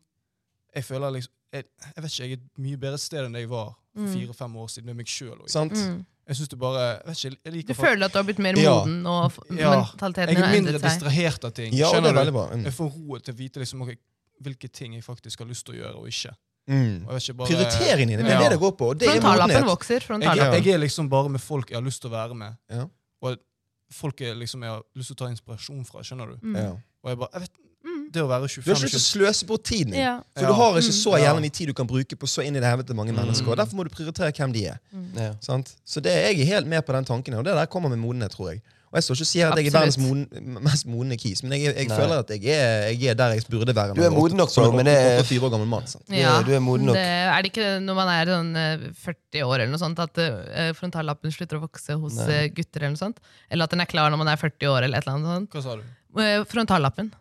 C: Jeg føler liksom, jeg, jeg vet ikke, jeg er et mye bedre sted enn jeg var for
A: Mm.
C: fire-fem år siden med meg sjøl.
B: Sant?
A: Mm.
C: Jeg synes det bare, jeg vet ikke, jeg
A: Du
C: liker
A: føler at du har blitt mer
B: Ja.
A: moden, og f-
C: Ja.
A: mentaliteten
C: Jeg
A: har
C: er mindre
A: endret seg.
C: distrahert av ting.
B: Ja, og det er
C: skjønner
B: veldig
C: du?
B: bra. Mm.
C: Jeg får ro til å vite liksom, ok, hvilke ting jeg faktisk har lyst til å gjøre og ikke.
B: Mm.
C: Og jeg vet ikke bare,
B: Prioriteringen din, det er
C: Ja.
B: det det går på. Og det er
A: Frontallappen
B: modenhet.
A: vokser.
C: Jeg,
A: Frontallappen.
B: Ja.
C: jeg er liksom bare med folk jeg har lyst til å være med.
B: Ja.
C: Og folk jeg liksom jeg har lyst til å ta inspirasjon fra. skjønner du?
A: Mm.
B: Ja.
C: Og jeg bare, jeg vet,
A: Mm.
C: Det å være
B: Du har ikke lyst til å
C: 25
B: sløse bort tiden din.
A: Ja.
B: For
C: Ja.
B: du har ikke så
C: Mm.
B: gjerne mye tid du kan bruke på så inn i det helvete mange
D: Mm.
B: mennesker. og Derfor må du prioritere hvem de er.
D: Ja.
B: Sant? Så det er jeg helt med på den tanken, og det der kommer med modenhet, tror jeg. Og jeg står ikke og sier at jeg
A: Absolutt.
B: er verdens moden, mest modne kis, men jeg, jeg
D: Nei.
B: føler at jeg er, jeg er der jeg burde være.
D: Du er moden nok
B: som
D: nå,
B: en
D: men det er-
B: 84 år gammel mann. Sant?
A: Ja.
D: Du, du er moden nok.
A: Det, er det ikke når man er sånn eh, 40 år eller noe sånt at eh, frontallappen slutter å vokse hos
D: Nei.
A: eh, gutter? Eller noe sånt Eller at den er klar når man er 40 år? eller et eller annet sånt
C: Hva sa du?
A: Eh, Frontallappen.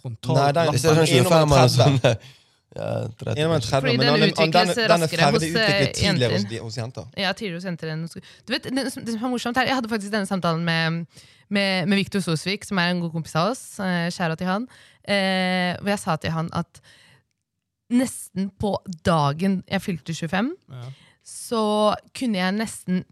C: Frontal
B: Nei, den-
D: Jeg ser sånn
B: Innom en
D: 25 eller
B: tredve.
D: sånn. Ja, 30
B: Innom en
D: kanskje.
B: 30,
A: Fordi
B: men
A: den
B: han er-
A: utvikles
B: han- den- Den er
A: raskere hos,
B: ferdig utviklet
A: eh,
B: tidligere hos,
A: jenter.
B: de- hos jenter.
A: Ja, tidligere hos jenter enn hos gu- Du vet, det, som, det som er morsomt her Jeg hadde faktisk denne samtalen med, med, med Victor Sosvik, som er en god kompis av oss. Eh, kjære til han. Eh, hvor jeg sa til han at nesten på dagen jeg fylte 25,
C: Ja.
A: så kunne jeg nesten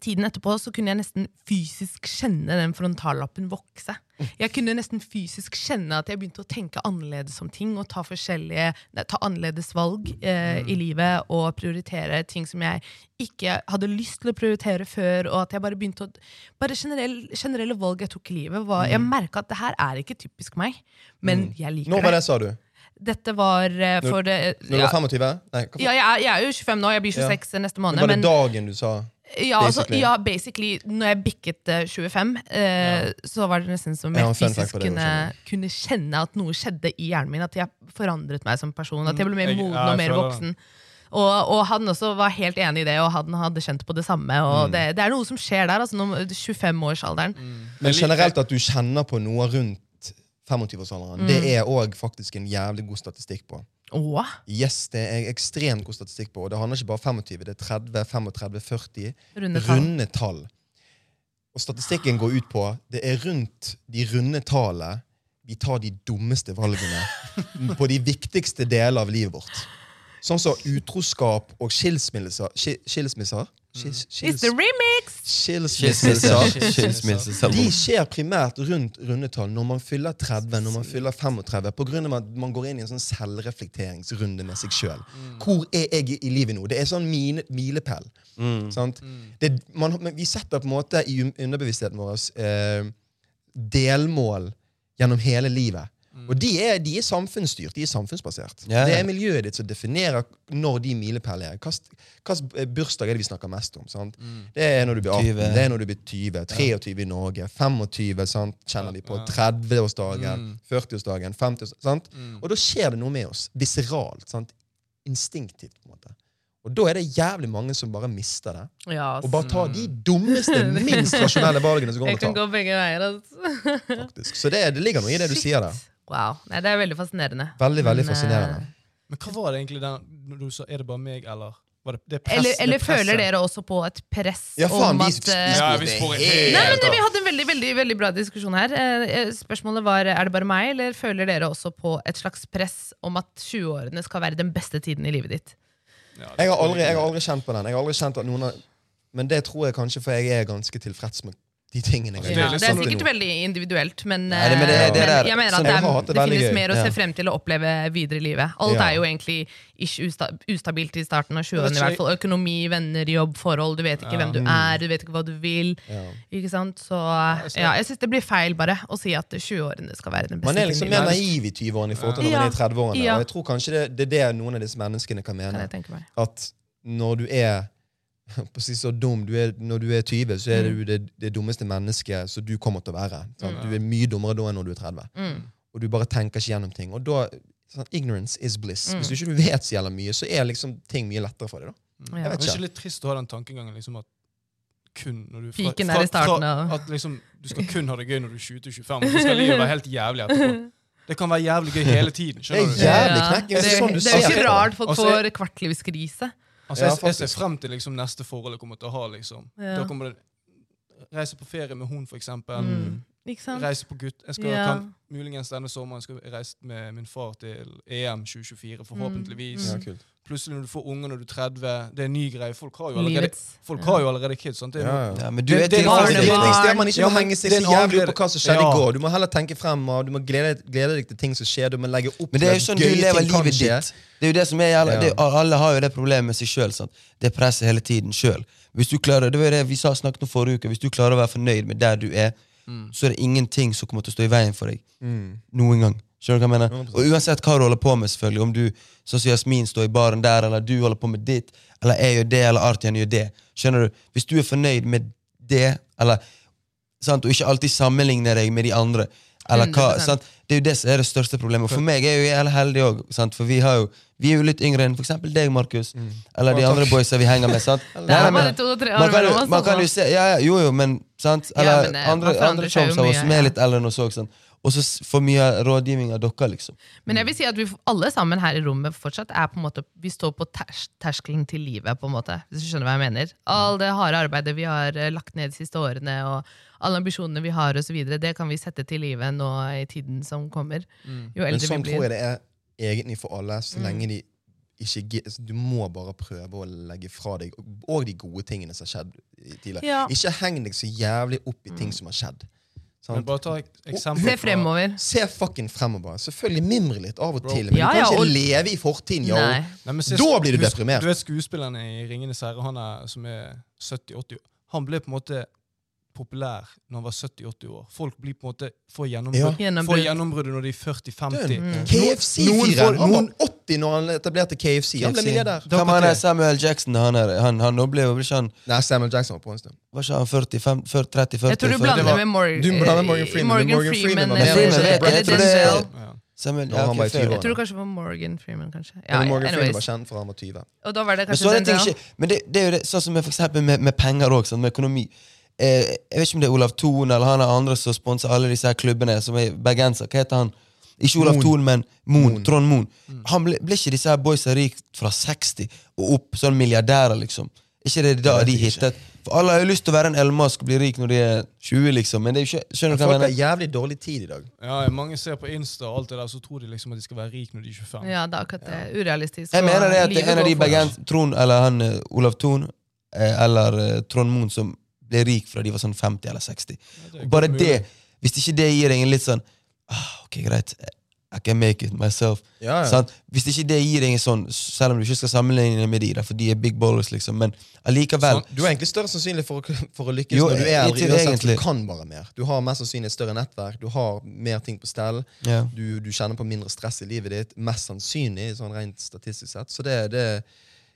A: Tiden etterpå så kunne jeg nesten fysisk kjenne den frontallappen vokse. Jeg kunne nesten fysisk kjenne at jeg begynte å tenke annerledes om ting og ta, forskjellige, nei, ta annerledes valg eh,
B: Mm.
A: i livet og prioritere ting som jeg ikke hadde lyst til å prioritere før. Og at jeg bare begynte å Bare generell, generelle valg jeg tok i livet. Var, Jeg merka at det her er ikke typisk meg, men jeg liker
B: Når Mm. var
A: det.
B: det, sa du?
A: Dette var eh,
B: Når-
A: for det
B: Når du
A: ja,
B: var 25? Nei, hva
A: ja, jeg, er, jeg er jo 25 nå, jeg blir 26 neste
B: Men
A: måned.
B: var det
A: men
B: dagen du sa
A: ja, altså,
B: Basically.
A: ja, basically. Når jeg bikket eh, 25, eh, så var det nesten som
B: Jeg
A: jeg
B: har en fun fact
A: fysisk
B: på det
A: kunne,
B: også.
A: kunne kjenne at noe skjedde i hjernen min. At jeg forandret meg som person. At jeg
B: Mm,
A: ble mer
C: Jeg- ja,
A: moden
C: jeg
A: og mer
C: føler
A: voksen. Og, og han også var helt enig i det, og han hadde kjent på det samme. Og
B: Mm.
A: det, det er noe som skjer der, altså når 25-årsalderen.
B: Men
C: Jeg liker-
B: generelt at du kjenner på noe rundt
A: Mm.
B: 25-årsalderen, det er òg faktisk en jævlig god statistikk på.
A: Åh,
B: Yes, det er ekstremt god statistikk på, og det handler ikke bare om 25, det er 30, 35, 40.
A: runde tall.
B: Runde tall. Og statistikken går ut på det er rundt de runde tallene vi tar de dummeste valgene på de viktigste deler av livet vårt. Sånn som utroskap og skilsmisser. Skil, skilsmisser? Skil,
A: It's
B: skils,
A: Mm. the remix!
B: skilsmisser.
D: Skilsmisse. Skilsmisse.
B: De
D: sammen.
B: skjer primært rundt rundetall når man fyller 30, når man fyller 35, på grunn av at man går inn i en sånn selvreflekteringsrunde med seg sjøl. Hvor er jeg i livet nå? Det er sånn mine, milepæl.
D: Mm.
B: Sant? Det, man, men vi setter på en måte i un- underbevisstheten vår eh, delmål gjennom hele livet. Og de er, de er samfunnsstyrt, de er samfunnsbasert.
D: Ja, ja.
B: Det er miljøet ditt som definerer når de milepælene er. Hvilken bursdag er det vi snakker mest om? sant?
A: Mm.
B: Det er når du blir 18,
D: 20.
B: det er når du blir 20, 23 i Norge, 25 sant? kjenner vi på, 30-årsdagen,
A: Mm.
B: 40-årsdagen, 50 sant? Og da skjer det noe med oss, viseralt, sant? instinktivt. på en måte. Og da er det jævlig mange som bare mister det.
A: Ja,
B: Og bare tar de dummeste, minst rasjonelle valgene som går
A: Mm. jeg kan
B: an å ta.
A: gå begge veier. Altså.
B: faktisk. Så det, det ligger noe i det du sier der.
A: Wow. Nei, det er veldig fascinerende.
B: Veldig, veldig
A: Men, eh,
B: fascinerende.
C: Men hva var det egentlig den når du sa Er det bare meg, eller? Var det, det press,
A: Eller,
C: det
A: eller føler
C: presset?
A: dere også på et press
B: Ja, faen,
A: om
B: vi,
A: at eh,
C: Ja,
B: vi
C: vi
B: sporer
C: sporer
B: helt
A: Nei, men det,
B: av.
A: Vi hadde en veldig, veldig, veldig bra diskusjon her. Eh, eh, Spørsmålet var er det bare meg, eller føler dere også på et slags press om at 20-årene skal være den beste tiden i livet ditt?
C: Ja, det
B: Jeg har
C: tror
B: aldri, jeg har aldri kjent på den. Jeg har aldri kjent at noen har, men det tror jeg kanskje, for jeg er ganske tilfreds med de tingene.
C: Det
B: jeg
C: er
A: Ja,
B: gjør.
C: litt
A: det er
C: sånn-
A: sikkert veldig individuelt, men,
D: Nei, det- men det-
A: eh,
D: det
A: men
D: der-
A: jeg mener
D: sånn-
A: at det,
B: Jeg har
A: er,
B: hatt det
A: det
B: veldig
A: finnes
B: gøy,
A: mer å se
B: ja.
A: frem til å oppleve videre i livet. Alt
B: Ja.
A: er jo egentlig ikke usta ustabilt i starten av 20-årene. i
C: Jeg
A: hvert
C: vet
A: fall Økonomi, venner, jobb, forhold. Du vet ikke hvem du
B: Mm.
A: er, du vet ikke hva du vil.
B: Ja.
A: Ikke sant? Så
C: jeg ser
A: ja, jeg syns det blir feil bare å si at 20-årene skal være den beste
B: Man er liksom
A: tiden i
B: mer
A: livet.
B: naiv i 20-årene i forhold til når man er i 30-årene.
A: Ja.
B: Og jeg tror kanskje det, det er det noen av disse menneskene kan
A: Kan
B: mene.
A: jeg tenke meg.
B: At når du er på å si så dum du er, Når du er 20, så er
A: Mm.
B: du det, det dummeste mennesket som du kommer til å være. Sant? Du er mye dummere da enn når du er 30.
A: Mm.
B: og du bare tenker ikke gjennom ting. Og da, sånn, Ignorance is bliss.
A: Mm.
B: Hvis du ikke du vet så jævla mye, så er liksom ting mye lettere for deg. da.
A: Ja.
B: Jeg
C: Men
B: vet
C: det
B: ikke.
C: er Mm. ikke litt trist å ha den tankegangen liksom at kun når du
A: Piken er i starten av-
C: At liksom, du skal kun ha det gøy når du er 20-25, og så skal livet være helt jævlig etterpå. Det kan være jævlig gøy hele tiden.
B: Det er
C: skjønner du?
B: jævlig
A: Ja.
B: knekk. Det
A: Det,
B: er sånn du
A: det er jo
B: ser
A: ikke
B: på det.
A: rart folk
C: Altså,
A: får kvartlivskrise.
C: Altså, jeg,
B: Ja,
C: jeg ser
B: faktisk.
C: frem til liksom neste forhold jeg kommer til å ha. liksom.
A: Ja.
B: Mm.
C: Da kommer det Reise på ferie med hun, for eksempel.
A: Mm. Ikke sant?
C: Reise på gutt. Jeg skal
A: Ja.
C: kan, muligens denne sommeren skal jeg reise med min far til EM
A: Mm.
C: 2024, forhåpentligvis.
B: Mm. Ja, kult.
C: Plutselig når du får unger når du er 30, det er en ny greie. Folk har jo allerede,
A: Livets.
C: folk
A: ja.
C: har jo allerede kids. Sant? Det er
B: Ja,
C: noe-
B: ja. altså,
D: Ja, men du
C: Det-
D: er
C: det er
B: Det
D: tilfreds.
A: barnet-
D: med-
B: viktigste er at man ikke
C: Ja,
B: må
C: men
B: henge seg
C: det
B: så
C: er en annen
B: jævlig opp på
C: glede.
B: hva som skjedde
C: Ja.
B: i går. Du må heller tenke fremover. Du må glede, glede deg til ting som skjer. Du må legge opp
D: Men det er jo
B: til at
D: sånn du
B: gøye
D: lever
B: ting kan
D: livet
B: skje.
D: ditt. Det er jo det som er jævla,
B: Ja.
D: det, Alle har jo det problemet med seg sjøl. Det presset hele tiden sjøl. Hvis du klarer, det var jo det vi sa snakket om forrige uke, hvis du klarer å være fornøyd med der du er, så er det ingenting som kommer til å stå i veien for deg.
B: Mm.
D: Noen gang. Skjønner du hva jeg mener?
B: 100%.
D: Og uansett hva du holder på med, selvfølgelig, om du sånn som Jasmin står i baren der, eller du holder på med ditt, eller jeg gjør det, eller Artian gjør det. Skjønner du? Hvis du er fornøyd med det, eller sant? og ikke alltid sammenligne deg med de andre. Eller hva,
A: 100%.
D: sant? Det er jo det som er det største problemet. Og For meg er jo jeg jævlig heldig òg, for vi, har jo, vi er jo litt yngre enn f.eks. deg, Markus. Eller de
B: Å,
D: andre
B: takk.
D: boysa vi henger med. sant?
A: Det
D: Nei,
A: er
D: nei,
A: bare
D: men-
A: to og tre år
D: man kan, jo,
A: mellom
D: man
A: oss.
D: kan jo
A: altså.
D: se ja, ja, Jo, jo, men sant?
A: Ja,
D: Eller
A: men, eh, man
D: andre,
A: forandrer
D: andre
A: seg jo
D: shows av oss
A: mye,
D: som er
A: ja.
D: litt eldre enn oss òg. Og så s- for mye rådgivning av dere, liksom.
A: Men jeg vil si at vi f- alle sammen her i rommet fortsatt er på en måte, vi står på ters terskelen til livet, på en måte, hvis du skjønner hva jeg mener. All det harde arbeidet vi har eh, lagt ned de siste årene, og alle ambisjonene vi har, og så videre, det kan vi sette til livet nå i tiden som kommer.
C: Mm.
A: Jo
B: Men
A: eldre
B: sånn
A: vi
B: tror
A: blir. Mm.
B: jeg det er egentlig for alle, så lenge de ikke gi- altså, Du må bare prøve å legge fra deg og de gode tingene som har skjedd i tidligere.
A: Ja. Mm.
B: Ikke heng deg så jævlig opp i ting som har skjedd. sant? Oh.
C: Men bare ta et eksempel
A: Se
C: fra-
A: fremover.
B: Se fucking fremover. Selvfølgelig mimre litt av og
C: Bro.
B: til, men
A: Ja,
B: du kan
A: ja,
B: ikke
A: og-
B: leve i fortiden. yo.
A: Nei.
C: Nei, men se-
B: Da blir du
C: husk-
B: deprimert.
C: Du vet skuespilleren i 'Ringenes herre', han er, som er 70-80 år. Han ble på en måte populær når han var 70-80 år. Folk blir på en måte får
B: Ja.
C: gjennombrudd får
A: Gjennombrudd.
C: gjennombruddet når de er 40-50.
B: Døden.
C: Noen-
B: KFC-fyren! Han var
C: noen-
B: 80 når han etablerte KFC. Han ble
D: KFC.
B: milliardær.
C: Dere
D: Hvem han
C: tre.
D: er Samuel Jackson? Han, er, han, han nå ble jo ble ikke han
B: Nei, Samuel Jackson var på en stund.
D: Var ikke han 40, fem- 40 30, 40?
A: Jeg tror du
D: 40?
A: blander
B: var-
A: med Morgan,
B: du blander Morgan Freeman, men Morgan Freeman var
A: eller,
D: med. Freeman vet jeg,
A: eller
D: jeg tror det-
A: Denzel.
C: Ja.
D: Samuel,
B: Når
D: ja,
B: han
D: ok,
B: var i
D: fair.
B: 20-årene.
A: Jeg tror kanskje det var Morgan Freeman, kanskje. Ja,
B: Men Morgan Freeman var
A: anyways.
B: kjent for han var 20.
A: Og da var det
D: Men så
A: kanskje
D: er det, ting
A: Denzel.
D: ikke, men det, det er jo det, sånn som med, for eksempel med, med penger òg, med økonomi. Eh, jeg vet ikke om det er Olav Thon eller han er andre som sponser alle disse her klubbene, som er bergenser. Hva heter han? Ikke Olav
B: Moen.
D: Thon, men Moen.
B: Moen.
D: Trond Moen. Han ble, ble ikke disse her boysa rik fra 60 og opp, sånn milliardærer, liksom? Ikke det
B: Jeg
D: da
B: vet
D: de
B: ikke.
D: hittet? For alle har jo lyst til å være en Elmask og bli rik når de er 20, liksom. Men det er jo ikke, skjønner du hva
B: Folk
D: jeg
B: har
D: mener?
B: jævlig dårlig tid i dag.
C: Ja, mange ser på Insta og alt det der, så tror de liksom at de skal være rike når de er 25.
A: Ja, det er akkurat det. Urealistisk.
D: Jeg
A: og
D: mener det at
A: livet
D: en av
A: går
D: de
A: fort.
D: bergens... Trond, eller han eh, Olav Thon, eh, eller eh, Trond Moen, som ble rik fra de var sånn 50 eller 60.
C: Ja, er
D: Og bare
C: godt mulig.
D: det, hvis ikke det gir deg en litt sånn ah, Ok, greit, I can make it myself.
B: Ja, ja.
D: Sant? Hvis ikke det gir deg en sånn, selv om du ikke skal sammenligne med de, da, for de er big ballers, liksom, men allikevel
C: Sant.
B: Du er egentlig større sannsynlig for, å- for å lykkes
D: Jo,
B: når du er
D: jeg-
B: eldre.
D: jeg-
B: uansett, for
D: egentlig.
B: Du kan bare mer. Du har mest sannsynlig et større nettverk, du har mer ting på stell,
D: ja.
B: du, du kjenner på mindre stress i livet ditt, mest sannsynlig sånn rent statistisk sett. Så det, det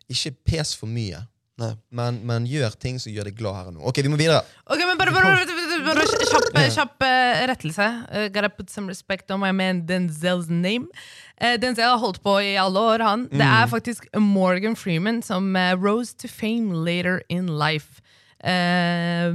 B: ikke pes for mye,
D: Nei.
B: men, men gjør ting som gjør deg glad her og nå. Ok, vi må videre.
A: Ok, men bare, bare, bare, bare kjapp, kjapp eh, rettelse. Uh, gotta put some respect on my man Denzels name. Eh, Denzel har holdt på i alle år, han. Det er faktisk Morgan Freeman som eh, rose to fame later in life. Eh,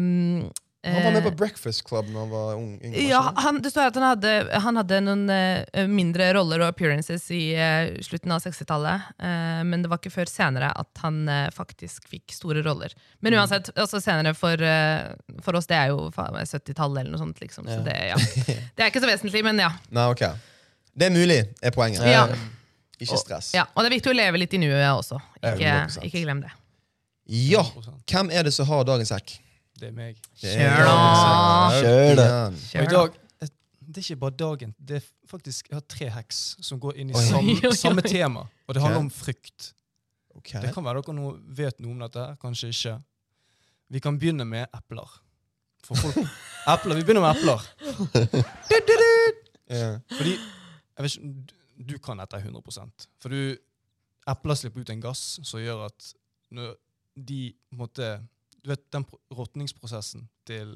B: Han var med
A: eh,
B: på Breakfast Club da han var ung. yngre,
A: ja,
B: ikke sant?
A: han, det står at han hadde, han hadde noen eh, mindre roller og appearances i eh, slutten av 60-tallet, eh, men det var ikke før senere at han eh, faktisk fikk store roller. Men
C: Mm.
A: uansett, også senere for, eh, for oss, det er jo faen meg 70-tallet eller noe sånt, liksom. Så det, ja. det er ikke så vesentlig, men ja.
B: Nei, ok. Det er mulig, er poenget.
A: ja,
B: Ikke stress.
A: ja. Og det er viktig å leve litt i nuet også. Ikke,
B: 100%.
A: ikke glem det.
B: Ja.
C: 100%.
B: Hvem er det som har dagens hekk?
C: Det er meg.
B: Det
A: Kjør da!
B: dagens hekk.
D: Kjør da.
B: Igjen.
C: Og i dag, det er ikke bare dagen, det er faktisk, jeg har tre heks som går inn i
B: Oi.
A: Oi, oi, oi.
C: samme, samme tema, og det handler om frykt.
B: Ok.
C: Det kan være dere nå vet noe om dette, her, kanskje ikke. Vi kan begynne med epler. For folk, epler, Vi begynner med epler.
B: Ja.
C: Fordi jeg vet ikke, du- Du kan dette 100 For du, epler slipper ut en gass som gjør at når de på en måte, Du vet den pro- råtningsprosessen til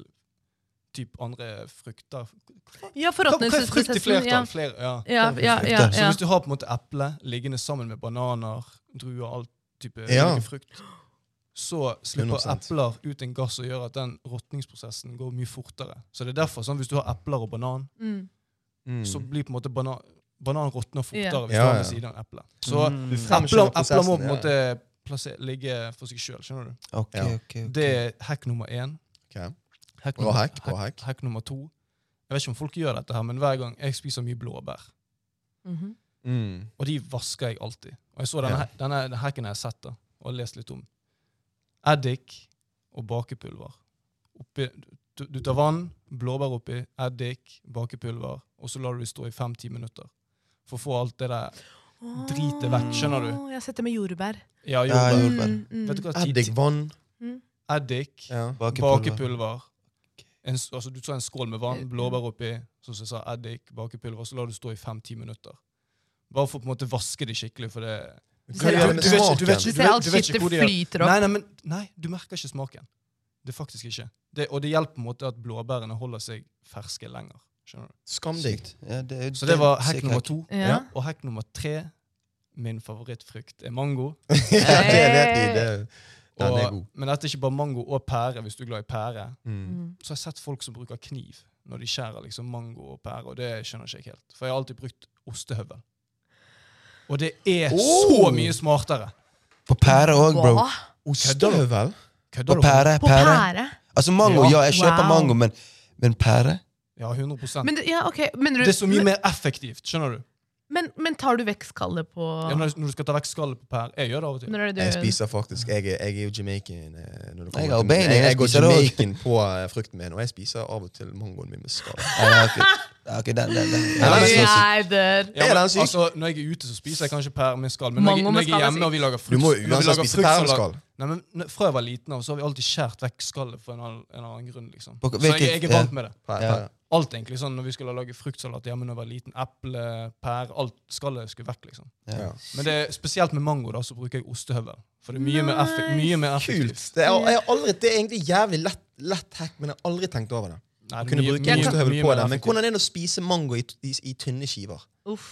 C: typ andre
A: Ja,
C: frukter Hva hva er frukt i
A: forråtnelsesprosessen. Ja.
C: flertall? Flere, ja.
A: Ja, ja, ja,
D: Så
C: Så
A: ja.
C: hvis du har på en måte eple liggende sammen med bananer, druer, all type
B: Ja.
C: ulike frukt, så slipper
B: 100%.
C: epler ut en gass som gjør at den råtningsprosessen går mye fortere. Så det er derfor sånn, hvis du har epler og banan,
A: Mm.
B: Mm.
C: så blir på en måte banan Banan råtner fortere
A: Ja.
C: hvis
B: Ja, Mm.
C: du har
B: ja.
C: ved siden av en eple. Så
B: Du
C: epler,
B: fremskynder
C: epler må på
B: prosessen,
C: en
B: ja.
C: måte plassere, ligge for seg sjøl, skjønner du.
D: Ok,
B: Ja.
D: ok, ok.
C: Det er hack nummer én.
B: Ok.
C: Hack
B: Bra
C: nummer,
B: hack, bra hack.
C: hack nummer to Jeg vet ikke om folk gjør dette her, men hver gang jeg spiser mye blåbær,
A: Mhm.
B: Mm.
C: og de vasker jeg alltid. Og jeg så denne,
B: Ja.
C: her- denne, denne hacken jeg har sett da, og lest litt om. Eddik og bakepulver. Oppi, du, du tar vann, blåbær oppi, eddik, bakepulver, og så lar du det stå i fem-ti minutter. For å få alt det der Drit det vekk, skjønner du?
A: Åh, Jeg har sett det med jordbær.
C: Ja, jo,
D: Ja,
C: men-
D: jo. jordbær.
A: mm.
C: Vet du hva?
B: Eddik, vann
C: Eddik,
B: ja.
C: bakepulver. En, s- altså, du tar en skål med
A: Eh,
C: vann, blåbær oppi, som jeg sa, eddik, bakepulver, så lar du stå i fem-ti minutter. Bare for å på en måte vaske det skikkelig. for det...
B: Hva gjør det
A: Du-
B: med
A: du vet
C: ikke-
A: Du
B: smaken?
C: du vet vet-
A: ser alt
C: du vet
A: skittet
C: ikke hvor de er.
A: flyter opp.
C: Nei, nei, men, nei, du merker ikke smaken. Det er faktisk ikke. Det, og det hjelper på en måte at blåbærene holder seg ferske lenger. skjønner du?
B: Skamdigg.
D: Ja, det, er-
C: Så det var
D: er
C: hack
D: sikkert.
C: nummer to.
A: Ja.
C: Og hack nummer tre, min favorittfrukt, er mango.
B: ja, det vet vi. Det. Den
C: Og,
B: er god.
C: Men dette er ikke bare mango og pære, hvis du er glad i pære.
B: Mm.
A: Mm.
C: Så har jeg sett folk som bruker kniv når de skjærer liksom mango og pære, og det skjønner ikke jeg helt. For jeg har alltid brukt ostehøvel. Og det er så
B: Oh!
C: mye smartere.
D: På pære òg, bro.
A: Hva?
B: Ostehøvel?
D: På
C: Kødder du?
D: pære,
A: På
D: pære.
A: pære?
D: Altså mango,
C: Ja.
D: ja, jeg
A: Wow.
D: kjøper mango, men, men pære?
C: Ja, 100
A: Men, det- ja, ok, mener du,
C: Det er så mye mer effektivt, skjønner du.
A: men, men tar du vekk skallet på
C: Ja, når, når du skal ta vekk skallet på pære. Jeg gjør det av og til.
A: Når er det
B: Jeg
A: du
B: spiser faktisk Jeg, er- jeg er jo jamaican. eh, Når det kommer
D: Jeg er
B: til-
D: albanier, jeg
B: jeg går
D: spiser det også.
B: jamaican på eh, frukten min, og jeg spiser av og til mangoen min med skall.
D: Nei, nei, ok. Ja, ok, den, den, den.
B: Ja, sånn.
D: den er så syk.
A: Nei, der.
C: Ja,
B: Er
C: men,
B: den syk?
C: altså, når jeg er ute, så spiser jeg kanskje pære med skall. Men når
A: Mango
C: jeg,
A: med
C: når jeg
A: skall
C: er
A: er
C: hjemme og vi lager
B: Du
C: frukt,
B: må
C: når vi
B: uansett
C: lager
B: spise
C: fruktsalat-
B: pæreskall.
C: Nei, men n- Fra jeg var liten, av, så har vi alltid skåret vekk skallet for en, annen- en annen grunn. liksom.
D: På-
C: Så jeg,
D: hvilket-
C: jeg er vant med det.
B: Pære-
D: Ja.
B: pære.
C: Alt egentlig, sånn Når vi skulle lage fruktsalat hjemme når jeg var liten, eple, pære, alt skallet skulle vekk. liksom.
B: Ja.
C: Men det er spesielt med mango da, så bruker jeg ostehøvel. For det er mye mer effe-
A: Nice.
C: mye mer effektivt.
B: Kult! Det er, jeg har aldri, det er egentlig jævlig lett, lett hack, men jeg har aldri tenkt over det.
C: Nei, det er
B: Kunne
C: mye-
B: bruke
C: mye-
B: ostehøvel
C: mye
B: på
C: mer
B: det, Men
C: effektivt.
B: hvordan er det å spise mango i, i, i tynne skiver?
A: Uff.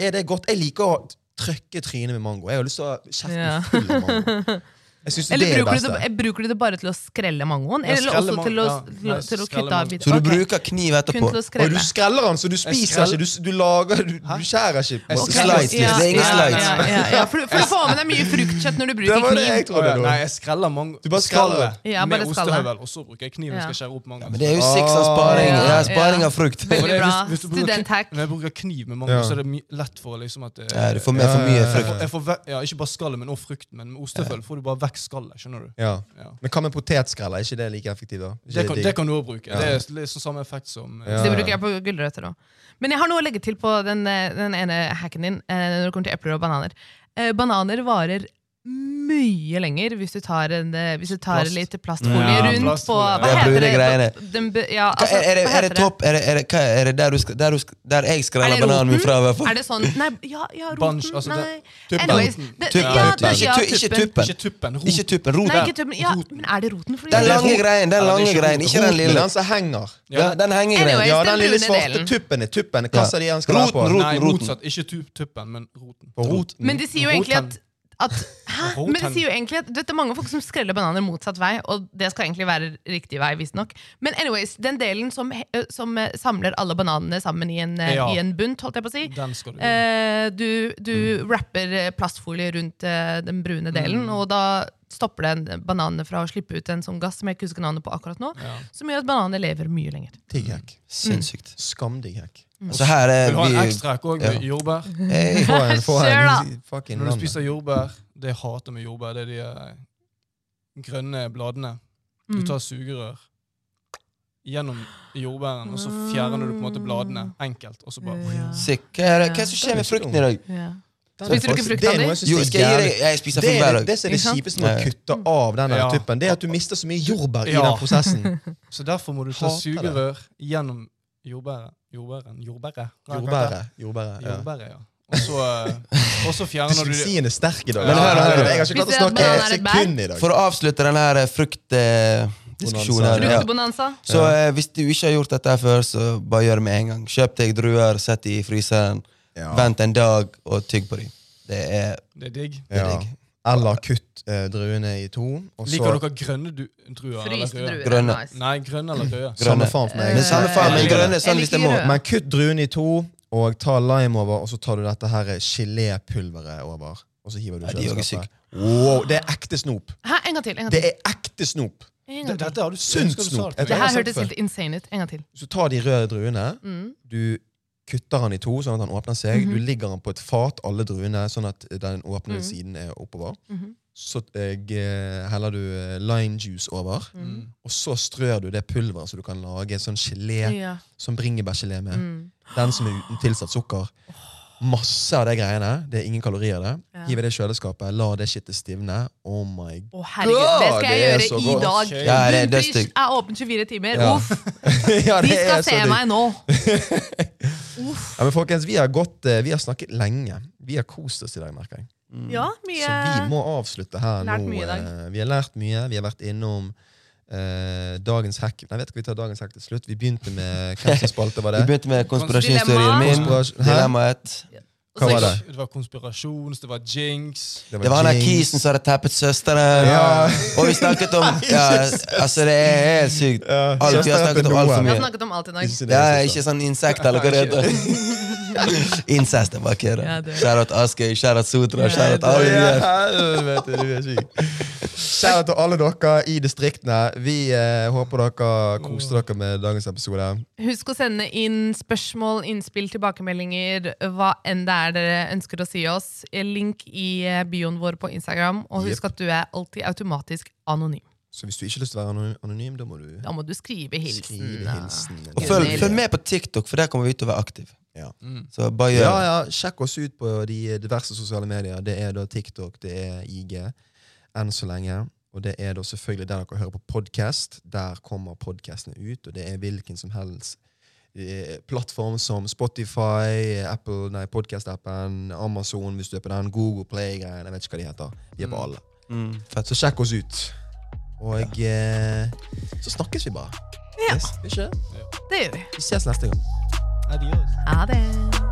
B: Er det godt? Jeg liker å trykke trynet med mango. Jeg har lyst til å ha
A: Ja.
B: kjeften full av mango. Jeg synes det
A: Eller
B: er det
A: bruker du,
B: beste.
A: det, bruker du det bare til å skrelle mangoen?
C: Ja,
A: Eller
C: skrelle
A: også til å,
C: mango- ja,
A: til, å-
C: nei,
A: til å
C: skrelle
A: kutte av
C: mango.
A: biter?
D: Så du
A: Ok,
D: bruker kniv etterpå?
A: Kun til å
B: Og du
A: skrelle.
B: skreller den, så du spiser
C: skrell-
B: ikke. Du, s- du lager, du,
C: Hæ?
B: du skjærer ikke. på en måte.
D: Ok.
A: Ja,
D: slides, liksom. Det er ingen
A: ja,
D: slides.
A: Ja, ja, ja. For, for å få med deg mye fruktkjøtt når du
B: Det
A: bruker
B: var det jeg
A: kniv.
B: trodde. det
C: Å, ja.
B: var.
C: Nei, jeg skreller mango.
B: Du bare skreller.
C: skallet
A: Ja, bare
C: med
A: skallet.
C: ostehøvel, og så bruker jeg kniven
A: Ja.
C: skal skjære opp mangoen.
D: Men det er jo sikkert sånn sparing.
A: Ah.
D: Ja, sparing av frukt.
C: For
A: Veldig
C: det er-
A: bra.
C: hvis- hvis du bruker-
A: Studenthack.
C: Når jeg bruker kniv med mango,
B: Ja.
C: så er det my lett for liksom at det,
D: Ja, du får med for
B: Ja,
D: mye
B: ja, ja.
D: frukt.
C: Jeg får vekk- ja, Ikke bare skallet, men også frukten. Men med ostehøvel får du bare vekk skallet. skjønner du?
B: Ja.
C: Ja.
B: Men hva med potetsskreller? Er ikke det like effektivt? da? Er ikke
C: Det, kan, det
B: digg?
C: kan du òg bruke.
B: Ja.
C: Det er litt sånn samme effekt som
B: Ja.
A: Det bruker jeg på gulrøtter òg. Men jeg har noe å legge til på den, eh, den ene hacken din eh, når det kommer til epler og bananer. Eh, Bananer varer mye lenger hvis du tar, en, eh, hvis du tar
C: Plast.
A: litt
C: Ja,
A: plastfolie rundt på
C: plastfolie.
A: Hva
D: Det er
A: heter
D: brune
A: det?
D: greiene.
A: Den bu- ja,
D: Hva,
A: altså,
D: er, er, det,
A: hva
D: er det
A: heter
D: topp? Er det, er det, hva, er det der, du skal, der, du skal, der jeg
A: Er det
D: skreller bananen min
A: roten?
D: fra, i hvert fall?
A: Er det sånn Nei, ja, ja roten.
C: Bunch, altså det-
A: nei.
B: Tuppen.
A: Anyways, det,
D: Tuppen.
A: ja, det,
D: Ikke
A: ja,
D: tu- ikke
A: tuppen.
D: tuppen.
C: Ikke tuppen. Rot.
D: Ikke tuppen. Rot.
A: Nei, ikke tuppen. Ja, men er det roten? Fordi-
D: Den lange greien, den
C: Ja, det er
D: lange
C: ikke
D: greien, ikke den
B: Roten er
D: lille.
B: den som henger.
D: Ja, den henger
A: Anyway.
D: greien.
B: Ja,
A: den
B: den lille
A: brune
B: svarte
A: delen.
B: tuppen er tuppen. Hva
D: Ja.
B: sa de han skreller på?
D: Roten, roten.
C: Nei, motsatt. Ikke tu tuppen, men roten.
B: På roten.
A: Men de sier jo egentlig at,
C: Roten.
A: at Hæ?
C: Roten.
A: Ah, Men de sier jo egentlig at du vet, Det er mange folk som skreller bananer motsatt vei, og det skal egentlig være riktig vei, visstnok. Men anyways, den delen som, he- ø, som eh, samler alle bananene sammen i en, eh,
C: Ja.
A: i en bunt, holdt jeg på å si
C: Den skal du
A: eh, Du, du
C: Mm.
A: wrapper eh, plastfolie rundt eh, den brune delen, og da stopper den bananene fra å slippe ut en sånn gass som jeg ikke husker navnet på akkurat nå,
C: Ja.
A: som gjør at bananer lever mye lenger.
B: Digg hack.
A: Mm.
D: Sinnssykt.
B: Skamdigg hack.
D: Så her er
C: Vil du ha en
D: vi
C: ekstra hack òg, med jordbær?
D: Hey.
B: Få en, få
A: Kjør da.
B: en fucking
C: Når du
B: navn.
C: spiser jordbær Det jeg hater med jordbær, det er de eh, grønne bladene. Du
A: Mm.
C: tar sugerør gjennom jordbæren, og så fjerner du på en måte bladene enkelt. Og så bare
A: Ja.
D: Sick. Hva er det hva er det som skjer med frukten i dag?
A: Ja. Spiser
B: Den er
A: du ikke
B: faktisk-
A: frukt
B: det er
A: av de?
B: noe jeg synes
D: Jo,
B: er
D: skal jeg gi
B: jævlig-
D: deg Jeg spiser
B: Det
D: frukt
B: er
D: hver
B: det,
D: dag.
B: det som er det
A: Ikke sant?
B: kjipeste med å
D: Nei.
B: kutte av den der
C: Ja.
B: tuppen, det er at du mister så mye jordbær i
C: Ja.
B: den prosessen.
C: Så derfor må du ta
B: Hater det.
C: sugerør gjennom jordbæret. Jordbæren? Jordbæret?
B: Jordbæret. jordbæret ja.
C: Jordbæret, ja. Og så, eh, og så fjerner du det.
B: Dysleksien er sterk i dag.
C: Men hør, hør, hør.
B: Jeg har ikke klart å
A: Hvis det er
B: snakke
A: banan,
B: et
A: er det
B: sekund i dag.
D: For å avslutte eh, denne fruktdiskusjonen her. Ja.
A: Fruktbonanza.
D: Så eh, hvis du ikke har gjort dette her før, så bare gjør det med en gang. Kjøp deg druer, sett de i fryseren,
B: Ja.
D: vent en dag og tygg på de. Det er
C: Det er digg.
B: Ja.
D: digg.
B: Eller kutt eh, druene i to. Og så
C: Liker dere grønne du druer? eller
A: Fryste
C: røde?
A: druer.
D: Grønne.
A: er Nice.
C: Nei, grønne eller røde.
B: Samme
D: grønne.
B: faen for meg.
D: Men samme faen, men
A: Eh,
D: grønne sånn- er sånn
A: jeg
D: hvis det
A: liker
D: må.
A: rød.
B: Men kutt druene i to, og ta lime over, og så tar du dette her gelépulveret over. Og så hiver du
D: Ja, de er jo ikke syke.
B: kjøleskapet. Wow, det er ekte snop.
A: Hæ, en gang til. En gang
B: Det
A: til.
B: er ekte snop.
A: En
C: Det-
A: gang til.
C: Dette har du
B: Sunt
C: skal du
B: snop.
C: sa til
B: Dette
A: Det
C: meg.
B: har
A: her
B: jeg
A: hørtes
B: sagt
A: helt insane ut. En gang til.
B: Så tar de røde druene,
A: Mm.
B: du kutter han i to, sånn at han åpner seg.
A: Mhm.
B: Du ligger han på et fat, alle druene, sånn at den åpne
A: Mhm.
B: siden er oppover.
A: Mhm.
B: Så eh, g- heller du eh, lime juice over,
A: Mhm.
C: Mm.
B: og så strør du det pulveret så du kan lage en sånn gelé,
A: Ja.
B: som bringebærgelé med.
A: Mm.
B: Den som er uten tilsatt sukker. Masse av de greiene. Det er ingen kalorier i det.
A: Ja.
B: Hiv i det i kjøleskapet, la det shitet stivne. Oh my god.
A: Å, herregud, det skal jeg
B: Det er
A: gjøre
B: så
A: i
B: godt.
A: dag.
C: Ja,
D: det er
A: Bunnpris
D: stygt.
A: er åpen 24 timer.
B: Ja.
A: Uff,
B: ja,
A: de
B: det
A: skal
B: er så
A: se
B: digg.
A: meg nå!
B: Ja, men folkens, vi har, gått, eh, vi har snakket lenge. Vi har kost oss i dag, merker jeg.
A: Ja,
B: Mm. Så vi
A: mye
B: må avslutte her
A: Lært
B: nå.
A: mye i dag.
B: eh, Vi har lært mye. Vi har vært innom eh, dagens hack. Nei, vet ikke, vi tar dagens hack til slutt. Vi begynte med hvem som spalte, var
D: Vi
B: det?
D: begynte med konspirasjonsteorien min.
B: Konspirasjon- Hæ?
D: Dilemmaet.
B: Hva var det?
C: Det var konspirasjons, det var jinx.
D: Det var han der
B: Jinx.
D: kisen som hadde tappet søsteren.
B: Ja.
D: Og vi snakket om ja, Altså, det er helt sykt.
B: Ja,
D: Alt vi har
B: søsteren
D: snakket
B: til
D: om alt for
A: Vi har
B: Noah.
D: mye.
A: snakket om alt i dag.
B: Ikke sin
D: Ja,
B: egen søster.
D: ikke sånn insekt eller hva det heter. Incest, jeg bare
A: Ja,
D: kødder.
A: det-
D: Shoutout Askøy, shoutout Sotra, shoutout
B: Å,
D: alle de
B: ja,
D: der.
B: helvete, du er syk. Kjære til alle dere i distriktene. Vi eh, håper dere koste dere med dagens episode.
A: Husk å sende inn spørsmål, innspill, tilbakemeldinger, hva enn det er dere ønsker å si oss. Link i eh, bioen vår på Instagram. Og husk
B: Jep.
A: at du er alltid automatisk anonym.
B: Så hvis du ikke har lyst til å være anony- anonym, da må du
A: Da må du skrive hilsen.
B: skrive hilsen.
D: Og følg, følg med på TikTok, for der kommer vi til å være aktive.
B: Ja.
C: Mm.
D: Så bare gjør
B: Ja,
D: det.
B: ja, Sjekk oss ut på de diverse sosiale medier. Det er da TikTok, det er IG enn så lenge. Og det er da selvfølgelig der dere hører på podkast. Der kommer podkastene ut, og det er hvilken som helst eh, plattform som Spotify, Apple, nei, podcast-appen, Amazon, hvis du er på den, Google Play-greiene, jeg vet ikke hva de heter. De er på alle.
D: Mm, fett.
B: Så sjekk oss ut. Og eh, så snakkes vi bare.
A: Ja.
B: Yes, vi, ikke?
A: Det gjør vi.
B: vi ses neste gang.
C: Adios.
A: Ha det.